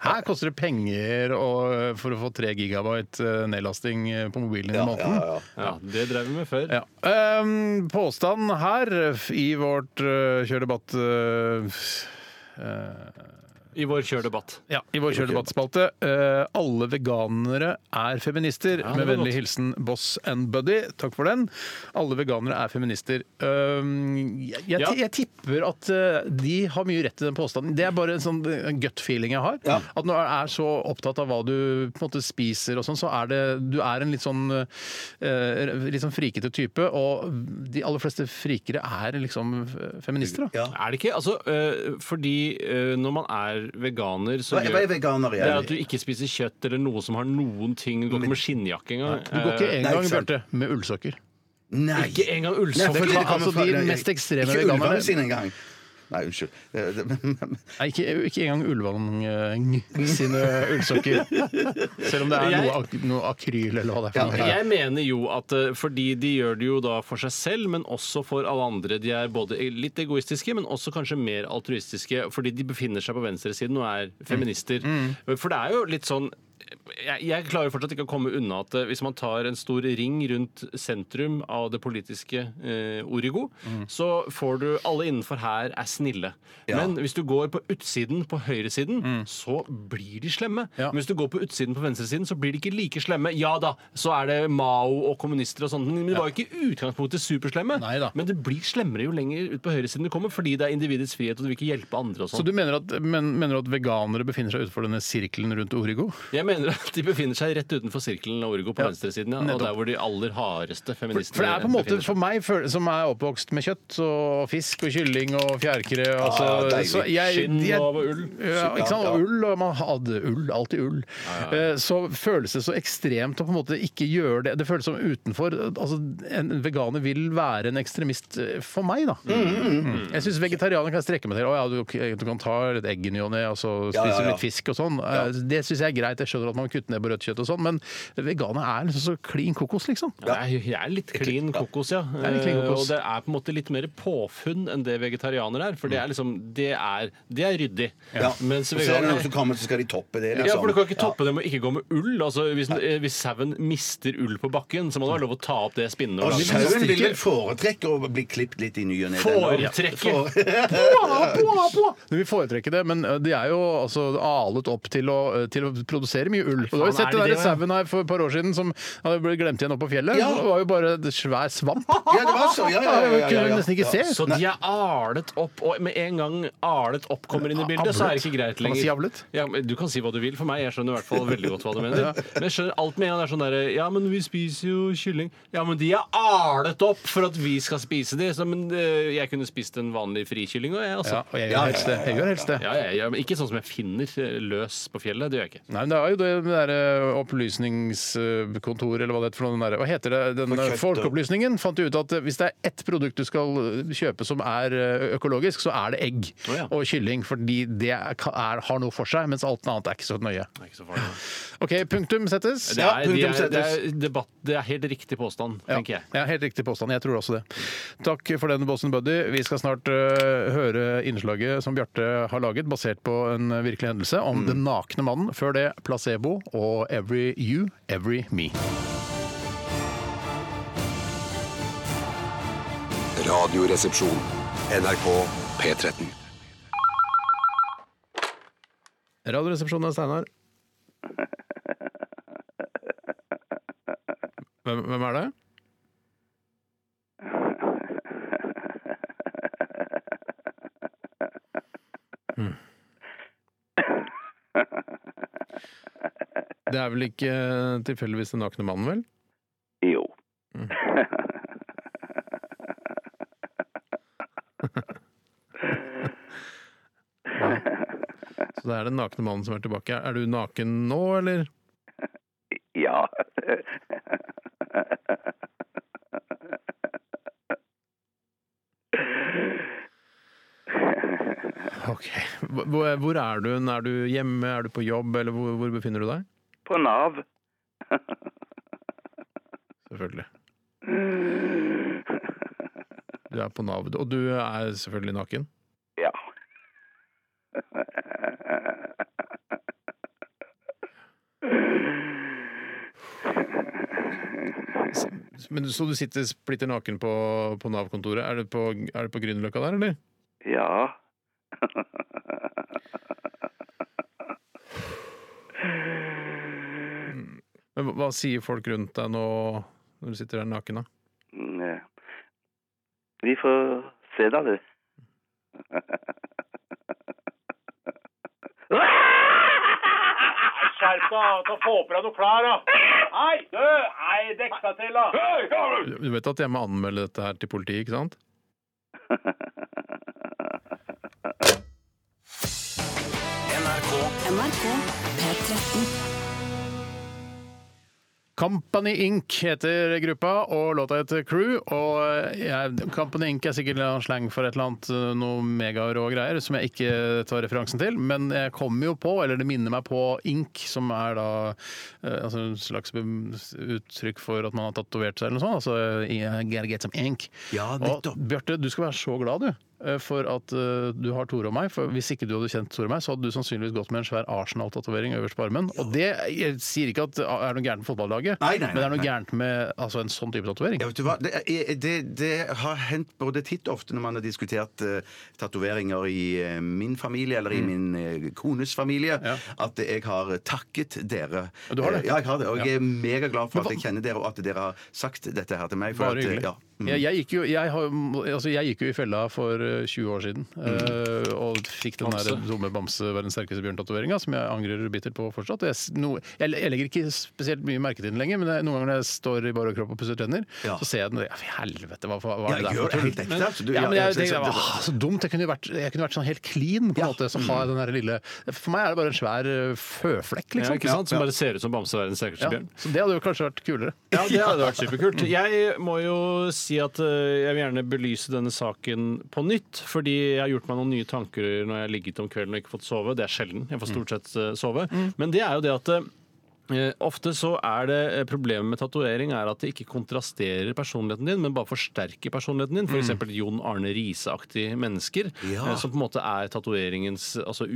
Speaker 4: Her koster det penger å- for å få 3 gigabyte eh, nedlasting eh, på mobilen din i
Speaker 6: Ja,
Speaker 4: måneden.
Speaker 6: ja, ja.
Speaker 5: Ja, det drev vi med før.
Speaker 4: Ja. Ehm, påstanden her f- i vårt eh, kjørdebatt... eh, f- eh,
Speaker 5: I vår kjørdebatt.
Speaker 4: ja, I vår kjørdebattspalte. eh, alle veganere er feminister.
Speaker 5: Ja, det
Speaker 4: med
Speaker 5: var
Speaker 4: vennlig
Speaker 5: godt.
Speaker 4: hilsen Boss and Buddy. Takk for den. Alle veganere er feminister. Ehm, jeg, jeg,
Speaker 5: Ja.
Speaker 4: jeg tipper at eh, de har mye rett i den påstanden. Det er bare en sånn eh, gut feeling jeg har.
Speaker 6: Ja.
Speaker 4: At når du er så opptatt av hva du på en måte spiser og sånn, så er det Du er en litt sånn eh, litt sånn frikete type, og de aller fleste frikere er liksom eh, feminister, da.
Speaker 6: Ja.
Speaker 5: Er det ikke? Altså, øh, fordi øh, når man er veganer, så
Speaker 6: Hva hva er veganer
Speaker 5: det er at du
Speaker 6: igjen?
Speaker 5: ikke spiser kjøtt eller noe som har noen ting. Du går ikke med skinnjakke engang.
Speaker 4: Du går ikke
Speaker 5: Eh,
Speaker 6: Nei,
Speaker 4: engang,
Speaker 6: ikke sant.
Speaker 4: Bjarte, med ullsokker.
Speaker 6: Nei.
Speaker 5: ikke engang
Speaker 6: Nei,
Speaker 5: ullsokker.
Speaker 6: fordi det kommer
Speaker 4: altså,
Speaker 6: fra-
Speaker 4: de
Speaker 6: Nei,
Speaker 4: mest ekstreme
Speaker 6: Ikke
Speaker 4: veganerne-
Speaker 6: ulvene sine engang. Nei, unnskyld. Det- det- men-
Speaker 4: Nei, ikke, ikke engang Ulvang eh, sine ullsokker. Selv om det er
Speaker 5: Jeg-
Speaker 4: noe, ak noe akryl eller hva det er. for noe.
Speaker 5: Jeg mener jo at eh, fordi de gjør det jo da for seg selv, men også for alle andre. De er både litt egoistiske, men også kanskje mer altruistiske, fordi de befinner seg på venstresiden og er feminister. For det er jo litt sånn jeg, jeg klarer fortsatt ikke å komme unna at eh, hvis man tar en stor ring rundt sentrum av det politiske eh, origo, så får du alle innenfor her er snille. Men hvis du går på utsiden, på høyresiden, så blir de slemme.
Speaker 4: Ja.
Speaker 5: Men hvis du går på utsiden på venstresiden, så blir de ikke like slemme. Ja da, så er det Mao og kommunister og sånt, men de var jo ikke i utgangspunktet superslemme.
Speaker 4: Nei da.
Speaker 5: Men det blir slemmere jo lenger ut på høyresiden du kommer, fordi det er individets frihet, og du vil ikke hjelpe andre og
Speaker 4: Så
Speaker 5: sånn.
Speaker 4: du mener at, men, mener at veganere befinner seg utenfor denne sirkelen rundt Origo?
Speaker 5: Jeg mener at de befinner seg rett utenfor sirkelen av Orgo på
Speaker 4: Ja,
Speaker 5: venstresiden, ja, og
Speaker 4: nettopp.
Speaker 5: der hvor de aller hardeste
Speaker 4: For,
Speaker 5: feministene
Speaker 4: for det er på en måte
Speaker 5: befinner seg.
Speaker 4: for meg føl- som er oppvokst med kjøtt og fisk og kylling og fjærkre altså,
Speaker 6: Ah, deilig.
Speaker 4: så jeg-
Speaker 5: Skinn
Speaker 4: jeg-
Speaker 5: og ull.
Speaker 4: Ja, ikke sant? Og ull, og man hadde ull, alltid ull. Eh, Så føles det så ekstremt å på en måte ikke gjøre det. Det føles som utenfor. Altså, en veganer vil være en ekstremist eh, for meg, da. Mm. Jeg syns vegetarianer kan jeg strekke meg til. Å ja, du, du kan ta litt egg i ny og ne, og så spise
Speaker 6: Ja, ja, ja.
Speaker 4: litt fisk og sånn. Eh, Det syns jeg er greit. Jeg skjønner at man kutter ned på rødt kjøtt og sånn, men veganer er liksom så klin kokos, liksom.
Speaker 5: Ja, jeg er- jeg er litt klin kokos, ja.
Speaker 4: er litt klin kokos.
Speaker 5: Eh, Og det er på en måte litt mer påfunn enn det vegetarianer er. For
Speaker 4: Mm.
Speaker 5: det er liksom Det er, det er ryddig.
Speaker 6: Ja.
Speaker 5: Mens
Speaker 6: Og så er det noen
Speaker 5: veganer
Speaker 6: som kommer, så skal de toppe det, liksom.
Speaker 5: ja,
Speaker 4: sånn.
Speaker 5: for Du kan ikke toppe det med å ikke gå med ull. Altså, hvis, eh, hvis sauen mister ull på bakken, så må det være lov å ta opp det spinnet.
Speaker 6: Og
Speaker 5: og lage-
Speaker 6: sauen vil vel foretrekke å bli klippet litt i ny og ne. den også.
Speaker 5: Foretrekke!
Speaker 4: øh, Du vil foretrekke det, men eh, de er jo altså alet opp til å, eh, til å produsere produserer mye ull. Og du har jo
Speaker 5: faen,
Speaker 4: sett
Speaker 5: er
Speaker 4: det der
Speaker 5: det det, ja?
Speaker 4: sauen her for et par år siden som hadde blitt glemt igjen oppe på fjellet.
Speaker 5: Ja.
Speaker 4: Det var jo bare et svær svamp.
Speaker 5: Ja, det var så, ja, ja, ja, ja, ja,
Speaker 4: Kunne
Speaker 5: ja.
Speaker 4: du nesten ikke se.
Speaker 5: Så de er alet opp, og med en gang alet opp kommer inn i bildet, så er det ikke greit
Speaker 4: Kan man
Speaker 5: lenger.
Speaker 4: si avlet?
Speaker 5: Ja, men du kan si hva du vil for meg, jeg skjønner i hvert fall veldig godt hva du mener.
Speaker 4: Ja.
Speaker 5: Men jeg skjønner alt med en gang det er sånn derre Ja, men vi spiser jo kylling. Ja, men de er alet opp for at vi skal spise de. Så, men eh, jeg kunne spist en vanlig frikylling òg, jeg, altså.
Speaker 4: Ja, og jeg gjør helst det. Jeg gjør helst det.
Speaker 5: Ja, ja, ja, men ikke sånn som jeg finner eh, løs på fjellet. Det gjør jeg ikke.
Speaker 4: Nei, men Det er jo det derre opplysningskontoret, eller hva det heter for noe. Den der, hva heter det? Den
Speaker 5: For
Speaker 4: der
Speaker 5: kjøtt og-
Speaker 4: Folkeopplysningen fant jo ut at øh, hvis det er ett produkt du skal øh, kjøpe som er øh, økologisk, så er det egg og kylling. Fordi det er, har noe for seg, mens alt annet er ikke så nøye. OK, punktum settes.
Speaker 5: Det er, de er, det, er debatt, det er helt riktig påstand,
Speaker 4: Ja.
Speaker 5: tenker jeg.
Speaker 4: ja, helt riktig påstand. Jeg tror også det. Takk for den, Bossen Buddy. Vi skal snart øh, høre innslaget som Bjarte har laget, basert på en virkelig hendelse, om
Speaker 5: Mm.
Speaker 4: den nakne mannen. Før det placebo og Every You, Every Me.
Speaker 1: Radioresepsjon. NRK P13.
Speaker 4: Radioresepsjonen er Steinar. Hvem, hvem er det? Det er vel ikke eh, tilfeldigvis den nakne mannen, vel?
Speaker 15: Jo.
Speaker 4: Så det er den nakne mannen som er tilbake. Er du naken nå, eller?
Speaker 15: Ja.
Speaker 4: Ok. Hvor, hvor er du? Er du hjemme? Er du på jobb? Eller hvor, hvor befinner du deg?
Speaker 15: På Nav.
Speaker 4: Selvfølgelig. Du er på Nav, og du er selvfølgelig naken?
Speaker 15: Ja.
Speaker 4: Men, så du sitter splitter naken på, på Nav-kontoret. Er det på, er det på Grünerløkka der, eller?
Speaker 15: Ja.
Speaker 4: Men hva- hva sier folk rundt deg nå når du sitter der naken, da?
Speaker 15: Mm, Vi får se da, du.
Speaker 16: Skjerp deg, ta og få på deg noen klær, da. Hei, du! Hei, dekk deg til, da.
Speaker 4: Du du vet at jeg må anmelde dette her til politiet, ikke sant?
Speaker 9: NRK P13.
Speaker 4: Company Inc. heter gruppa, og låta heter Crew. Og jeg, Company Inc. er sikkert en slang for et eller annet, noe megarå greier som jeg ikke tar referansen til, men jeg kommer jo på, eller det minner meg på Inc., som er da eh, altså en slags bem- uttrykk for at man har tatovert seg eller noe sånt. Altså I gotta get some ink. og Bjarte, du skal være så glad, du. eh, For at eh, du har Tore og meg. For hvis ikke du hadde kjent Tore og meg, så hadde du sannsynligvis gått med en svær Arsenal-tatovering øverst på armen. Og det jeg sier ikke at det er noe gærent med fotballaget,
Speaker 6: Nei, nei, nei,
Speaker 4: men det er noe
Speaker 6: nei.
Speaker 4: gærent med altså, en sånn type tatovering.
Speaker 6: Ja, vet du hva? Det, er- det, det har hendt både titt og ofte når man har diskutert uh, tatoveringer i eh, min
Speaker 4: Mm.
Speaker 6: familie eller i min eh, kones familie, at jeg har eh, takket dere.
Speaker 4: Du har det?
Speaker 6: Eh, Ja, jeg har det. Og jeg
Speaker 4: Ja.
Speaker 6: er megaglad for at jeg kjenner dere, og at dere har sagt dette her til meg. For
Speaker 4: Bare
Speaker 6: at, eh,
Speaker 4: hyggelig.
Speaker 6: ja. Mm.
Speaker 4: Jeg, jeg, gikk jo, jeg, har, altså, jeg gikk jo i fella for eh, 20 år siden
Speaker 6: Mm.
Speaker 4: eh, og fikk den der
Speaker 5: Bamse.
Speaker 4: dumme bamse verdens sterkeste bjørn-tatoveringa, som jeg angrer bittert på fortsatt. Jeg, s- no, jeg, jeg legger ikke spesielt mye merke til den lenger, men jeg, noen ganger når jeg står i bar overkropp og pusser tenner, så ser jeg den og jeg, «Fy Helvete, hva, hva
Speaker 6: Ja,
Speaker 4: er det der for
Speaker 6: gjør det helt
Speaker 4: tull?»
Speaker 6: ekte,
Speaker 4: Men-
Speaker 6: altså, du-
Speaker 4: Ja,
Speaker 6: ja,
Speaker 4: men
Speaker 6: jeg
Speaker 4: jeg
Speaker 6: synes
Speaker 4: tenker,
Speaker 6: det-
Speaker 4: «Ah, Så dumt! Jeg kunne jo vært, jeg kunne vært sånn helt clean, på en måte. Så
Speaker 6: Mm.
Speaker 4: har jeg den der lille For meg er det bare en svær eh, føflekk,
Speaker 5: Ja,
Speaker 4: liksom.
Speaker 5: ikke sant? Som bare ser ut som bamse verdens sterkeste
Speaker 4: Ja,
Speaker 5: bjørn.
Speaker 4: Så det hadde jo kanskje vært kulere.
Speaker 5: Ja, det hadde vært superkult. Jeg må jo si at eh, jeg vil gjerne belyse denne saken på nytt, fordi jeg har gjort meg noen nye tanker når jeg har ligget om kvelden og ikke fått sove. Det er sjelden. Jeg får stort sett eh, sove. Men det er jo det at eh, Eh, Ofte så er det eh, Problemet med tatovering er at det ikke kontrasterer personligheten din, men bare forsterker personligheten din. F.eks. eksempel Jon Arne Riise-aktige mennesker,
Speaker 13: Mm. Ja.
Speaker 5: eh, som på en måte er tatoveringens altså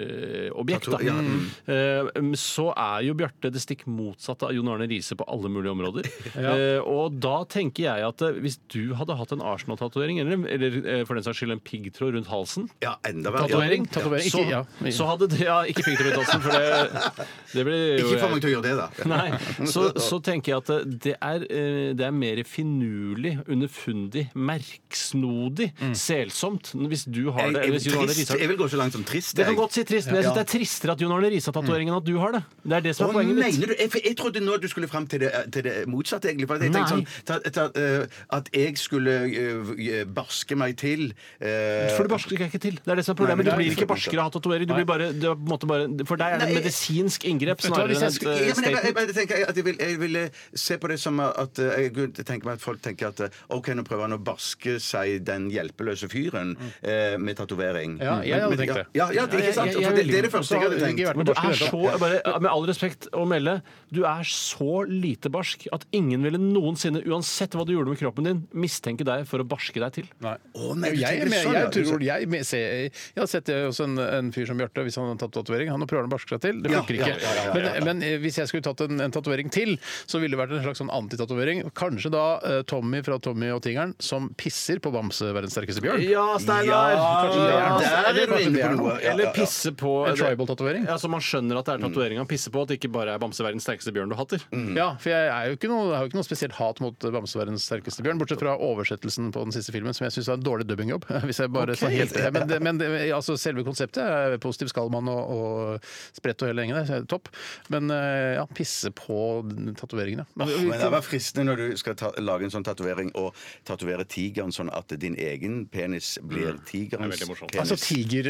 Speaker 5: urobjekt.
Speaker 13: Tato- ja, mm.
Speaker 5: Eh, Så er jo Bjarte det stikk motsatte av Jon Arne Riise på alle mulige områder.
Speaker 13: Ja.
Speaker 5: Eh, Og da tenker jeg at eh, hvis du hadde hatt en Arsenal-tatovering, eller, eller eh, for den saks skyld en piggtråd rundt halsen
Speaker 6: Ja, enda
Speaker 13: verre.
Speaker 5: Tatovering,
Speaker 13: Ja.
Speaker 5: tatovering,
Speaker 13: Ikke- ja.
Speaker 5: Så, så hadde det Ja, ikke piggtråd rundt halsen, for det, det blir jo
Speaker 6: Ikke få meg til å gjøre det, da.
Speaker 5: Nei, så, så tenker jeg at det er, eh, det er mer finurlig, underfundig, merksnodig, selsomt. Hvis du har det
Speaker 6: Mm. Jeg- jeg-
Speaker 5: hvis Jon Arne
Speaker 6: trist.
Speaker 5: Riise har-
Speaker 6: Jeg vil gå så langt som trist,
Speaker 5: Det kan
Speaker 6: jeg.
Speaker 5: godt si trist, men jeg
Speaker 6: Ja.
Speaker 5: syns det er tristere at Jon Arne Riise har tatovering enn at du har det. Det er det som
Speaker 6: Mm. Å,
Speaker 5: er poenget
Speaker 6: mener
Speaker 5: mitt.
Speaker 6: du? Jeg, for jeg trodde nå at du skulle fram til det, til det motsatte, egentlig. For at jeg
Speaker 5: Nei.
Speaker 6: tenkte sånn ta, ta, eh, At jeg skulle eh, barske meg til eh,
Speaker 5: For du barsker deg ikke til. Det er det som er
Speaker 6: Nei, men
Speaker 5: problemet.
Speaker 6: det
Speaker 5: Du
Speaker 6: er
Speaker 5: blir
Speaker 6: ikke
Speaker 5: ikke barskere av tatovering. Du
Speaker 6: Nei.
Speaker 5: blir bare, du er på en måte bare For deg er det et
Speaker 6: Nei, jeg-
Speaker 5: medisinsk inngrep
Speaker 6: Vet du hva,
Speaker 5: snarere
Speaker 6: hvis
Speaker 5: enn
Speaker 6: jeg
Speaker 5: et
Speaker 6: skulle-
Speaker 5: eh,
Speaker 6: Ja, men jeg- jeg
Speaker 5: statement.
Speaker 6: bare tenker at jeg vil- Jeg ville se på det som at eh, Jeg kunne tenke meg at folk tenker at eh, OK, nå prøver han å barske seg den hjelpeløse fyren
Speaker 5: Mm.
Speaker 6: eh, med tatovering. Mm.
Speaker 4: Ja, jeg hadde
Speaker 6: Men- men-
Speaker 4: tenkt det.
Speaker 6: Ja, ja, det er ikke sant? For det, det er det første jeg
Speaker 5: altså
Speaker 6: hadde tenkt.
Speaker 5: Men du er så, bare, med all respekt å melde, du er så lite barsk at ingen ville noensinne, uansett hva du gjorde med kroppen din, mistenke deg for å barske deg til.
Speaker 6: Å,
Speaker 4: Jeg, jeg, jeg,
Speaker 6: sånn,
Speaker 5: sånn.
Speaker 4: tror, jeg, men- se- jeg, har sett det hos en, en fyr som Bjarte, hvis han har tatt tatovering. Han prøver å barske seg til, det
Speaker 5: Ja,
Speaker 4: funker
Speaker 5: ja,
Speaker 4: ikke.
Speaker 5: ja, ja, ja, ja.
Speaker 4: Men, men eh, hvis jeg skulle tatt en, en tatovering til, så ville det vært en slags sånn antitatovering. Kanskje da eh, Tommy fra Tommy og Tingeren som pisser på Bamse, verdens sterkeste bjørn.
Speaker 5: Ja, Steinar!
Speaker 4: Kanskje det er noe.
Speaker 5: Eller-
Speaker 4: Eller kanskje det er noe.
Speaker 5: Eller pisse på
Speaker 4: En tribal-tatovering?
Speaker 5: Ja, så man skjønner at det
Speaker 6: Mm.
Speaker 5: er tatovering han pisser på, at det ikke bare er Bamse verdens sterkeste bjørn du hater.
Speaker 4: Ja, for jeg, er jo ikke noe, jeg har jo ikke noe spesielt hat mot Bamse verdens sterkeste bjørn, bortsett fra oversettelsen på den siste filmen, som jeg syns var en dårlig dubbingjobb. Hvis jeg bare
Speaker 5: Ok.
Speaker 4: skal helt, men det, men det, altså, selve konseptet er positiv skallmann og, og spredt og hele gjengen der, så er det topp. Men eh, ja, pisse på den tatoveringen, ja.
Speaker 5: Ah,
Speaker 6: Men det var fristende når du skal ta, lage en sånn tatovering, og tatovere tigeren sånn at din egen penis blir tigerens penis.
Speaker 4: Altså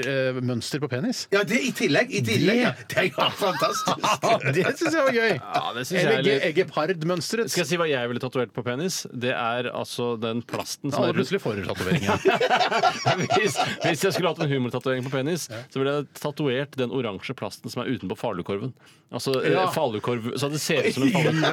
Speaker 4: tigermønster på penis?
Speaker 6: Ja, det i tillegg. I tillegg. ja. Det er jo fantastisk.
Speaker 4: det syns jeg var gøy!
Speaker 5: Ja, det synes jeg er
Speaker 4: Eller
Speaker 5: litt-
Speaker 4: ge- gepardmønsteret.
Speaker 5: Skal jeg si hva jeg ville tatovert på penis? Det er altså den plasten som
Speaker 4: Alle
Speaker 5: er rundt-
Speaker 4: plutselig får en tatovering. Ja.
Speaker 5: hvis, hvis jeg skulle hatt en humortatovering på penis, så ville jeg tatovert den oransje plasten som er utenpå falukorven. Altså ja.
Speaker 4: Ja.
Speaker 5: falukorv Så det ser ut som en falukorv.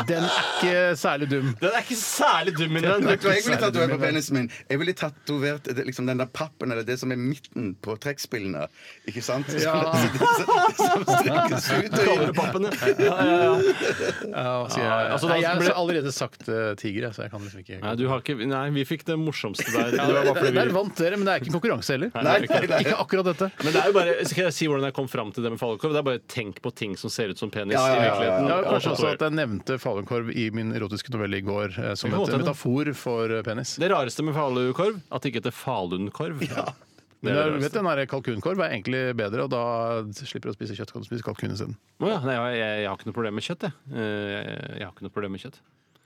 Speaker 4: Ja, den er ikke særlig dum.
Speaker 5: Den er ikke særlig dum i den.
Speaker 6: Vet du hva jeg ville tatovert på penisen min? Jeg ville tatovert det- liksom den der pappen, eller det som er midten på trekkspillene. Ikke sant?
Speaker 13: Ja.
Speaker 6: Som- som- Som strekkes ut og inn.
Speaker 5: Kobberpappene. Ja, ja, ja.
Speaker 4: Ja, sier jeg.
Speaker 5: Ja, altså, da
Speaker 4: Nei, jeg har
Speaker 5: ble-
Speaker 4: allerede sagt eh, tiger, jeg, så jeg kan liksom ikke
Speaker 5: Nei, du har ikke, nei, vi fikk det morsomste der.
Speaker 4: Ja,
Speaker 5: Det var bare fordi vi-
Speaker 4: Der vant dere, men det er ikke en konkurranse heller.
Speaker 5: Nei, det er ikke
Speaker 4: ikke,
Speaker 5: det.
Speaker 4: akkurat dette.
Speaker 5: Men det er jo bare, skal jeg si hvordan jeg kom fram til det med falukorv? Det er bare tenk på ting som ser ut som penis
Speaker 4: Ja,
Speaker 5: i virkeligheten.
Speaker 4: kanskje også
Speaker 5: Tatover.
Speaker 4: at jeg nevnte falukorv i min erotiske novelle i går eh, som
Speaker 5: Det kan godt
Speaker 4: et
Speaker 5: hende.
Speaker 4: metafor for eh, penis.
Speaker 5: Det rareste med falukorv, at det ikke heter falunkorv. Det
Speaker 4: Men
Speaker 5: er
Speaker 4: jeg
Speaker 5: det
Speaker 4: vet den der Kalkunkorv er egentlig bedre, og da slipper du å spise kjøtt. Kan du spise kalkun isteden?
Speaker 5: Å ja, nei, jeg, jeg har ikke noe problem med kjøtt, jeg. Eh, Jeg, jeg har ikke noe problem med kjøtt.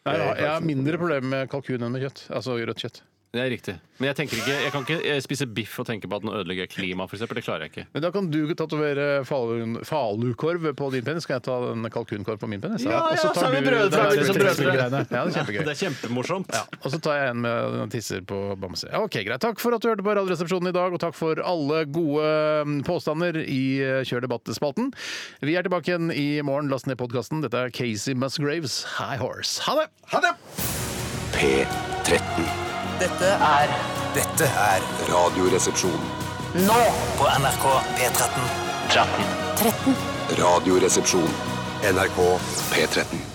Speaker 4: Nei, Jeg har- jeg har mindre problemer med kalkun enn med kjøtt. Altså rødt kjøtt.
Speaker 5: Det er riktig. Men jeg, tenker ikke, jeg kan ikke eh, spise biff og tenke på at den ødelegger klimaet, f.eks. Det klarer jeg ikke.
Speaker 4: Men da kan du tatovere falun, falukorv på din penis, så kan jeg ta den kalkunkorv på min penis.
Speaker 5: Ja, ja,
Speaker 4: Og
Speaker 5: så
Speaker 4: tar
Speaker 5: er vi
Speaker 4: du
Speaker 5: brødre,
Speaker 4: den der
Speaker 5: vi er som brødre.
Speaker 4: trekkspillgreiene. Ja, det er kjempegøy.
Speaker 5: Det er kjempemorsomt.
Speaker 4: Og så tar jeg en med den tisser på bamse. Ja, ok, greit. Takk for at du hørte på Radioresepsjonen i dag, og takk for alle gode mm, påstander i eh, Kjør debatt-spalten. Vi er tilbake igjen i morgen. Last ned podkasten. Dette er Casey Musgraves High Horse. Ha det!
Speaker 6: Ha det!
Speaker 1: P13.
Speaker 2: Dette er
Speaker 1: Dette er Radioresepsjonen.
Speaker 2: nå på NRK P13. 13.
Speaker 1: 13. Radioresepsjon. NRK P13.